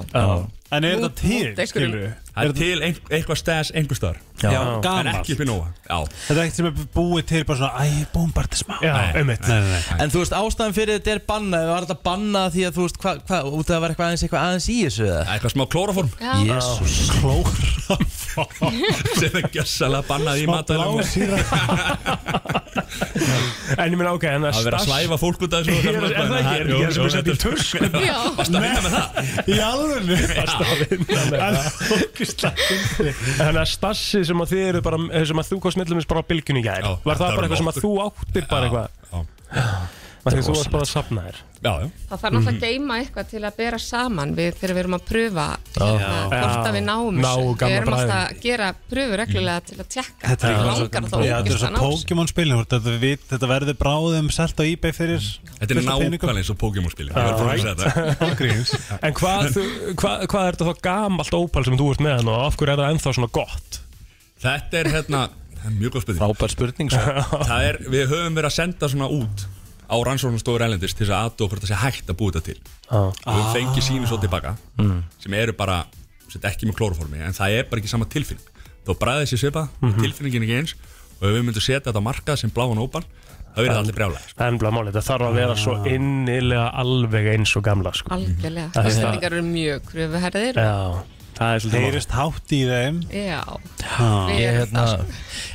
Speaker 5: En er þetta
Speaker 8: Út- út
Speaker 5: til,
Speaker 8: einhverjum.
Speaker 5: skilur við?
Speaker 2: Það er til ein- eitthvað stæðs einhver starf
Speaker 4: Já.
Speaker 2: En ekki upp í nóa Já
Speaker 5: Þetta er ekkert sem er búið til bara svona, æ, búum bara til smá
Speaker 1: Já,
Speaker 5: Nei.
Speaker 1: einmitt.
Speaker 5: Nei, nei, nei
Speaker 4: En þú veist, ástæðan fyrir þetta er bannað Var þetta bannað því að þú veist Hvað, hva, út af að vera eitthvað aðeins, eitthvað aðeins í þessu eða?
Speaker 2: Eitthvað smá klóraform
Speaker 4: Jésús
Speaker 2: sem er gjössalega bannað í matalum
Speaker 5: blásýra
Speaker 1: En ég minna, ok, en
Speaker 2: að vera að
Speaker 1: stass-
Speaker 2: slæfa fólk út af þessu
Speaker 1: Er- er það ekki? Er ekki það sem er sett í tösku?
Speaker 8: já
Speaker 2: Varst að vinna með það?
Speaker 5: Í alveg
Speaker 1: Þannig að stassi sem að þið eru bara eh, sem að þú komst millumins bara á bylgjunni í gær
Speaker 2: Já,
Speaker 1: Var
Speaker 2: þetta
Speaker 1: það bara eitthvað
Speaker 2: var
Speaker 1: sem að þú áttir bara eitthvað
Speaker 2: Já,
Speaker 1: Þegar þú varst bara að safna þér
Speaker 2: já, já.
Speaker 8: Það þarf náttúrulega að geima eitthvað til að bera saman við þegar við erum að pröfa hérna, hvort að við náum
Speaker 1: Ná,
Speaker 8: þessu. Við
Speaker 1: gamla
Speaker 8: erum alltaf
Speaker 1: bragðið.
Speaker 8: að gera pröfu reglulega til að tjekka
Speaker 5: Þetta er
Speaker 8: Mig
Speaker 5: ekki
Speaker 8: langar þá
Speaker 5: Já, þetta er
Speaker 8: ógeðslega
Speaker 5: svo
Speaker 8: að ná þessu.
Speaker 5: Pokémon spilin þetta, við- þetta verður bráðum selt á eBay fyrir
Speaker 2: Þetta er nákvæmlega eins og Pokémon spilin Ég er búin að segja þetta
Speaker 5: nákvæmlega
Speaker 1: En hvað, þú- hvað, hvað er þetta þá gamalt ópal sem þú ert með hann og af hverju er það ennþá svona gott?
Speaker 2: Þetta er hérna, það er mjög góð spurning
Speaker 4: Frábær spurning sko. svo
Speaker 2: Það er, við höfum verið að senda svona út á rannsóknarstofur ælendis til þess að aðdóða hvort það sé hægt að búa þetta til
Speaker 1: Já,
Speaker 2: og við fengi sími svo tilbaka
Speaker 4: Mm.
Speaker 2: sem eru bara, sem ekki með klóruformi en það er bara ekki sama tilfinning þá bræðið sér svipa, tilfinningin er ekki eins og ef við myndum setja þetta á markað sem bláan ópan þá verður það allir brjálæg
Speaker 1: það er ennbla málið, það þarf að vera svo innilega alveg eins og gamla sko.
Speaker 8: Algjörlega,
Speaker 1: er-
Speaker 8: Íslandingar eru mjög kröfuherðir
Speaker 1: Já, það er svolítið málið
Speaker 5: Heyrist hátt í þeim
Speaker 8: Já,
Speaker 4: Ég,
Speaker 8: við erum
Speaker 4: hérna,
Speaker 8: það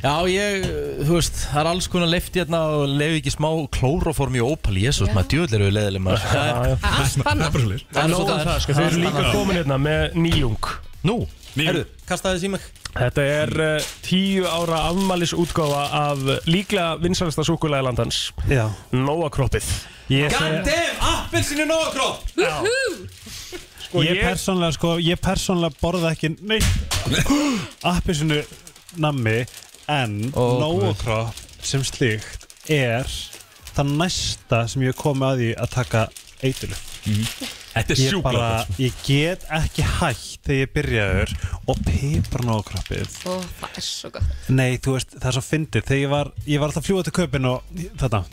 Speaker 4: já, ég, þú veist, það er alls konar leift hérna og lefi ekki smá klóroform í ópal, jésús, maður djöðlir við leðileg maður. Það er-
Speaker 8: Allt
Speaker 2: Það er
Speaker 8: bannað
Speaker 2: bara svolítið
Speaker 4: það er
Speaker 1: Nóðum
Speaker 4: svo
Speaker 1: það,
Speaker 4: það er.
Speaker 1: sko, þau eru líka komin hérna með nýjung
Speaker 4: Nú,
Speaker 2: Níu.
Speaker 4: Herru, kastaði þessi í mig
Speaker 1: Þetta er uh, tíu ára afmælisútgáfa af líklega vinsalasta súkulega landans
Speaker 5: Já
Speaker 1: Nóakroppið
Speaker 5: Ég,
Speaker 4: God
Speaker 5: seg,
Speaker 4: damn, appelsinu nógakróp
Speaker 1: Sko
Speaker 5: ég persónlega sko Ég persónlega borða ekki neitt Appisinu nammi En
Speaker 4: Ó,
Speaker 5: oh, nógokropp sem slíkt Er það næsta sem ég komi að því Að taka eitulu
Speaker 2: Þetta er
Speaker 5: Ég
Speaker 2: sjúkla
Speaker 5: bara, ég get ekki hætt Þegar ég byrjaður Og pipar nógokroppið
Speaker 8: Ó, það er svo gott
Speaker 5: Nei, þú veist, það er svo fyndið Þegar ég var, ég var alltaf að fljúa til köpinn og þetta,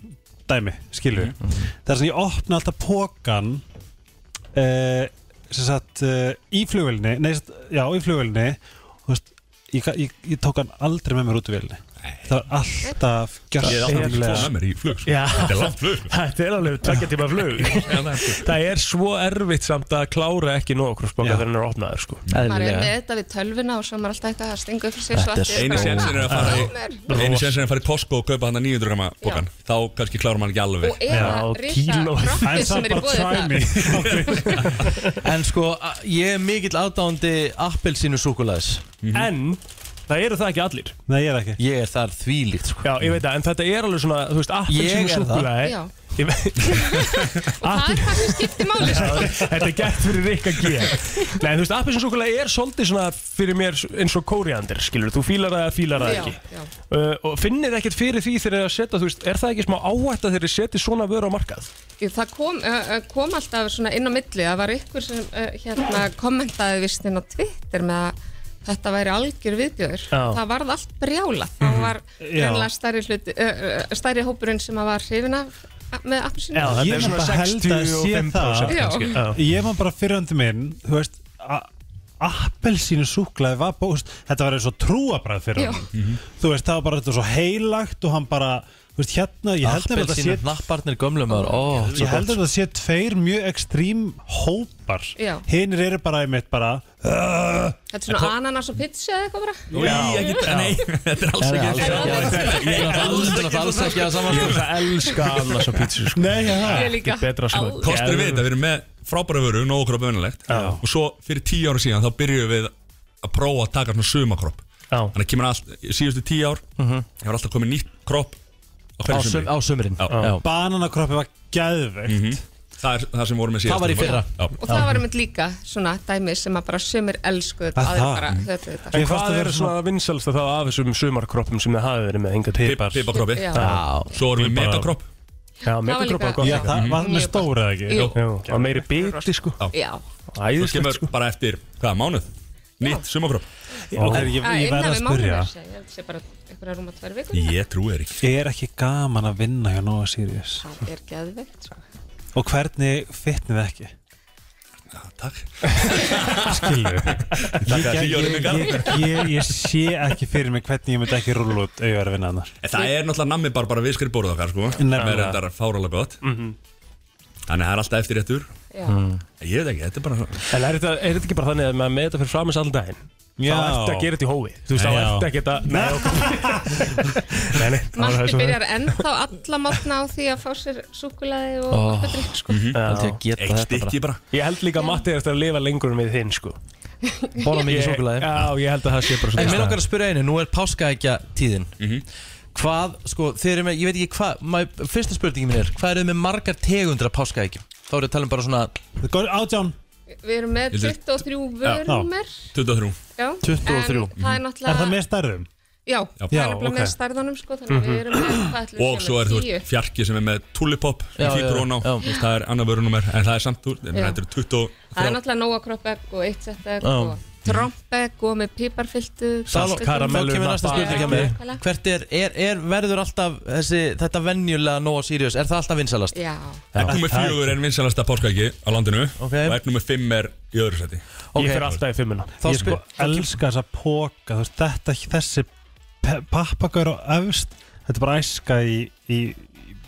Speaker 5: dæmi, skilju mm -hmm. Það er sem ég opna alltaf pókan uh, sem sagt uh, í flugvélni nei, sem sagt, já, í flugvélni og þú veist, ég, ga- ég, ég tók hann aldrei með mér út úr vélni Það var alltaf
Speaker 2: Ég er alltaf tvo með mér í flug sko.
Speaker 1: Já.
Speaker 2: Þetta er langt flug sko.
Speaker 1: Þetta er alveg tvekja tíma flug Það er svo erfitt samt að klára ekki nóakroppsbanka
Speaker 5: Já.
Speaker 1: þegar hann er opnaður sko
Speaker 8: maður er með þetta við tölvuna og svo er maður alltaf eitthvað að stinga upp fyrir sér
Speaker 4: Þetta er
Speaker 8: svo allt í
Speaker 2: Einu
Speaker 8: einu bara,
Speaker 2: sénsinn er að fara
Speaker 8: "Ah,
Speaker 2: í
Speaker 8: mér."
Speaker 2: Einu sénsinn er að fara í Costco og kaupa hann að 900 grama bókan Þá kannski klárar maður ekki alveg
Speaker 8: og eða
Speaker 1: Já,
Speaker 8: risa
Speaker 1: kíló.
Speaker 8: kroppið sem
Speaker 5: En samt
Speaker 8: er í bóði
Speaker 5: bara try
Speaker 8: það
Speaker 5: me
Speaker 4: En sko, a- ég er mikill aðdándi appelsinu súkulæðis
Speaker 1: En Mhm. það eru það ekki allir
Speaker 5: Nei, ég er ekki
Speaker 4: Ég er þar þvílíkt sko
Speaker 1: Já, ég veit það, en þetta er alveg svona, þú veist,
Speaker 4: Ég
Speaker 1: appelsínu
Speaker 4: er það.
Speaker 8: Já.
Speaker 1: súkulega
Speaker 8: og það er það sem skiptir máli sko.
Speaker 1: Þetta er gert fyrir Rikka G Nei, þú veist, appelsínu súkulega er svolítið svona fyrir mér eins og kóriandir, skilur Þú fílar það, fílar það
Speaker 8: Já,
Speaker 1: ekki
Speaker 8: já.
Speaker 1: uh, Og finnir ekkert fyrir því þegar það setja, þú veist, er það ekki smá áhætt að þeirri setja svona vöru á markað?
Speaker 8: Jú, það kom, uh, kom alltaf svona inn á milli það var ykkur sem uh, hérna, kommentaði vist inn á Twitter með að þetta væri algjör viðbjöður
Speaker 1: Já.
Speaker 8: það varð allt brjála það var reynilega stærri, hluti, uh, uh, stærri hópurinn sem að var hrifin af með appelsinu
Speaker 1: Já,
Speaker 5: Ég
Speaker 1: þetta er svona
Speaker 5: bara held að sé
Speaker 1: 65%
Speaker 5: það.
Speaker 1: kannski
Speaker 8: Já.
Speaker 1: Já.
Speaker 5: Ég var bara fyrrandi minn, þú veist a- appelsínu súklaði var bóst þetta var eins og trúabræð fyrir
Speaker 8: Já.
Speaker 5: hann þú veist það var bara þetta var svo heilagt og hann bara, þú veist hérna ég held að þetta
Speaker 4: Appelsinu
Speaker 5: sé
Speaker 4: hnapparnir gömlum maður Ó, svo
Speaker 5: ég held
Speaker 4: gott
Speaker 5: að þetta sé tveir mjög ekstrím hópar
Speaker 8: Já.
Speaker 5: hinnir eru bara einmitt bara
Speaker 8: þetta er svona ananas og pizza eða eitthvað bara
Speaker 2: Új, ekki, nei, þetta er alls
Speaker 4: Það er
Speaker 2: ekki
Speaker 4: alls ekki að- Ég er alltaf alls ekki að saman
Speaker 1: Ég það elska annars og pítsu, sko
Speaker 5: nei, ja,
Speaker 8: ég líka
Speaker 1: Betra sko
Speaker 2: Kostur við þetta, við erum með Eh, frábæra vöru, nógu kropp önulegt Og svo fyrir tíu ára síðan þá byrjuðum við að prófa að taka svona sumakropp
Speaker 1: Já.
Speaker 2: Þannig að kemur allt, síðustu tíu ár Hefur alltaf komið nýtt kropp á
Speaker 4: Á
Speaker 2: hverju
Speaker 4: sum-
Speaker 2: sumri
Speaker 4: Á sumrin
Speaker 2: Já.
Speaker 4: Já.
Speaker 5: bananakrappi var gæðveikt
Speaker 2: Mhm. Það er það sem vorum með síðast
Speaker 4: var í fyrra.
Speaker 8: og það var einmitt líka svona dæmi sem að bara sömur elskuðu þetta,
Speaker 5: Að
Speaker 8: aðrir
Speaker 5: það?
Speaker 8: bara höfðu þetta
Speaker 1: En
Speaker 5: Mér fannst
Speaker 1: hvað
Speaker 5: það
Speaker 1: er
Speaker 5: vera
Speaker 1: svona vinsalst þá af þessum sumarkroppum sem þið hafi verið með enga
Speaker 2: Pipa,
Speaker 1: tipar?
Speaker 2: pipa kroppi
Speaker 8: Já.
Speaker 2: Svo vorum við metakropp
Speaker 1: Já,
Speaker 8: líka-
Speaker 1: metakroppa er gott
Speaker 5: já,
Speaker 1: líka.
Speaker 5: það var með
Speaker 8: Mjög gott.
Speaker 5: stóra eða ekki
Speaker 8: Jú.
Speaker 1: Já, og meiri biti sko
Speaker 8: já,
Speaker 2: Þú
Speaker 1: Æðislegt
Speaker 2: kemur bara eftir, hvað, mánuð? Nýtt sumakropp
Speaker 5: og ég, ég, ég verð að spyrja
Speaker 8: mánuður ég held sé bara einhverja rúma tvær vikur
Speaker 2: Ég trúi þér ekki
Speaker 5: er ekki gaman að vinna hjá Nóa Sirius
Speaker 8: það er geðveikt sko.
Speaker 5: og hvernig fitnið þið ekki
Speaker 2: Já, Takk
Speaker 5: skilju ég,
Speaker 2: að því
Speaker 5: ég,
Speaker 2: Jóni
Speaker 5: ég,
Speaker 2: Mikael.
Speaker 5: ég, ég sé ekki fyrir mig hvernig ég myndi ekki rúla út ef ég er að vinna annar
Speaker 2: En Það er náttúrulega nammi bara bara við skrifbórið okkar sko
Speaker 5: Nefnilega.
Speaker 2: Með reyndar fáralega gott Þannig að það er alltaf eftir réttur
Speaker 8: Já.
Speaker 2: Ég veit ekki, þetta er bara
Speaker 1: En er þetta, er þetta ekki bara þannig að maður með þetta fyrir framins allan daginn
Speaker 5: Já.
Speaker 1: Þá ertu að gera þetta í hófi Þú veist, þá
Speaker 5: Já.
Speaker 1: ertu ekki að Nei, ok Nei, nei það var það
Speaker 8: Matti
Speaker 1: sem-
Speaker 8: byrjar ennþá alla mátna á því að fá sér súkulaði og
Speaker 4: Ó.
Speaker 8: oh. drikk sko.
Speaker 4: Held ég að geta
Speaker 2: Eitt
Speaker 4: þetta bara
Speaker 2: stykki bara
Speaker 1: Ég held líka að Matti er eftir að lifa lengur en við þinn sko
Speaker 4: Borða mikið
Speaker 1: Ég-
Speaker 4: súkulæði
Speaker 1: Já, ég held að það sé bara
Speaker 4: En
Speaker 1: svona
Speaker 4: mér okkar að spyrja einu, nú er páskaækja tíðin Hvað, sko, þeir eru með, ég veit ekki hvað my- Fyrsta spurningin mín er, hvað eru þið með margar tegundra páskaækjum? Þá erum við að tala um bara svona
Speaker 5: átján
Speaker 8: Við erum með
Speaker 2: Ég
Speaker 8: 23 vörnúmer
Speaker 2: 23
Speaker 8: Já, En það er
Speaker 2: Mhm.
Speaker 4: 23.
Speaker 5: er það
Speaker 8: náttúrulega
Speaker 5: með stærðum?
Speaker 8: Já, það
Speaker 5: Já,
Speaker 8: er nefnilega með
Speaker 5: ok.
Speaker 8: stærðanum sko, Þannig að við erum með hvað ætlum við
Speaker 2: Og
Speaker 8: séum
Speaker 2: svo er
Speaker 8: með
Speaker 2: þú
Speaker 8: tíu.
Speaker 2: veist fjarki sem er með tulipop
Speaker 4: Já, já,
Speaker 2: Fýtur hún á,
Speaker 4: já.
Speaker 2: Þú veist, það er annað vörunumær En það er samt úr,
Speaker 8: Já.
Speaker 2: þetta er 23
Speaker 8: Það er náttúrulega nóa kroppegg og eitt sett egg
Speaker 4: Já.
Speaker 8: og trompegg og með piparfyltu
Speaker 4: Salt,
Speaker 1: karamellu,
Speaker 4: Þá kemur næsta
Speaker 1: nappa.
Speaker 4: spurning hjá
Speaker 8: Já,
Speaker 4: mér
Speaker 8: nákvæmlega.
Speaker 4: Hvert er, er, er verður alltaf þessi, þetta venjulega Nóa Sirius, er það alltaf vinsalast?
Speaker 8: Já,
Speaker 2: En nummer
Speaker 5: Það er-
Speaker 2: fjögur er vinsalasta páskæki á landinu
Speaker 4: Ok.
Speaker 2: Og er nummer fimm er í öðru seti
Speaker 1: Ég fer alltaf í fimmuna
Speaker 4: Þá
Speaker 5: ég sko
Speaker 4: spyr,
Speaker 5: elska þessa póka þú veist, þetta, þessi pappakaur á öfst þetta er bara æska í í,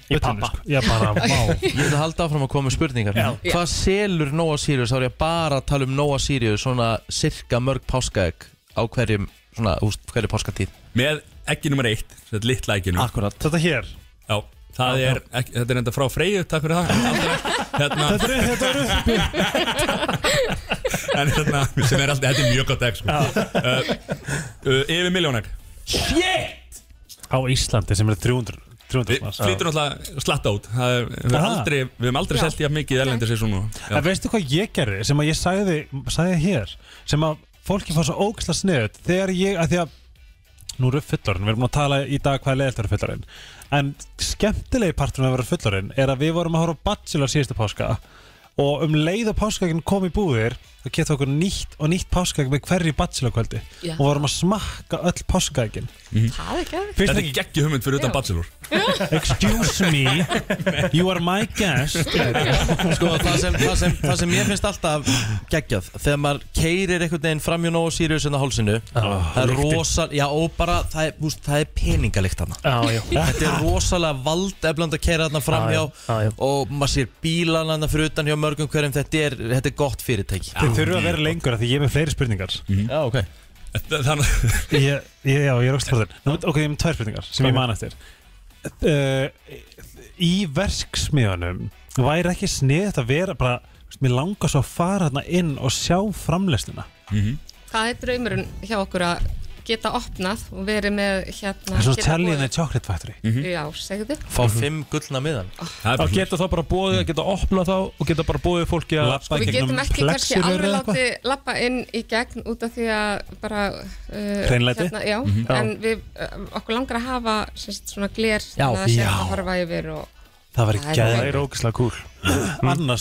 Speaker 5: í
Speaker 1: pappa.
Speaker 5: sko. já bara má
Speaker 4: ég ætla að halda áfram að koma með spurningar
Speaker 8: Já.
Speaker 4: Hvað selur Nóa Sirius, þá er ég bara að tala um Nóa Sirius Svona sirka mörg páskaæk á hverjum, svona, úst, hverju páskatíð
Speaker 2: Með ekki nummer eitt, þetta er litla ekkinu
Speaker 4: Akkurat
Speaker 5: þetta hér
Speaker 2: Já, það er, ekki, þetta er enda frá Freyju, takk fyrir það En aldrei- Hérna,
Speaker 5: þetta er, þetta er upp
Speaker 2: en hérna, sem er alltaf, þetta er mjög gott egg sko. uh, uh, Yfir miljónegg
Speaker 5: á Íslandi sem er 300 300
Speaker 2: Við
Speaker 5: manns.
Speaker 2: flytur náttúrulega slatta út Það er- Við höfum
Speaker 5: Aha.
Speaker 2: aldrei, við höfum aldrei selgt í að mikið erlendir sér svona
Speaker 5: En veistu hvað ég gerði sem að ég sagði, sagði hér sem að fólki fá svo ógisla sniðut þegar ég, að því að nú eru fullorinn, við erum búin að tala í dag hvað er leiðilt að vera fullorinn en skemmtilegi parturinn að vera fullorinn er að við vorum að horfa á Bachelor síðustu páska og um leið og páskaginn kom í búðir þá geta okkur nýtt og nýtt páskaginn með hverju Bachelor kvöldi
Speaker 8: Já.
Speaker 5: og vorum að smakka öll páskaginn
Speaker 8: Það er ekki aðeins.
Speaker 5: Finnst
Speaker 2: Þetta
Speaker 5: þér
Speaker 2: er geggi hugmynd fyrir utan
Speaker 8: Já.
Speaker 2: bachelor
Speaker 5: Excuse me, you are my guest
Speaker 4: Sko það sem, það sem, það sem ég finnst alltaf geggjað Þegar maður keirir einhvern veginn framjá nógu Sirius en á hálsinu Það er rosa, já og bara það er, úst, það er peningalikt hana
Speaker 1: Já, já
Speaker 4: Þetta er rosalega valdefland að keira þarna framhjá
Speaker 1: já, já.
Speaker 4: og maður sér bílan hana fyrir utan hjá mörgum hverjum þetta er, þetta er gott fyrirtæki
Speaker 5: Þau þurfa að vera lengur af því ég er með fleiri spurningar
Speaker 4: Já, ok
Speaker 2: Þannig
Speaker 5: ég, ég, já, ég er ógst forðin Nú, Ok, ég er með tvær spurningar sem ég man eftir uh, Í verksmiðunum væri ekki sniðið að vera bara, þú veist, mér langar svo að fara hérna inn og sjá framleysnina
Speaker 8: Það er draumurinn hjá okkur að geta opnað og verið með hérna
Speaker 5: Það er svona
Speaker 8: geta
Speaker 5: telja inn í
Speaker 8: boðið- Mhm.
Speaker 5: Chocolate Factory
Speaker 2: Mhm.
Speaker 8: Já, segðu
Speaker 4: Fá fimm gullna miðan
Speaker 2: Það
Speaker 1: Þá
Speaker 2: er
Speaker 1: geta þá bara bóðið, geta opnað þá og geta bara bóðið fólki að
Speaker 5: Mm. Labba
Speaker 8: Við
Speaker 5: gegnum
Speaker 8: getum ekki kannski
Speaker 5: plexigler
Speaker 8: alveg
Speaker 5: eða eitthvað?
Speaker 8: látið lappa inn í gegn út af því að bara uh,
Speaker 5: Hreinlæti? Mhm.
Speaker 8: Já, en við, uh, okkur langar að hafa sem sagt, svona gler
Speaker 4: Já,
Speaker 8: að sé
Speaker 5: já.
Speaker 8: að horfa yfir og
Speaker 5: Það væri
Speaker 8: Það er
Speaker 5: gæðið
Speaker 8: Það
Speaker 5: er ógislega kúl Annars,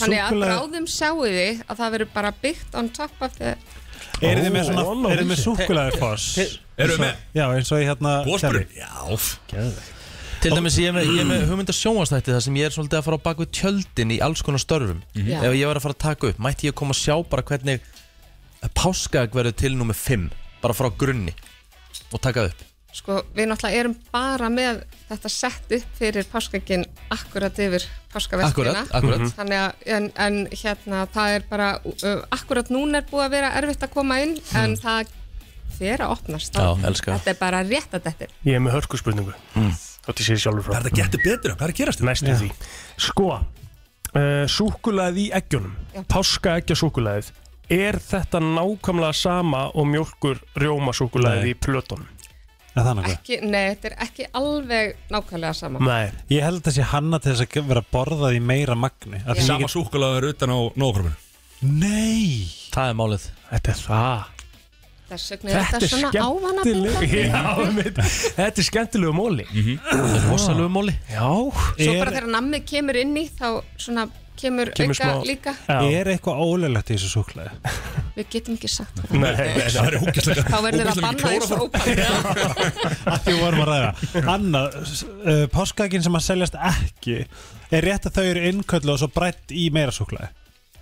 Speaker 8: Mm. Þannig að
Speaker 5: súkulega
Speaker 8: bráðum sjáu þið að það verður bara byggt on top of the
Speaker 5: Eru þið með
Speaker 1: Ó,
Speaker 5: svona,
Speaker 1: ó,
Speaker 5: eru þið með súkulega foss
Speaker 2: Erum við með
Speaker 5: Já, eins og ég hérna
Speaker 2: Bósbrun? Já
Speaker 4: Til dæmis ég er með, ég er með hugmynda sjónvastætti þar sem ég er svolítið að fara á bak við tjöldin í alls konar störfum
Speaker 5: Mhm.
Speaker 8: Já.
Speaker 4: Ef ég var að fara að taka upp, mætti ég koma að sjá bara hvernig páskag verður til nummer 5 bara frá grunni og taka upp
Speaker 8: Sko, við náttúrulega erum bara með þetta sett upp fyrir páskaginn akkurat yfir páskaverkina.
Speaker 4: Akkúrat, akkúrat.
Speaker 5: Mhm.
Speaker 8: Þannig að, en, en hérna, það er bara, uh, akkurat núna er búið að vera erfitt að koma inn, en það fer að opnast.
Speaker 4: Já, elska.
Speaker 8: Þetta er bara rétt að þetta.
Speaker 1: Ég er með hörku spurningu mm. Þátti sér
Speaker 2: Hvað
Speaker 1: sjálfur
Speaker 2: er
Speaker 1: frá
Speaker 2: það að geta betra? Hvað er að gerast?
Speaker 1: Næstu því Sko, uh, súkulæð í eggjónum
Speaker 8: Já.
Speaker 1: Páska eggja súkulæðið Er þetta nákvæmlega sama og mjólkur rjóma súkulæðið
Speaker 5: Nei.
Speaker 1: í plötunum?
Speaker 5: Er það nokkuð?
Speaker 8: Ekki, nei, þetta er ekki alveg nákvæmlega sama.
Speaker 1: Nei
Speaker 5: Ég held að þessi hanna til þess að vera borðað í meira magni Af því ég
Speaker 2: Sama súkkulaður utan á nógkorfinu
Speaker 5: get- Nei
Speaker 4: Það er málið
Speaker 1: Þetta er það
Speaker 8: Þess vegna er þetta svona ávana
Speaker 1: Já, mitt, Þetta er skemmtilegu móli
Speaker 4: Það er rosalegu móli
Speaker 1: Já
Speaker 8: Svo
Speaker 5: Er-
Speaker 8: bara þegar nammið kemur inn í, þá svona kemur,
Speaker 1: Kemur
Speaker 8: auka
Speaker 1: smá-
Speaker 8: líka.
Speaker 1: Já.
Speaker 5: Er eitthvað ólulegt í þessu súklaði?
Speaker 8: Við getum ekki sagt það.
Speaker 1: Nei,
Speaker 2: Það er ógæslega
Speaker 8: Þá verður það bannað eins og óbannað.
Speaker 5: Því við vorum að ræða Annað, s- uh, páskaegin sem að seljast ekki Er rétt að þau eru innköllu og svo breytt í meira súklaði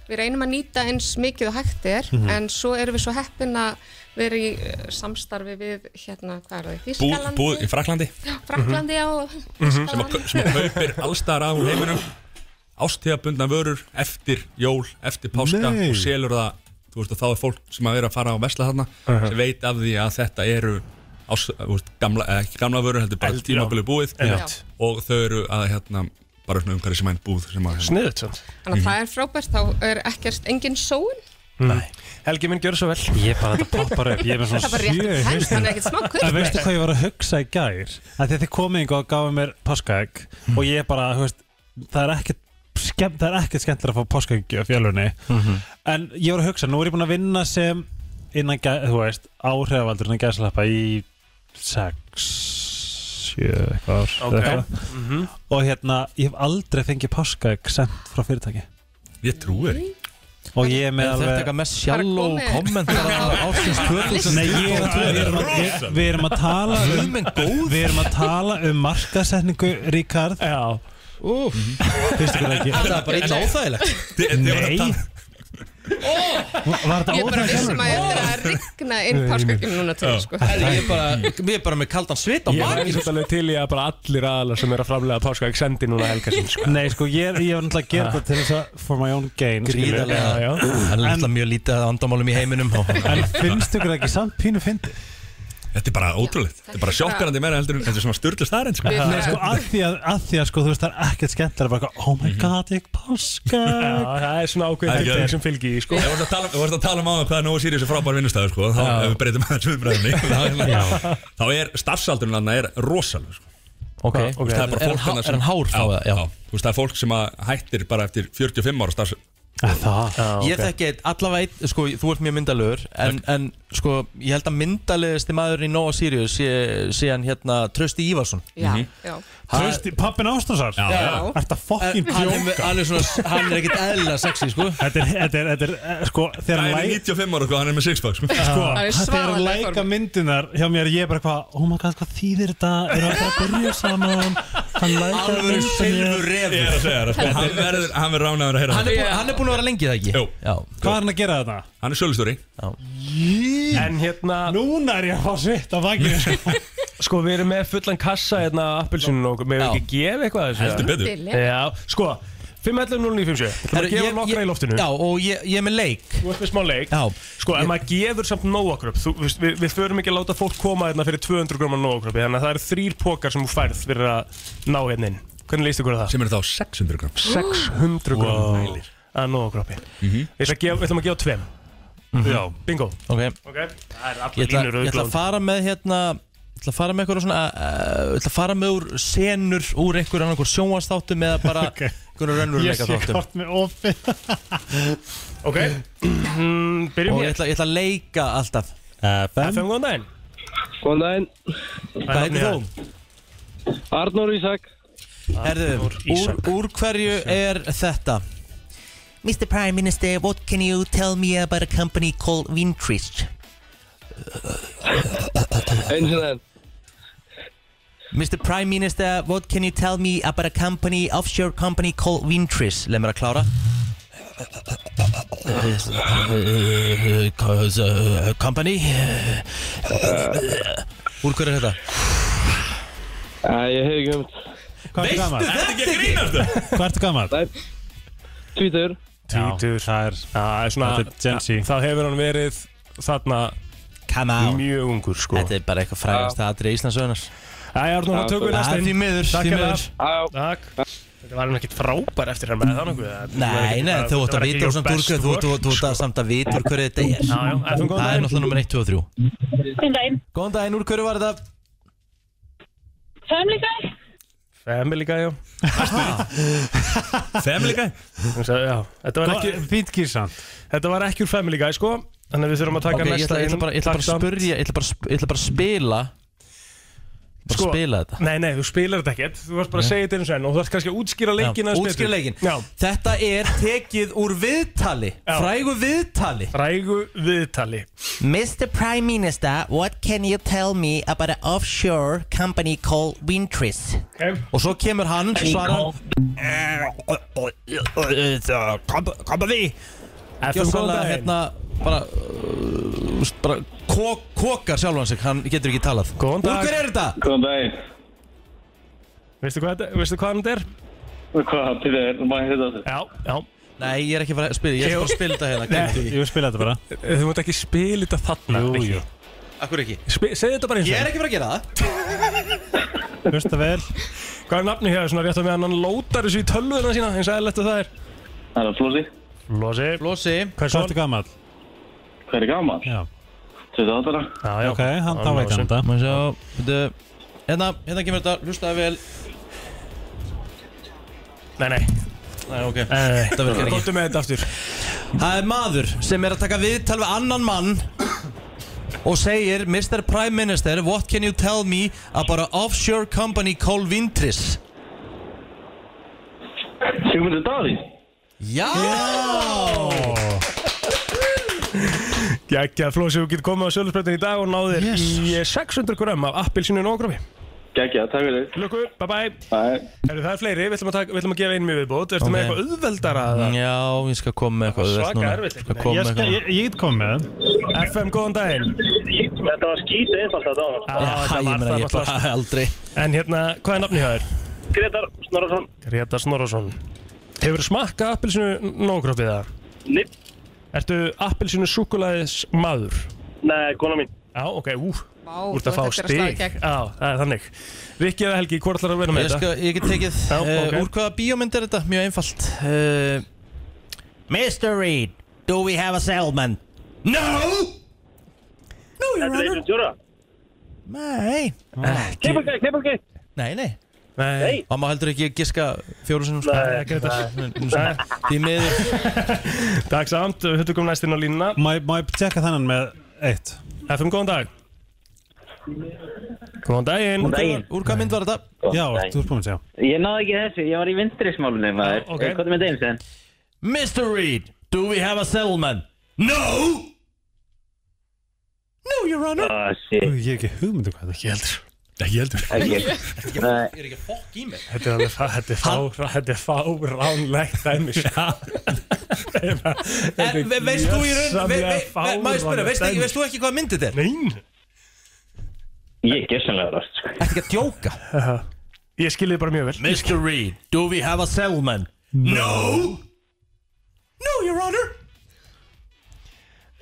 Speaker 8: Við reynum að nýta eins mikið og hægt er en svo erum við svo heppin að vera í eh, samstarfi við hérna, hvað er það,
Speaker 2: Búð,
Speaker 8: Þískalandi,
Speaker 2: búð í Fraklandi
Speaker 8: Fraklandi á
Speaker 1: Mhm.
Speaker 2: sem, að,
Speaker 8: Þískalandi.
Speaker 2: sem að kaupir allstaðar af úr heiminum ástíðabundna vörur eftir jól, eftir páska
Speaker 5: Nei.
Speaker 2: og selur það, þú veist, og þá er fólk sem að vera að fara á vesla þarna, sem veit af því að þetta eru ás, þú veist, gamla, eh, ekki gamla vörur, heldur bara
Speaker 1: Eld,
Speaker 2: tímabilið búið
Speaker 1: Einmitt.
Speaker 2: og þau eru að hérna bara svona umhverfið sem búð sem að hérna.
Speaker 1: Sniðut samt
Speaker 8: Þannig að það er frábært, þá er ekkert engin sóun,
Speaker 1: Helgi minn gjör svo vel
Speaker 5: Ég bara þetta poppar upp, ég er með
Speaker 8: það
Speaker 5: svona
Speaker 8: er bara rétt
Speaker 5: sjö
Speaker 8: að
Speaker 5: hausnum.
Speaker 8: hans, það er ekkert smá kvöld.
Speaker 5: En veistu hvað ég var að hugsa í gær? Að því að þið komið yngur og gafið mér páskaegg
Speaker 1: Hmm.
Speaker 5: og ég bara, þú veist, það er ekkert skemmt, það er ekkert skemmtilega að fá páskaegg á fjölunni en ég var að hugsa, nú er ég búin að vinna sem innan, gæ- þú veist, áhrifavaldur innan gæslappa í sex sjö eitthvað ár
Speaker 1: Ok.
Speaker 5: eða eitthvað.
Speaker 1: mhm.
Speaker 5: og hérna, ég hef aldrei fengið páskaegg sent frá fyrirtæki
Speaker 2: ég trúi þér ekki.
Speaker 5: og ég
Speaker 4: Er
Speaker 5: er með
Speaker 4: þetta eitthvað mest sjálf og
Speaker 8: komið.
Speaker 4: kommentar að ástins 2000
Speaker 5: Nei, ég er að, við, erum að, við, við erum að tala um Við erum að tala um markasetningu Ríkard
Speaker 1: Já
Speaker 5: Fyrstu hvað ekki
Speaker 4: Það er bara illa óþægilegt
Speaker 2: Þi- þið voru að
Speaker 5: Nei
Speaker 2: tala-
Speaker 8: Ég
Speaker 5: Var þetta
Speaker 8: er bara
Speaker 5: óþægilegt
Speaker 8: vissum
Speaker 5: sjálfur?
Speaker 8: að þetta er að rigna inn páskagjum núna til, sko.
Speaker 4: Herri, Ég er bara, ég er bara með kaldan svit á
Speaker 1: Ég var eins
Speaker 4: margir
Speaker 1: og alveg til í að bara allir aðalar sem er að framlega páska ekki sendi núna helga sinn sko.
Speaker 5: Nei, sko, ég er, ég er náttúrulega að gera þetta til þess að For my own gain sko. skilur.
Speaker 4: Gríðarlega
Speaker 1: Já, já.
Speaker 4: Það er náttúrulega mjög lítið að andamálum í heiminum og-
Speaker 5: En finnstu ykkur það ekki samt pínu fyndi?
Speaker 2: Þetta er bara ótrúlegt, þetta er bara sjokkarandi meira heldur en þetta er svona styrlu staðarinn sko.
Speaker 8: Við-
Speaker 5: Nei, sko, að því að, að því að sko, þú veist, það er ekkert skemmtilega bara eitthvað, oh my god, ég páska
Speaker 1: Mhm. Já, það er svona
Speaker 2: Það er
Speaker 1: ákveðin
Speaker 2: ekki
Speaker 1: heldur
Speaker 2: það.
Speaker 1: sem fylgi í, sko
Speaker 2: Ég varst að tala, ég varst að tala um áðan hvað Nóa Sirius er frábær vinnustæður sko, þá ef við breytum aðeins viðbræðinni þá er starfsaldurinn hann er rosalur sko.
Speaker 4: Ok,
Speaker 1: ok.
Speaker 4: Er,
Speaker 2: Það bara
Speaker 4: er,
Speaker 2: fólk
Speaker 4: hann,
Speaker 2: þarna
Speaker 4: er hann hár þá?
Speaker 2: já,
Speaker 4: eða? Já.
Speaker 2: Þú veist það er fólk sem að hættir bara eftir 45 ára starfs
Speaker 5: Það,
Speaker 4: Ég þekki einn- allavega einn, sko, þú ert mjög myndalögur en, en sko, ég held að myndalegasti maður í Nóa Sirius sé, sé hann hérna Trösti Ívarsson
Speaker 8: Já,
Speaker 5: Mhm.
Speaker 1: Mhm.
Speaker 8: já.
Speaker 5: trösti, pappin ástúrsar
Speaker 2: Já, já.
Speaker 5: Ertu
Speaker 1: Eh,
Speaker 5: að fokkin
Speaker 4: hann, er með-
Speaker 5: djóka?
Speaker 4: hann er svona, hann er ekkert eðlilega sexy, sko
Speaker 5: Þetta er, þetta er, þetta er, eh, sko,
Speaker 2: Það
Speaker 5: þegar hann
Speaker 2: er
Speaker 5: læ-
Speaker 2: 95 ára sko, hann er með sixpack sko.
Speaker 5: sko,
Speaker 8: Það er
Speaker 5: þegar hann
Speaker 8: svaðalegt
Speaker 5: læka
Speaker 8: form.
Speaker 5: myndunar hjá mér, ég er bara eitthvað, oh my god, hvað þýðir þetta, eru alltaf að byrja saman, hann læka
Speaker 4: Alvöru
Speaker 5: myndunar
Speaker 4: silfur
Speaker 2: Ég er að segja það sko. Hann verður, hann verður ránaður að heyra
Speaker 4: hann,
Speaker 2: það
Speaker 4: er búinn- hann er búin að vera lengi það ekki
Speaker 2: Jú.
Speaker 4: Já.
Speaker 5: Hvað er hann að gera þetta?
Speaker 2: Hann er sölustjóri
Speaker 1: En hérna,
Speaker 5: Núna er ég að fá svitt af vakið
Speaker 1: sko, við erum með fullan kassa hérna á appelsinu og við erum
Speaker 4: Já.
Speaker 1: ekki gefið eitthvað að
Speaker 2: Heldur
Speaker 1: þessu
Speaker 2: betur
Speaker 8: Dilli.
Speaker 1: Já, sko
Speaker 4: Herru,
Speaker 1: 5.11.09.57 Þú erum að gefa
Speaker 4: ég-
Speaker 1: nokkra
Speaker 4: ég-
Speaker 1: í loftinu
Speaker 4: Já, og ég, ég er með leik
Speaker 1: Þú ert með smá leik
Speaker 4: Já.
Speaker 1: Sko, ef maður gefur samt nóakröp við, við, við förum ekki að láta fólk koma hérna fyrir 200 gróma nóakröpi Þannig að það eru þrýr pókar sem þú færð fyrir að ná hérna inn Hvernig líst ykkur á það?
Speaker 2: Sem er þá 600 gram
Speaker 1: 600 gróma wow. að nóakröpi
Speaker 2: Mhm.
Speaker 1: Við ætlum að gefa- við ætlum að gefa tveim
Speaker 5: Mhm.
Speaker 1: Já Bingo
Speaker 4: okay.
Speaker 1: Ok Það er
Speaker 4: ég,
Speaker 1: allir
Speaker 4: ætla, ég ætla
Speaker 1: línur
Speaker 4: að
Speaker 1: auðvitað
Speaker 4: fara með hérna ég ætla að fara með eitthvað svona uh, ég ætla að fara með úr senur úr einhverjum annarkur sjónvastáttum eða bara
Speaker 5: Ok.
Speaker 4: einhverjum rönnurleika þáttum
Speaker 5: hvort með opið
Speaker 1: Ok Mm, Byrjum
Speaker 4: og ég
Speaker 1: hér
Speaker 4: ætla, ég ætla að leika alltaf
Speaker 5: FM
Speaker 1: Fem góðan daginn
Speaker 6: Góðan daginn,
Speaker 1: er
Speaker 4: Hvað heitir
Speaker 1: nafnið
Speaker 4: þú?
Speaker 6: Arnór Ísak
Speaker 4: Herðu, úr,
Speaker 1: Ísak.
Speaker 4: úr hverju er þetta? Mr. Prime Minister, what can you tell me about a company called Vintrist?
Speaker 6: Eins og þenn
Speaker 4: Mr. Prime Minister, what can you tell me about a company, offshore company called Wintris? Leð mér að klára. Company? Úr hverju er þetta?
Speaker 6: Æ, ég hef ekki um
Speaker 5: Hvað ertu gammal?
Speaker 2: Þetta er ekki að grínast það
Speaker 5: Hvað ertu gammal?
Speaker 6: Tvítur
Speaker 1: Tvítur
Speaker 5: Það er
Speaker 1: Já, það er svona
Speaker 5: Þetta er Gen Z.
Speaker 1: Það hefur hann verið þarna
Speaker 4: Come on.
Speaker 1: mjög ungur sko
Speaker 4: Þetta er bara eitthvað frægast aðrið í Íslandsöðunars.
Speaker 1: Æja, Arnór, það tökum við næst inn
Speaker 4: Því miður,
Speaker 1: Takk
Speaker 4: því
Speaker 1: fyrir
Speaker 4: miður.
Speaker 6: Já,
Speaker 1: Takk Þetta var hann ekkert frábær eftir hann með það nokkuð
Speaker 4: Nei, nei, þú ætti að vita úr samt úr hverju, þú- þú- þú ætti að samt að vita úr hverju þetta er.
Speaker 1: Já, já, ef þú góðan
Speaker 4: Það er
Speaker 1: daginn.
Speaker 4: náttúrulega nummer 1, 2 og 3.
Speaker 9: Góðan daginn.
Speaker 4: Góðan daginn, úr hverju var þetta?
Speaker 9: Family Guy?
Speaker 1: Family guy, já
Speaker 2: Family guy
Speaker 1: Hún sagði, já Þetta var ekki,
Speaker 5: Fýnt kýrsamt
Speaker 1: þetta var ekki úr Family guy sko Þannig að við þurfum að taka
Speaker 4: Ok, ég
Speaker 1: næsta
Speaker 4: ætla, ég ætla
Speaker 1: inn.
Speaker 4: bara, ég ætla bara
Speaker 1: Takk
Speaker 4: að
Speaker 1: samt.
Speaker 4: spyrja, ég ætla bara, að sp- ég ætla bara að spila Bara
Speaker 1: Sko,
Speaker 4: að spila þetta
Speaker 1: Nei, nei, þú spilar þetta ekkert Þú varst bara að segja þetta eins og enn Og þú þarfst kannski að útskýra leikin
Speaker 4: Já,
Speaker 1: aðeins betur.
Speaker 4: Útskýra leikin
Speaker 1: Já,
Speaker 4: Þetta er tekið úr viðtali
Speaker 1: Já.
Speaker 4: Frægu viðtali
Speaker 1: rægu viðtali
Speaker 4: Mr. Prime Minister, what can you tell me about an offshore company called Wintris?
Speaker 1: okay.
Speaker 4: Og svo kemur hann, svarar hann
Speaker 1: FM góðan
Speaker 4: Gjörsanlega
Speaker 1: daginn
Speaker 4: hérna bara, uh, úst, bara kok, kokar sjálfan sig, hann getur ekki talað
Speaker 1: Góðan dag.
Speaker 4: Úr hverju er þetta?
Speaker 6: góðan daginn
Speaker 1: Veistu hvað, þetta- veistu hvað hann þetta er?
Speaker 6: Hvað, til þér, má ég heita þetta?
Speaker 1: Já, já
Speaker 4: Nei, ég er ekki að fara að spila, ég er bara að spila þetta hérna gleymdu því.
Speaker 5: Ég vil spila þetta bara
Speaker 1: Þú mátt ekki spila þetta þarna
Speaker 5: Jú,
Speaker 1: Rikki.
Speaker 5: jú.
Speaker 4: Akkur ekki
Speaker 1: Spi- Segðu þetta bara eins
Speaker 4: Ég
Speaker 1: og
Speaker 4: er
Speaker 1: enn
Speaker 4: ekki að fara að gera það
Speaker 5: Hlusta vel
Speaker 1: Hvað er nafni hér? Svona rétt að meðan hann lótar þessu í tölvuna sína eins og eðlætt að það er
Speaker 6: Það er Flósi
Speaker 1: Losi
Speaker 4: Blósi
Speaker 5: Hvað ertu gammal?
Speaker 6: Hvað er gaman?
Speaker 5: Já
Speaker 6: 28 ára
Speaker 1: Já, já
Speaker 5: Ok, hann þá veit hann þetta
Speaker 4: Má sjá Þetta Hérna, hérna kemur þetta Hlustaði vel
Speaker 1: Nei, nei
Speaker 4: Nei, ok
Speaker 1: Þetta
Speaker 4: Þetta virkar ekki.
Speaker 1: Góttu með þetta aftur
Speaker 4: Það er maður sem er að taka viðtal við annan mann Og segir Mr. Prime Minister What can you tell me about an offshore company called Vintris
Speaker 6: Sigmundur Davíð
Speaker 4: Já
Speaker 1: Gækja, Flósi, þú getur komið á sölusbreytin í dag og náðir í 600 gram af appilsinu nógrafi
Speaker 6: Gækja, takk fyrir
Speaker 1: Lukku, bye bye
Speaker 6: Bye
Speaker 1: Eru það er fleiri, við ætlum að, taka, við ætlum að gefa einu mjög viðbót Ertu
Speaker 4: Ok.
Speaker 1: með eitthvað auðveldara að það?
Speaker 4: Já, ég skal koma með eitthvað
Speaker 1: Það
Speaker 4: auðvelt
Speaker 1: var svaka
Speaker 4: núna.
Speaker 1: erfitt.
Speaker 4: Skal koma
Speaker 5: Ég
Speaker 4: með
Speaker 5: skal-
Speaker 4: eitthvað
Speaker 5: ég- ég get komið með þeim
Speaker 4: Mm.
Speaker 1: FM, góðan daginn
Speaker 6: Þetta var skítið einfalt að dána
Speaker 1: Já,
Speaker 4: Já, ég
Speaker 1: þetta var
Speaker 4: meina
Speaker 1: það
Speaker 4: ég bara
Speaker 1: náttúrulega.
Speaker 4: aldrei
Speaker 1: En hérna, hvað er nafni hjá þér?
Speaker 6: Gretar Snorarsson
Speaker 1: Greta Snorarsson Hefur smakkað appilsinu nógrafið það?
Speaker 6: Nei,
Speaker 1: Ertu appilsinu súkulæðis maður?
Speaker 6: nei, kona mín
Speaker 1: Já, ok, ú,
Speaker 8: Vá,
Speaker 1: Þú ert að fá
Speaker 8: þetta er að slá í
Speaker 1: stig
Speaker 8: gegn.
Speaker 1: Já, það er þannig Rikki eða Helgi, hvort ætlar að vera
Speaker 4: Ég,
Speaker 1: með þetta?
Speaker 4: skal, ég get tekið
Speaker 1: Já,
Speaker 4: uh,
Speaker 1: ok.
Speaker 4: Úr hvaða bíómynd er þetta? Mjög einfalt uh, Mr. Reed Do we have a salmon? No! No, your honor Nei Ekki
Speaker 6: Kipulgei, kipulgei
Speaker 4: Nei, nei
Speaker 1: Nei,
Speaker 4: Og maður heldur ekki að giska fjóru sinum sko
Speaker 1: Nei, ekki
Speaker 4: Nei Því miður
Speaker 1: takk samt, höttu kom næst inn á línuna
Speaker 5: Má má ég tjekka þennan með eitt
Speaker 1: FM, góðan dag Góðan daginn
Speaker 9: Góðan daginn.
Speaker 4: Úr hvaða mynd var þetta?
Speaker 5: Já,
Speaker 9: Nei.
Speaker 5: þú ert búin að segja
Speaker 9: Ég náði ekki þessu, ég var í vindrismálunum maður.
Speaker 1: Ah, ok.
Speaker 9: Okay. Hvað er með þeim sen?
Speaker 4: Mr. Reed Do we have a salmon? No! No, your honor
Speaker 9: Oh, shit.
Speaker 5: Ég hef ekki hugmyndu hvað þetta er
Speaker 2: Ekki heldur
Speaker 9: Ekki. Nei,
Speaker 4: Ég er ekki að fokk í mig
Speaker 1: Þetta er alveg það, þetta er fárá, þetta er fáránlegt dæmi sko.
Speaker 4: En ve- veist þú í raun ve- ve-
Speaker 1: Gjörsamlega
Speaker 4: ve- Má ég spyrja,
Speaker 1: fáránlegt
Speaker 4: veist ekki-
Speaker 1: dæmi.
Speaker 4: veist þú ekki hvaða mynd þetta er?
Speaker 1: Nein,
Speaker 9: Ég er gessanlega rást, sko.
Speaker 4: Ertu ekki að djóka?
Speaker 1: ég skilði bara mjög vel
Speaker 4: Mr. Reed, do we have a salmon? No! No, your honor!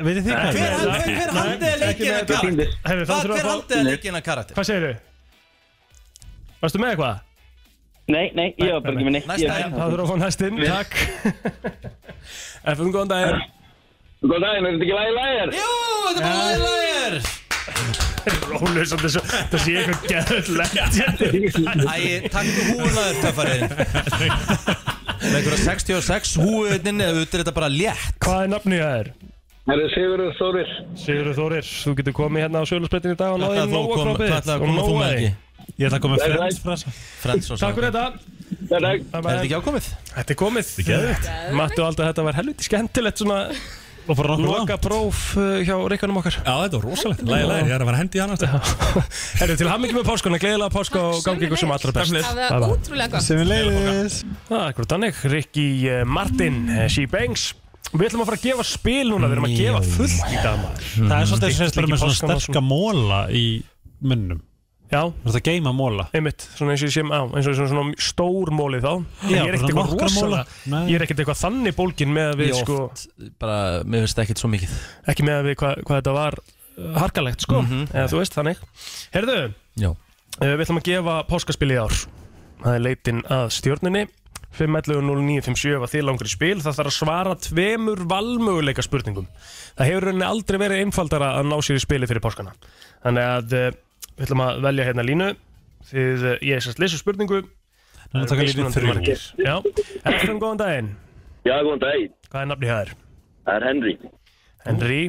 Speaker 5: Veitir þið hvað
Speaker 4: Hver,
Speaker 5: þetta er?
Speaker 4: hver, hver haldið er leikina
Speaker 1: Ekki með
Speaker 4: karakter?
Speaker 9: Týndir.
Speaker 1: Herri, þá
Speaker 4: Hvað, hver
Speaker 1: þurfum við að fá
Speaker 4: haldið er leikina karakter?
Speaker 1: Hvað segirðu? Varstu með eitthvað?
Speaker 9: Nei, nei, ég var bara ekki með neitt.
Speaker 4: Næsta,
Speaker 9: Ég-
Speaker 4: já.
Speaker 1: Það þurfum að fá næst inn, takk FM, góðan daginn
Speaker 6: Góðan daginn, er þetta ekki lægi lægir?
Speaker 4: Jú, þetta er bara lagið lagir!
Speaker 1: Rólu, svo þessu- þetta sé eitthvað geðlegt
Speaker 4: Æ, takk húnaður töffarinn. Með einhverja 66 húinni eða utur þetta bara létt.
Speaker 1: Hvað er nafnið það er?
Speaker 6: Er þetta Sigurður Þórir?
Speaker 1: Sigurður Þórir, þú getur komið hérna á sölusbreytin í dag og náðið
Speaker 4: Ætlaði þú
Speaker 1: nóa
Speaker 4: að koma-
Speaker 1: kroppið
Speaker 4: ætlaði að koma þú með ekki?
Speaker 5: Ég ætla að koma með frends frasa
Speaker 4: Frans og
Speaker 1: Takk fyrir
Speaker 6: Góðan
Speaker 1: þetta
Speaker 6: dag
Speaker 1: Bye
Speaker 4: Er þetta
Speaker 1: bye.
Speaker 4: ekki ákomið?
Speaker 1: Þetta er komið Mattu aldrei að þetta var helviti skemmtilegt svona
Speaker 5: Og bara nokkuð
Speaker 1: loka próf uh, hjá rikkanum okkar
Speaker 2: Já, þetta var rosalegt Læg, læg, ég er að fara að hendi í hann aftur
Speaker 1: Herru, til hammingi með páskona, gleðilega páska og gangi ykkur sem allra best
Speaker 8: Það
Speaker 1: Bye
Speaker 8: var
Speaker 1: bye.
Speaker 8: ótrúlega gott
Speaker 5: Sem við leiðis
Speaker 1: Það er þannig, Rikki eh, Martin, eh, She Bangs Við ætlum að fara að gefa spil núna, við erum að gefa fullt í dag maður.
Speaker 5: Það er svolítið sem
Speaker 1: Hittist
Speaker 5: við bara
Speaker 1: ekki
Speaker 5: með
Speaker 1: sko.
Speaker 5: svona
Speaker 1: páskan og
Speaker 5: sterka móla í munnum
Speaker 1: Já,
Speaker 5: Þú ert að geima móla
Speaker 1: einmitt, svona eins og ég sem á, eins og svona, svona stór móli þá
Speaker 5: Já,
Speaker 1: Ég er ekkert
Speaker 5: bara
Speaker 1: eitthvað
Speaker 5: nokkra
Speaker 1: rosalega,
Speaker 5: móla. Nei.
Speaker 1: ég er ekkert eitthvað þannig bólgin með að við
Speaker 4: Ég
Speaker 1: sko
Speaker 4: oft, bara, mér finnst ekkert svo mikið.
Speaker 1: ekki með að við hvað, hvað þetta var uh, harkalegt sko,
Speaker 5: Mhm.
Speaker 1: eða þú veist þannig Herðu,
Speaker 4: Já.
Speaker 1: uh, við ætlum að gefa páskaspil í ár það er leitin að stjórnunni 5.11.09.57 var þið langur í spil það þarf að svara tveimur valmöguleika spurningum það hefur rauninni aldrei verið einfaldara að ná sér í spili fyrir páskana þannig að uh, við ætlum að velja hérna línu þið, uh, ég sérst lesa spurningu
Speaker 5: Þannig að taka lítið
Speaker 1: Mismunandi
Speaker 5: þrjú
Speaker 1: margir. Já, eftir um góðan daginn
Speaker 6: Já, góðan daginn.
Speaker 1: hvað er nafni hér?
Speaker 6: Það er Henry.
Speaker 1: Henry,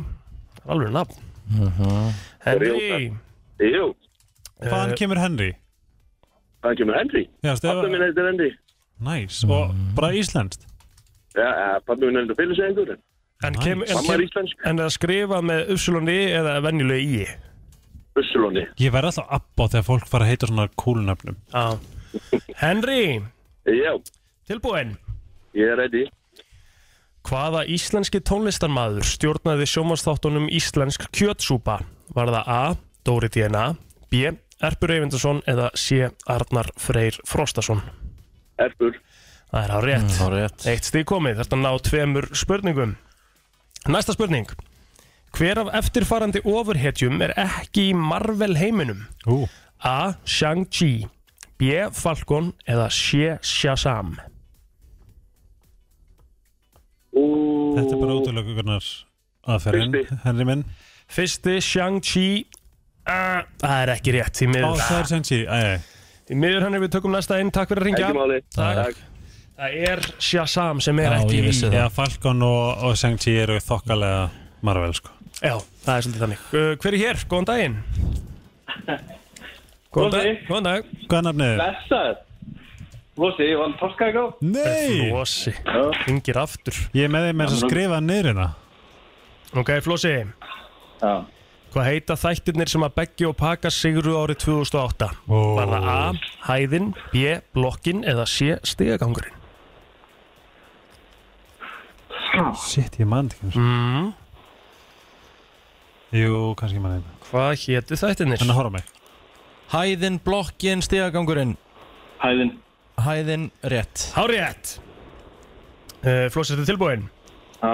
Speaker 1: alveg nafn
Speaker 5: Mhm.
Speaker 1: Henry
Speaker 6: Jú,
Speaker 5: Hvaðan kemur Henry?
Speaker 6: það kemur Henry.
Speaker 5: Já,
Speaker 6: Pappa
Speaker 5: stefa
Speaker 6: minn heitir Henry.
Speaker 5: Næs Og bara íslenskt
Speaker 6: Já, eh, pabbi minn heitir Félix Eingur.
Speaker 1: En, kem, en,
Speaker 6: Mamma er
Speaker 1: kem,
Speaker 6: íslensk.
Speaker 1: en að skrifa með uppsulunni eða venjulegu í
Speaker 6: Bussulóni.
Speaker 5: Ég verð alltaf abba þegar fólk fara að heita svona kúlnöfnum
Speaker 1: ah. Henry,
Speaker 6: Já,
Speaker 1: tilbúin
Speaker 6: ég er ready.
Speaker 1: Hvaða íslenski tónlistarmaður stjórnaði sjómanstáttunum Íslensk kjötsúpa? Var það A. Dóri DNA B. Erpur Eyvindarsson eða C. Arnar Freyr Frostason
Speaker 6: Erfur.
Speaker 1: Það er á rétt
Speaker 4: Það er Mm, rétt.
Speaker 1: Eitt stíð komið, þetta ná tveimur spurningum Næsta spurning Hver af eftirfarandi ofurhetjum er ekki í Marvel heiminum?
Speaker 5: Ú
Speaker 1: A. Shang-Chi B. Falcon eða C. Shazam
Speaker 5: Þetta er bara útlökugunar aðferðin
Speaker 6: Fyrsti.
Speaker 5: Henry minn
Speaker 1: Fyrsti Shang-Chi Ah, Það er ekki rétt Því
Speaker 5: Á,
Speaker 1: miður,
Speaker 5: það er sem sí Æ, æ
Speaker 1: Því miður hann er við tökum næsta inn Takk fyrir að
Speaker 6: Ekki
Speaker 1: ringja
Speaker 6: máli.
Speaker 1: Takk. Það er Shazam sem er
Speaker 4: Já,
Speaker 1: ekki
Speaker 4: ég
Speaker 1: í
Speaker 4: vissi
Speaker 5: Já, Falcon og, og Shang-Chi eru þokkalega Marvel sko
Speaker 1: Já, það er svolítið þannig uh, Hver er hér? Góðan daginn Góðan dag Góðan dag
Speaker 5: Hvað er nafnið? þið?
Speaker 9: Blessaður. Lósi, ég vann Torskagá.
Speaker 5: Nei!
Speaker 1: Flossi Ringir aftur
Speaker 5: Ég er með þeim með að skrifa niður hérna
Speaker 1: Ok, Flossi
Speaker 9: Já.
Speaker 1: Hvað heita þættirnir sem að Beggi og Paka sigru árið 2008?
Speaker 5: Ó.
Speaker 1: Var það A, hæðin, B, blokkin eða C, stigagangurinn?
Speaker 5: Shit, ég man þetta ekki mm. Jú, kannski ég man þetta
Speaker 1: Hvað hétu þættirnir?
Speaker 5: Þannig að horfa á mig
Speaker 4: Hæðin, blokkin, stigagangurinn.
Speaker 9: Hæðin.
Speaker 4: Hæðin, rétt.
Speaker 1: Eh, Hárið! Uh, Flósið, þetta tilbúin.
Speaker 9: Já.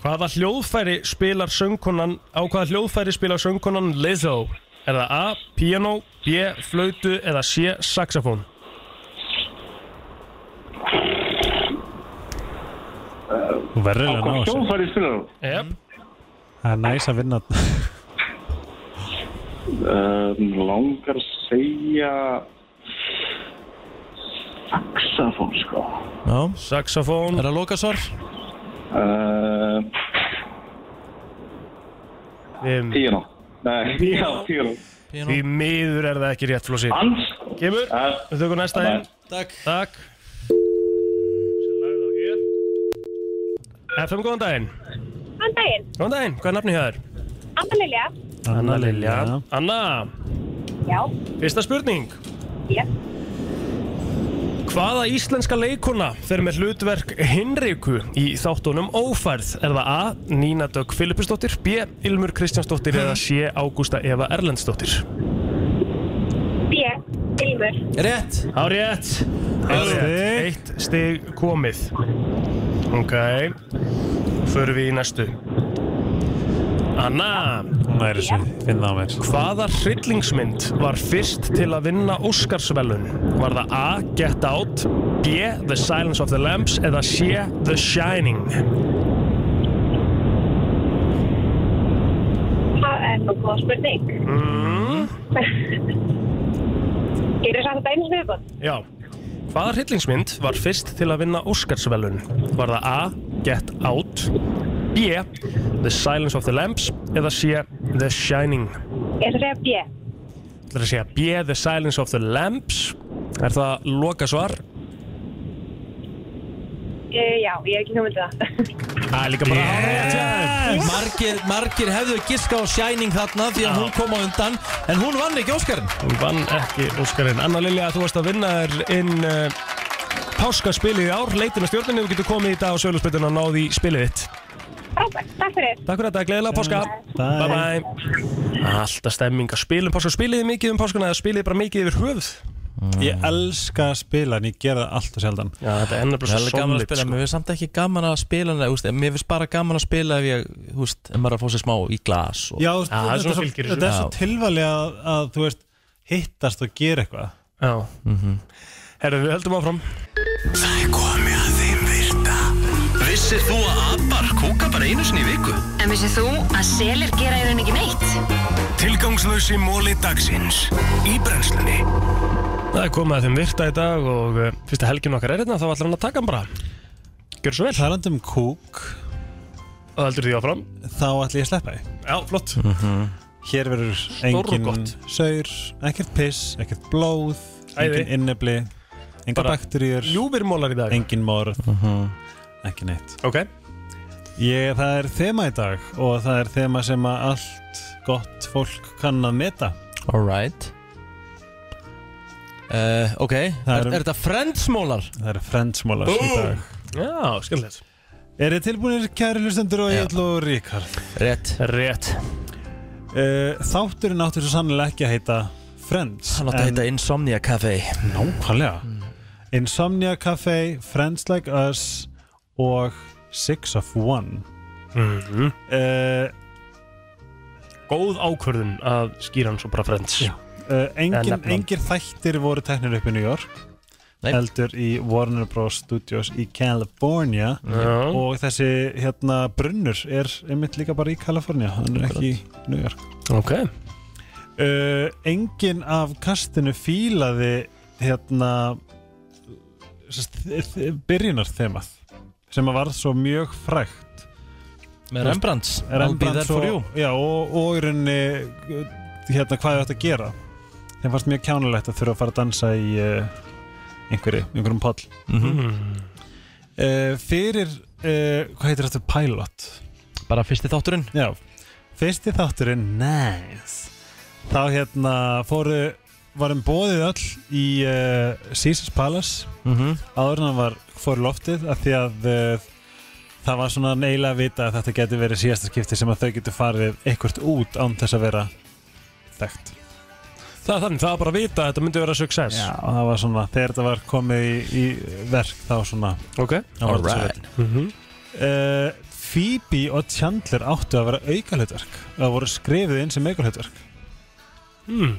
Speaker 1: Hvaða hljóðfæri spilar söngkonan Á hvaða hljóðfæri spilar söngkonan Lizzo? Er það A. Piano B. Flautu eða C. Saxofón
Speaker 5: Þú verður að ná þessu
Speaker 9: Sjónfæri spilar hún
Speaker 1: Jep,
Speaker 5: Það er næs að vinna
Speaker 9: um, Langar að segja Saxafón sko
Speaker 4: Já,
Speaker 1: saxofón
Speaker 4: er það lokasvar?
Speaker 9: uh,
Speaker 1: Fimm.
Speaker 9: Tíano Nei, já, tíano
Speaker 1: Því miður er það ekki rétt flósi
Speaker 9: Hans
Speaker 1: Kemur,
Speaker 9: uh,
Speaker 1: við tökum næsta einn
Speaker 4: Takk
Speaker 1: Takk FM, góðan daginn
Speaker 10: Þann daginn,
Speaker 1: Góðan daginn, hvað er nafni hjá þér?
Speaker 10: Anna-Lilja,
Speaker 1: Anna Lilja Anna,
Speaker 10: já,
Speaker 1: fyrsta spurning
Speaker 10: ég,
Speaker 1: Hvaða íslenska leikona fer með hlutverk Hinriku í þáttunum Ófærð? Er það A. Nína Dögg Filipusdóttir, B. Ilmur Kristjánsdóttir eða C. Ágústa Eva Erlendsdóttir?
Speaker 10: ég, Ilmur,
Speaker 4: Rétt
Speaker 1: Á rétt!
Speaker 5: stig.
Speaker 1: Eitt stig komið. Ok, förum við í næstu. Anna,
Speaker 5: Hún er þessu, finna á mér
Speaker 1: hvaða hryllingsmynd var fyrst til að vinna Óskarsvelun? Var það A. Get Out, B. The Silence of the Lambs eða C. The Shining?
Speaker 10: það er nú góð spurning. Ég er samt einu smiðbótt.
Speaker 1: Mm-hmm. Já Hvaða hryllingsmynd var fyrst til að vinna Óskarsvelun? Var það A. Get Out B. The Silence of the Lambs eða C. The Shining
Speaker 10: Ég ætla að segja B.
Speaker 1: Það er að segja B. The Silence of the Lambs Er það loka svar?
Speaker 10: Uh, já, ég hef ekki komið til það.
Speaker 1: Það er líka bara
Speaker 4: Margir, margir hefðu giska á Shining þarna því að hún kom á undan en hún vann ekki Óskarinn
Speaker 1: Hún vann ekki Óskarinn Anna Lilja, þú varst að vinna þér inn uh, Páskaspilið í ár Leitin að stjórninni, þú getur komið í dag á söluspilin og náði í spilið þitt
Speaker 10: Frábært, takk fyrir.
Speaker 1: Takk fyrir þetta, gleðilega páska Bye bye Alltaf stemming að spilum páska Spiliði mikið um páskuna eða spiliði bara mikið yfir höfð Já,
Speaker 5: Ég elska að spila en ég gera það allt og sjaldan
Speaker 1: þetta er ennabla
Speaker 4: Það er
Speaker 1: svo
Speaker 4: alveg gaman að
Speaker 1: solid
Speaker 4: spila,
Speaker 1: sko.
Speaker 4: mér finnst samt ekki gaman að spila nei, úst, Mér finnst bara gaman að spila ef ég, þú veist, ef maður er að fá sér smá í glas og...
Speaker 5: Já,
Speaker 1: Já, það er svona
Speaker 5: þetta,
Speaker 1: fylgir
Speaker 5: þetta er
Speaker 4: þessu.
Speaker 5: svo
Speaker 4: Já.
Speaker 5: tilvalið að, að þú veist hittast og gera eitthvað
Speaker 1: Já
Speaker 5: Mhm.
Speaker 1: Herru, við höldum áfram
Speaker 11: Vissir þú að abar kúka bara einu sinni í viku?
Speaker 3: En vissið þú að selir gera í raun ekki neitt?
Speaker 11: Tilgangslösi móli dagsins í brennslunni
Speaker 1: Það er komið að þeim virta í dag og uh, fyrsta helgin okkar er hérna þá ætlar hann að taka hann bara Gjör svo vel
Speaker 5: Talandi um kúk,
Speaker 1: og heldur því áfram
Speaker 5: þá ætla ég að sleppa því
Speaker 1: Já, flott
Speaker 5: Mhm. Hér verður engin
Speaker 1: Stórgott.
Speaker 5: saur, ekkert piss, ekkert blóð
Speaker 1: Æði.
Speaker 5: engin innebli, engar
Speaker 1: Bara
Speaker 5: bakteríur
Speaker 1: Ljúfirmólar í dag
Speaker 5: engin morð
Speaker 4: Mhm.
Speaker 5: ekki neitt
Speaker 1: Ok
Speaker 5: ég, það er þema í dag og það er þema sem að allt gott fólk kann að meta
Speaker 4: Alright uh, Ok,
Speaker 5: Það
Speaker 4: er,
Speaker 5: er-
Speaker 4: er þetta friendsmólar?
Speaker 5: það er friendsmólar í dag
Speaker 1: Já, skemmtilegt
Speaker 5: er þið tilbúinir kæri hlustendur og
Speaker 4: Já.
Speaker 5: Egil og Ríkard
Speaker 4: Rétt
Speaker 1: Rétt
Speaker 5: uh, þátturinn áttur svo sannlega ekki að heita Friends
Speaker 4: Hann átti að heita Insomnia Café
Speaker 5: nákvæmlega Insomnia Cafe, Friends Like Us og Six of One uh,
Speaker 1: Mhm. Góð ákvörðun að skýra hann svo bara frends
Speaker 5: Já. Uh, engin,
Speaker 1: nefna hann.
Speaker 5: engin þættir voru teknir upp í New York
Speaker 4: Nei.
Speaker 5: heldur í Warner Bros. Studios í California
Speaker 1: Já,
Speaker 5: og þessi hérna brunnur er einmitt líka bara í California hann er ekki í New York
Speaker 1: ok
Speaker 5: uh, engin af kastinu fílaði hérna sest, byrjunar þemað sem að varð svo mjög frægt
Speaker 4: Með Rembrandts
Speaker 5: Rembrandt
Speaker 4: svo...
Speaker 5: svo, já, og, og í rauninni hérna hvað er þetta að gera þeim fannst mjög kjánulegt að þurfa að fara að dansa í uh, einhverju, einhverjum poll Mhm.
Speaker 1: Mhm.
Speaker 5: uh, fyrir uh, hvað heitir þetta pilot
Speaker 4: Bara fyrsti þátturinn
Speaker 5: já, fyrsti þátturinn nice. þá hérna fóru varum bóðið öll í uh, Caesars Palace
Speaker 4: Mhm.
Speaker 5: áður en hann var fór í loftið af því að uh, það var svona neila að vita að þetta getur verið síðasta skipti sem að þau getur farið eitthvert út án þess að vera þekkt.
Speaker 1: Það er þannig, það er bara að vita að þetta myndi vera success
Speaker 5: Já, það var svona, þegar þetta var komið í, í verk þá svona
Speaker 1: Ok Mhm.
Speaker 5: það var þetta svo
Speaker 4: Alright.
Speaker 5: vel. uh, Phoebe og Chandler áttu að vera aukalhutverk Það voru skrifið inn sem aukalhutverk
Speaker 1: hmm.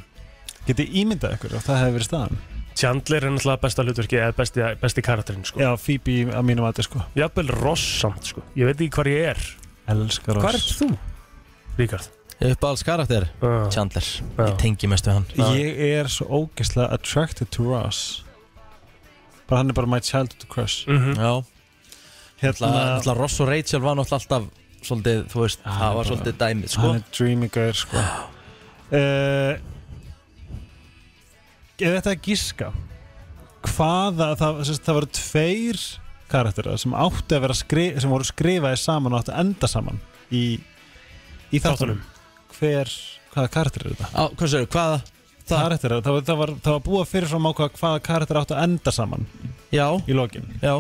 Speaker 5: Getið ímyndað ykkur og það hefði verið staðan
Speaker 1: Chandler er náttúrulega besta hlutverki eða besti, besti karakterinn sko.
Speaker 5: Já, Phoebe að mínum að sko
Speaker 1: Jafnvel Ross samt sko. Ég veit ekki hvar ég er
Speaker 5: Elskar
Speaker 1: Hvar ert þú? Ríkard
Speaker 4: Uppáhalds karakter, Chandler Ég tengi mest við hann
Speaker 5: Ég er svo ógeðslega attracted to Ross Bara hann er bara my childhood crush
Speaker 1: Mhm.
Speaker 4: Já
Speaker 5: Hérna-
Speaker 4: Hérna Ross og Rachel var náttúrulega alltaf Svolítið, þú veist, það var svolítið dæmið sko.
Speaker 5: Ah, Hann er dreamy gaur sko uh, Ef þetta er gíska Hvaða, það, sérst, það voru tveir karakterar sem áttu að vera skri, sem voru skrifaði saman og áttu að enda saman í, í þáttunum Hver, hvaða karakter er þetta?
Speaker 4: Á, hvað sér, hvaða?
Speaker 5: Það, karakter, það, var, það, var, það var búið fyrir fram ákvað hvaða karakter áttu að enda saman
Speaker 4: Já
Speaker 5: Í lokin
Speaker 4: Já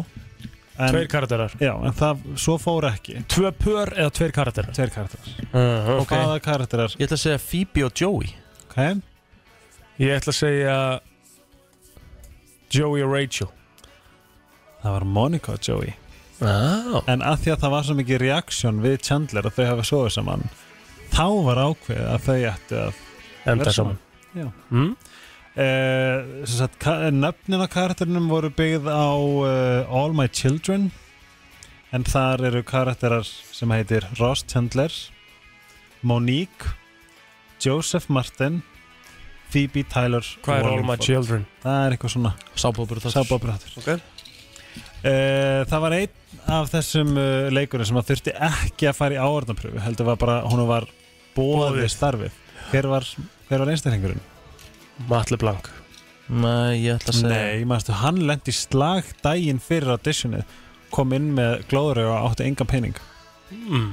Speaker 1: Tveir karakterar
Speaker 5: Já, en það, svo fór ekki
Speaker 1: Tvö pör eða tveir karakterar?
Speaker 5: Tveir karakterar
Speaker 1: uh,
Speaker 5: Og hvaða karakterar?
Speaker 4: Ég ætla að segja Phoebe og Joey
Speaker 5: Ok
Speaker 1: Ég ætla að segja Joey og Rachel
Speaker 5: Það var Monica og Joey
Speaker 1: ah.
Speaker 5: En að því að það var svo mikið reaksjón við Chandler að þau hafa sofið saman þá var ákveðið að þau ættu að
Speaker 1: Enda
Speaker 5: vera
Speaker 1: saman.
Speaker 5: Já
Speaker 1: mm?
Speaker 5: uh, sagt, ka- Nöfnin á karakterinum voru byggð á uh, All My Children en þar eru karakterar sem heitir Ross Chandler Monique Joseph Martin Phoebe Tyler
Speaker 1: Hvað er All My
Speaker 5: Wallingford.
Speaker 1: Children?
Speaker 5: Það er eitthvað svona
Speaker 4: Sábóbrótur
Speaker 5: Sábóbrótur
Speaker 1: okay.
Speaker 5: Uh, það var einn af þessum uh, leikurinn sem að þurfti ekki að fara í áordanpröfu heldur var bara, hún var bóðið starfið hver var, hver var einstaklingurinn?
Speaker 1: Matli Blank
Speaker 4: Nei, ég ætla að segja
Speaker 5: Nei, manstu, hann lendi slag daginn fyrir auditionið kom inn með glóður og átti enga pening
Speaker 1: mm.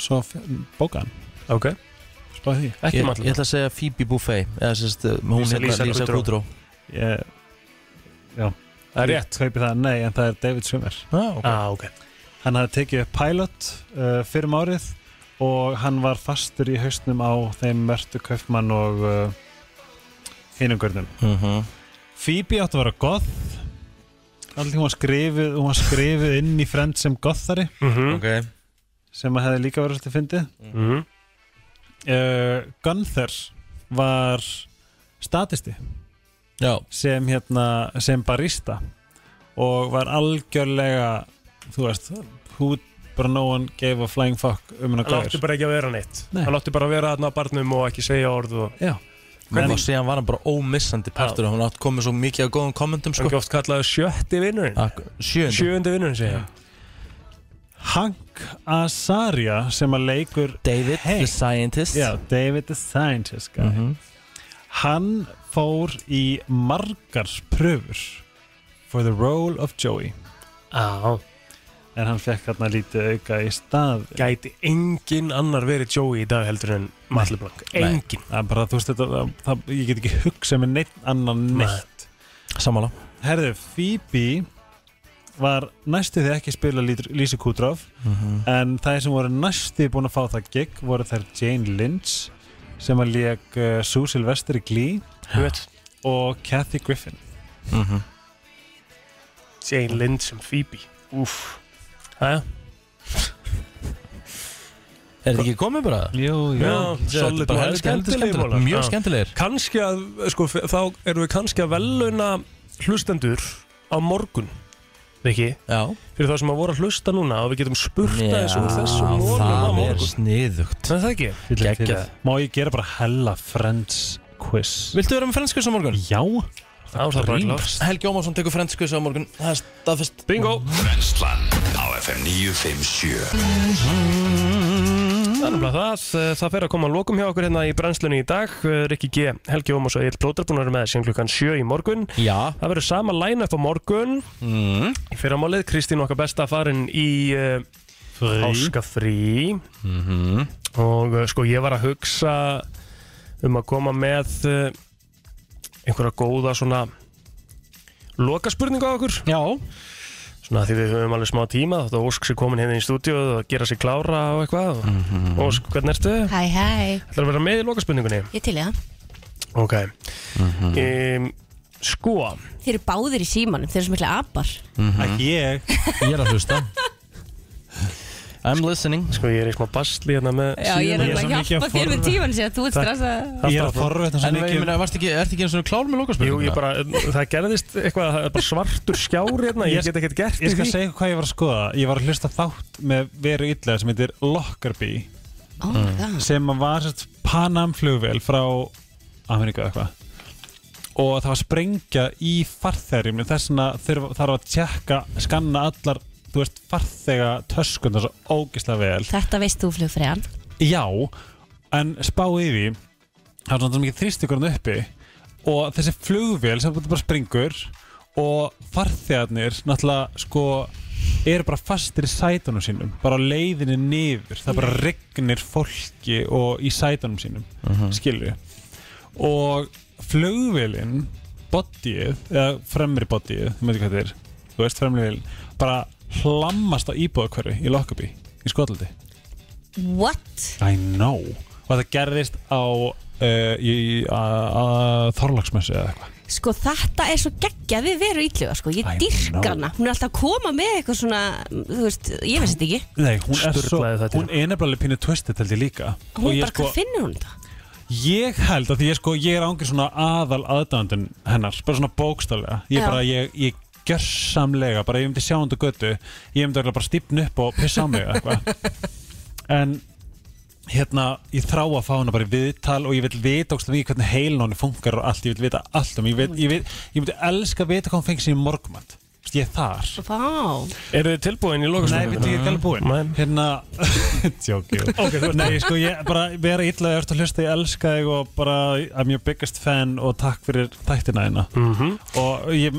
Speaker 5: svo f- bókaði hann
Speaker 1: ok
Speaker 5: spáði því
Speaker 4: ég, ég ætla að segja Phoebe Buffay Eða sérst, uh, hún
Speaker 5: um Lisa-
Speaker 4: hérna
Speaker 5: Lisa
Speaker 4: Lisa
Speaker 5: Kudrow.
Speaker 4: Kudrow
Speaker 5: ég, já
Speaker 1: Það er rétt.
Speaker 5: kaupi það, nei, en það er David Swimmer
Speaker 4: ah,
Speaker 1: okay. ah, okay.
Speaker 5: hann hafði tekið upp pilot uh, fyrir árið og hann var fastur í haustnum á þeim Mörtu Kaufmann og uh, hinungörnum
Speaker 4: Mhm.
Speaker 5: Phoebe átti að vera goth Alltid hún var skrifið hún var skrifið inn í Friends sem gothari
Speaker 1: Mhm.
Speaker 4: Ok.
Speaker 5: sem að hefði líka verið svolítið fyndið
Speaker 1: Mhm.
Speaker 5: uh, Gunther var statisti
Speaker 4: Já.
Speaker 5: sem hérna sem barista og var algjörlega þú veist who bara no one gave a flying fuck um hennar
Speaker 1: Hann átti bara ekki að vera neitt
Speaker 5: Nei.
Speaker 1: Hann átti bara að vera þarna á barnum og ekki segja orð og...
Speaker 5: Já
Speaker 4: Hún var síðan var hann bara ómissandi partur og hún átt komið svo mikið af góðum kommentum sko. Ah,
Speaker 1: Hann oft kallaði sjötti vinnurinn
Speaker 4: Sjöndi
Speaker 1: Sjöndi vinnurinn segja ég.
Speaker 5: Hank Azaria sem að leikur
Speaker 4: David the Scientist
Speaker 5: Já, David the Scientist guy.
Speaker 1: Mhm.
Speaker 5: Hann fór í margar pröfur for the role of Joey
Speaker 1: ah.
Speaker 5: en hann fekk hérna lítið auka í stað
Speaker 1: Gæti engin annar verið Joey í dag heldur en Matli Blank Engin
Speaker 5: Það er bara, þú veist, þetta, það, það, ég get ekki hugsað með neitt annan
Speaker 1: Nei.
Speaker 5: neitt
Speaker 4: Sammála
Speaker 5: Herðu, Phoebe var næstu því ekki að spila Lísi Kudroff
Speaker 4: Mhm.
Speaker 5: en þær sem voru næstu búin að fá það gig voru þær Jane Lynch sem að leik uh, Sue Sylvester í Glee
Speaker 1: Hvet.
Speaker 5: og Kathy Griffin
Speaker 4: Mhm.
Speaker 1: Jane Lynch sem Phoebe Úff Æja
Speaker 4: Er þetta ekki komið bara? Jú,
Speaker 1: Já, solid
Speaker 4: bara
Speaker 1: mál.
Speaker 4: helst skemmtilegir
Speaker 1: mál.
Speaker 4: mólar Mjög
Speaker 1: Já.
Speaker 4: skemmtilegir
Speaker 1: Kannski að, sko, f- þá erum við kannski að veluna hlustendur á morgun Viki
Speaker 4: Já
Speaker 1: Fyrir þá sem að voru að hlusta núna og við getum spurta þessu um þessum mólum á
Speaker 4: það er sko
Speaker 1: morgun
Speaker 4: sniðugt
Speaker 1: Það er það ekki Geggjað.
Speaker 5: Má ég gera bara hella Friends quiz
Speaker 4: Viltu vera með frendskvist á morgun?
Speaker 5: Já
Speaker 1: Það var bara klart.
Speaker 4: Helgi Ómarsson tekur frendskvist á morgun Það er staðfest
Speaker 1: Bingo
Speaker 11: Brennslan á FM 957
Speaker 1: Þannig að það, Eh, það fer að koma að lokum hjá okkur hérna í brennslunni í dag Eh, Rikki G, Helgi Ómas og Egil Blóter búin að vera með þessi klukkan 7 í morgun
Speaker 4: Já
Speaker 1: Það verður sama line up á morgun
Speaker 4: mm.
Speaker 1: Í fyrramálið, Kristín okkar besta farin í uh, Áskafrí
Speaker 4: Mhm.
Speaker 1: Og uh, sko ég var að hugsa um að koma með uh, einhverja góða svona loka spurningu á okkur
Speaker 5: Já
Speaker 1: Svona því við höfum alveg smá tíma Þetta Ósk sér komin hérna í stúdíu og gera sér klára og eitthvað mm Ósk, hvernig ertu?
Speaker 12: Hæ, hæ,
Speaker 1: Það er að vera með í loka spurningunni
Speaker 12: ég til í það
Speaker 1: Ok um, Sko
Speaker 12: Þeir eru báðir í símanum, þeir eru svo mikla apar
Speaker 5: Ekki ég
Speaker 4: Ég er að hlusta I'm listening
Speaker 1: Sko ég er í smá basli hérna með
Speaker 12: Já, ég er
Speaker 1: síðuna.
Speaker 12: nefnilega að hjálpa þér með tíman sér, þú ert
Speaker 1: Takk.
Speaker 12: stressað.
Speaker 1: Ég er að forræta svo
Speaker 4: En
Speaker 5: um
Speaker 1: mikið.
Speaker 4: ég meina, varst ekki, ert ekki eins og klár með
Speaker 1: Jú,
Speaker 4: lokaspurninguna?
Speaker 1: ég bara, það gerðist eitthvað, það er bara svartur skjár hérna, ég get ekkert gert
Speaker 5: Ég
Speaker 1: í
Speaker 5: skal
Speaker 1: því.
Speaker 5: segja ykkur hvað ég var að skoða Ég var að hlusta á þátt með veru illa sem heitir Lockerbie
Speaker 12: Ó, það.
Speaker 5: sem að var sérst Panam flugvél frá Ameríku eða eitthvað og það var sprengja í farþegarjum þess vegna þurf- þarf að tjekka skanna allar, þú veist, farþega töskundar svo ógislega vel
Speaker 12: Þetta veist þú flugfræðan.
Speaker 5: Já, en spáði í því það var svona mikið þrýstikurinn uppi og þessi flugvél sem bara springur og farþegarnir náttúrulega sko eru bara fastir í sætunum sínum bara á leiðinni niður, það bara regnir fólki og í sætunum sínum uh
Speaker 4: Mhm.
Speaker 5: og flugvélinn bodyið, eða fremri bodyið þú veit ekki hvað þetta er, þú veist fremri vélinn bara hlammast á íbúðakverfi í Lockerbie í Skotlandi
Speaker 12: What?
Speaker 5: I know Og það gerðist á uh, í, a, a, Þorlagsmessu eða eitthvað
Speaker 12: Sko þetta er svo geggja við veru ítluga sko. Ég
Speaker 5: I
Speaker 12: dyrka
Speaker 5: know.
Speaker 12: hana Hún er alltaf að koma með eitthvað svona Þú veist, ég veist þetta ekki
Speaker 5: Nei, hún er svo,
Speaker 1: Sturlaði þetta.
Speaker 5: hún er nefnilega pínu twisted held ég líka
Speaker 12: Hún
Speaker 5: Og ég
Speaker 12: bara, sko... hvað finnur hún þetta?
Speaker 5: Ég held að því ég sko, ég er ángið svona aðal aðdæðandun hennar, bara svona bókstaflega Ég
Speaker 12: Já.
Speaker 5: bara, ég, ég gjörsamlega, bara ég myndi sjá hundu götu Ég myndi örugglega bara stípna upp og pissa á mig eða eitthvað En hérna, ég þrá að fá hana bara í viðtal og ég vil vita ógst mikið hvernig heilin honni funkar og allt, ég vil vita allt um, ég, vil, ég, vil, ég myndi elska að vita hvað hún fengi sér í morgumat Ég er þar
Speaker 12: Vá
Speaker 1: Eru þið tilbúin í
Speaker 5: Nei,
Speaker 1: lokaspurninguna?
Speaker 5: við ég ekki alveg búinn Hérna, tjóki
Speaker 1: Ok, þú ert-
Speaker 5: Nei, sko, ég bara vera illa að ert að hlusta, ég elska þig og bara I'm your biggest fan og takk fyrir þættina þína
Speaker 1: Mhm.
Speaker 5: og ég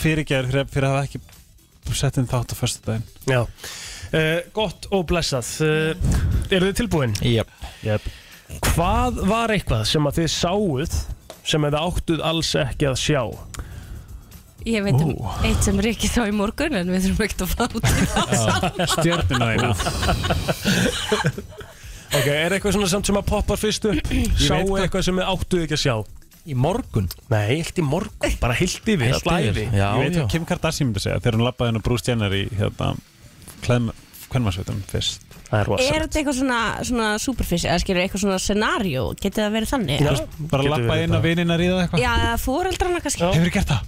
Speaker 5: fyrirgerð fyrir, fyrir að hafa ekki sett inn þátt á fyrstu daginn
Speaker 1: Já, uh, gott og blessað uh, Eru þið tilbúin?
Speaker 4: Jep.
Speaker 1: Jep Hvað var eitthvað sem að þið sáuð sem að þið áttuð alls ekki að sjá?
Speaker 12: Ég veit um eitt sem Rikki þá í morgun En við þurfum ekkert að fara út í það saman.
Speaker 5: Stjörnina þína
Speaker 1: Ok, er eitthvað svona samt sem að poppar fyrst upp?
Speaker 4: veit
Speaker 1: Sáu
Speaker 4: hvað-
Speaker 1: eitthvað sem þið áttuð ekki að sjá?
Speaker 4: Í morgun?
Speaker 1: Nei, heilt í morgun, bara heilt yfir
Speaker 4: Heilt yfir, já,
Speaker 5: Ég veit
Speaker 4: já.
Speaker 5: hvað Kim Kardashian myndi segja þegar hún lappaði hennar Bruce Jenner í hérna, kvenmasveitum fyrst
Speaker 1: Það er
Speaker 12: Er þetta eitthvað svona, svona superfish Eða skilur eitthvað svona scenario Getið það verið þannig?
Speaker 5: Bara lappaði inn á vinina í það eitthvað
Speaker 12: Já, fóreldrana kannski
Speaker 5: Hefur gert það?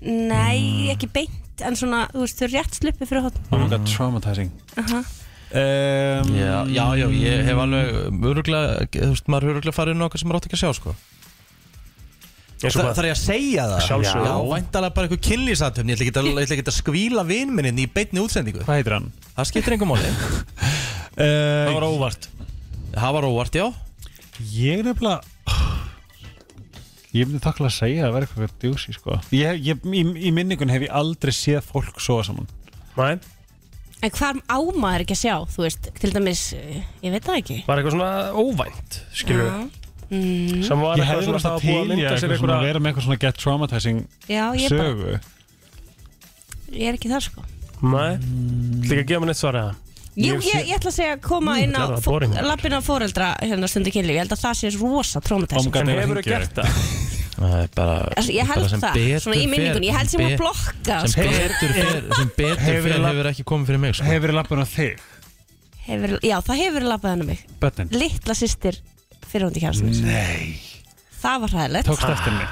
Speaker 12: Nei, ekki beint En svona, þú veist, þau rétt sluppi fyrir hótt
Speaker 5: Oh my god, traumatizing
Speaker 12: Aha.
Speaker 5: um,
Speaker 4: Já, já, já, ég hef alveg öruglega, þú veist, maður hefur öruglega farið inn á okkar sem maður átt ekki að sjá, sko
Speaker 1: Eins og
Speaker 4: Þa,
Speaker 1: hvað?
Speaker 4: Þarf ég að segja það?
Speaker 1: Sjálfsögðu.
Speaker 4: Já, væntalega bara eitthvað kynlýsatum Ég ætla ekki að, ég ætla ekkert að skvíla vinminni í beinni útsendingu
Speaker 5: Hvað heitir hann? Uh,
Speaker 4: Það skiptir engum máli
Speaker 5: Það
Speaker 4: var óvart Það var óvart, já
Speaker 5: Ég nefnilega Ég myndi þakklega að segja að vera eitthvað djúsi sko. ég, ég, í, í minningun hef ég aldrei séð fólk sofa saman
Speaker 1: Nei,
Speaker 12: En hvað á maður ekki að sjá? Þú veist, til dæmis, eh, ég veit það ekki
Speaker 1: var eitthvað svona óvænt, skilur við
Speaker 12: mm.
Speaker 1: sem var
Speaker 5: Ég
Speaker 1: eitthvað
Speaker 5: hefði
Speaker 1: svona
Speaker 5: verið
Speaker 1: það var
Speaker 5: að til
Speaker 1: búið að
Speaker 5: í
Speaker 1: mynda sér
Speaker 5: eitthvað svona
Speaker 1: eitthvað
Speaker 5: að vera með eitthvað svona get traumatizing
Speaker 12: Já, ég bara-
Speaker 5: sögu
Speaker 12: Ég er ekki þar sko
Speaker 1: Nei, líka að gefa mér neitt svar eða
Speaker 12: Jú, ég,
Speaker 1: Ég sé-
Speaker 12: ég, ætla að segja að koma
Speaker 1: Mm,
Speaker 12: inn á
Speaker 1: það var boring.
Speaker 12: lappin á foreldra hérna stundu kynlíf, ég held að það sé rosa trómatæs
Speaker 1: En hefur þið gert það?
Speaker 4: Það er bara
Speaker 12: Alltså, ég held
Speaker 4: bara sem
Speaker 12: það,
Speaker 4: betur
Speaker 12: svona í minningunni, ég held sem
Speaker 4: fer-
Speaker 12: að blokka,
Speaker 4: sem
Speaker 12: sko.
Speaker 4: betur fer, sem betur
Speaker 5: Hefur
Speaker 4: fer
Speaker 5: la-
Speaker 4: hefur ekki komið fyrir mig sko.
Speaker 5: Hefur þið lappin á þig?
Speaker 12: hefur, Já, það hefur verið lappað hennar mig
Speaker 5: Bötnin?
Speaker 12: Littla sýstir fyrirhundi kjærastins
Speaker 5: Nei
Speaker 12: Það var hræðilegt
Speaker 5: Tókst eftir henni?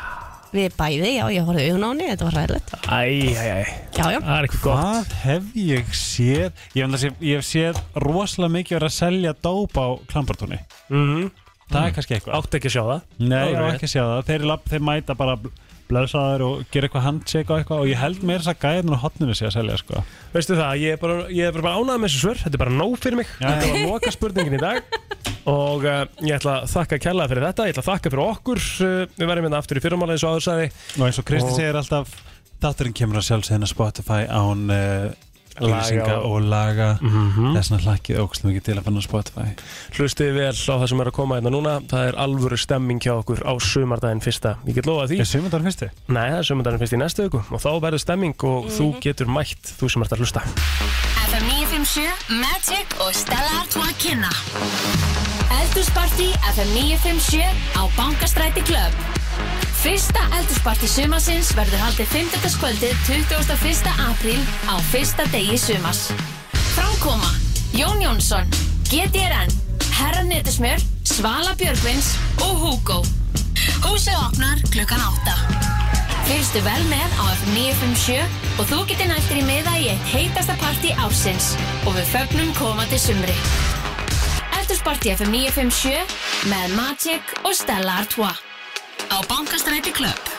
Speaker 12: Við bæði, já, ég horfði augun á henni, þetta var hræðilegt
Speaker 1: Æ, æ, æ
Speaker 12: Já, já,
Speaker 1: Það er ekki gott
Speaker 5: Hvað hef ég séð? Ég, hef náttúrulega séð- ég hef séð rosalega mikið verið að selja dóp á klambartóni
Speaker 1: Mhm.
Speaker 5: Það er kannski eitthvað
Speaker 1: Átti ekki að sjá það
Speaker 5: Hmm. Nei, ég
Speaker 1: Alright.
Speaker 5: var ekki að sjá það. Þeir, lab, þeir mæta bara blöðsaðar og gera eitthvað handshake og eitthvað og ég held meira þess að gæðin á hotninu sé að selja sko.
Speaker 1: Veistu það, ég er bara, ég er bara ánægð með þessu svör Þetta er bara nóg fyrir mig Þetta var loka spurningin í dag Og uh, ég ætla að þakka kærlega fyrir þetta Ég ætla að þakka fyrir okkur uh, Við verðum hérna aftur í fyrramála eins og áður sagði
Speaker 5: Og eins og Kristi
Speaker 1: Og-
Speaker 5: segir alltaf, þátturinn kemur að sjálfsögna Spotify án uh, lýsinga
Speaker 1: og-
Speaker 5: og laga
Speaker 1: Mhm.
Speaker 5: mm -hmm. þessna hlakkið ógslum ekki til að finna á Spotify.
Speaker 1: Hlustið vel á það sem er að koma hérna núna Það er alvöru stemming hjá okkur á sumardaginn fyrsta Ég get lofað því
Speaker 5: Er sumundar fyrsti?
Speaker 1: Nei, það er sumardaginn fyrst í næstu viku Og þá verður stemming og þú getur mætt Þú sem ert að hlusta
Speaker 3: FM 957, Magic og Stella Artois kynna Eldursparti FM 957 á Bankastræti Club Fyrsta eldursparti sumarsins verður haldið 15. kvöldið 21. apríl á fyrsta degi sumars Frákoma Jón Jónsson, GTRN, Herra Netusmjör, Svala Björgvins og Hugo. Húsið opnar klukkan 8. Fylgstu vel með á F957 og þú getur nættir í miða í eitt heitasta partí ársins og við fögnum komandi sumri. Eldurspartí F957 með Magic og Stella Artois á Bankastræti Klöpp.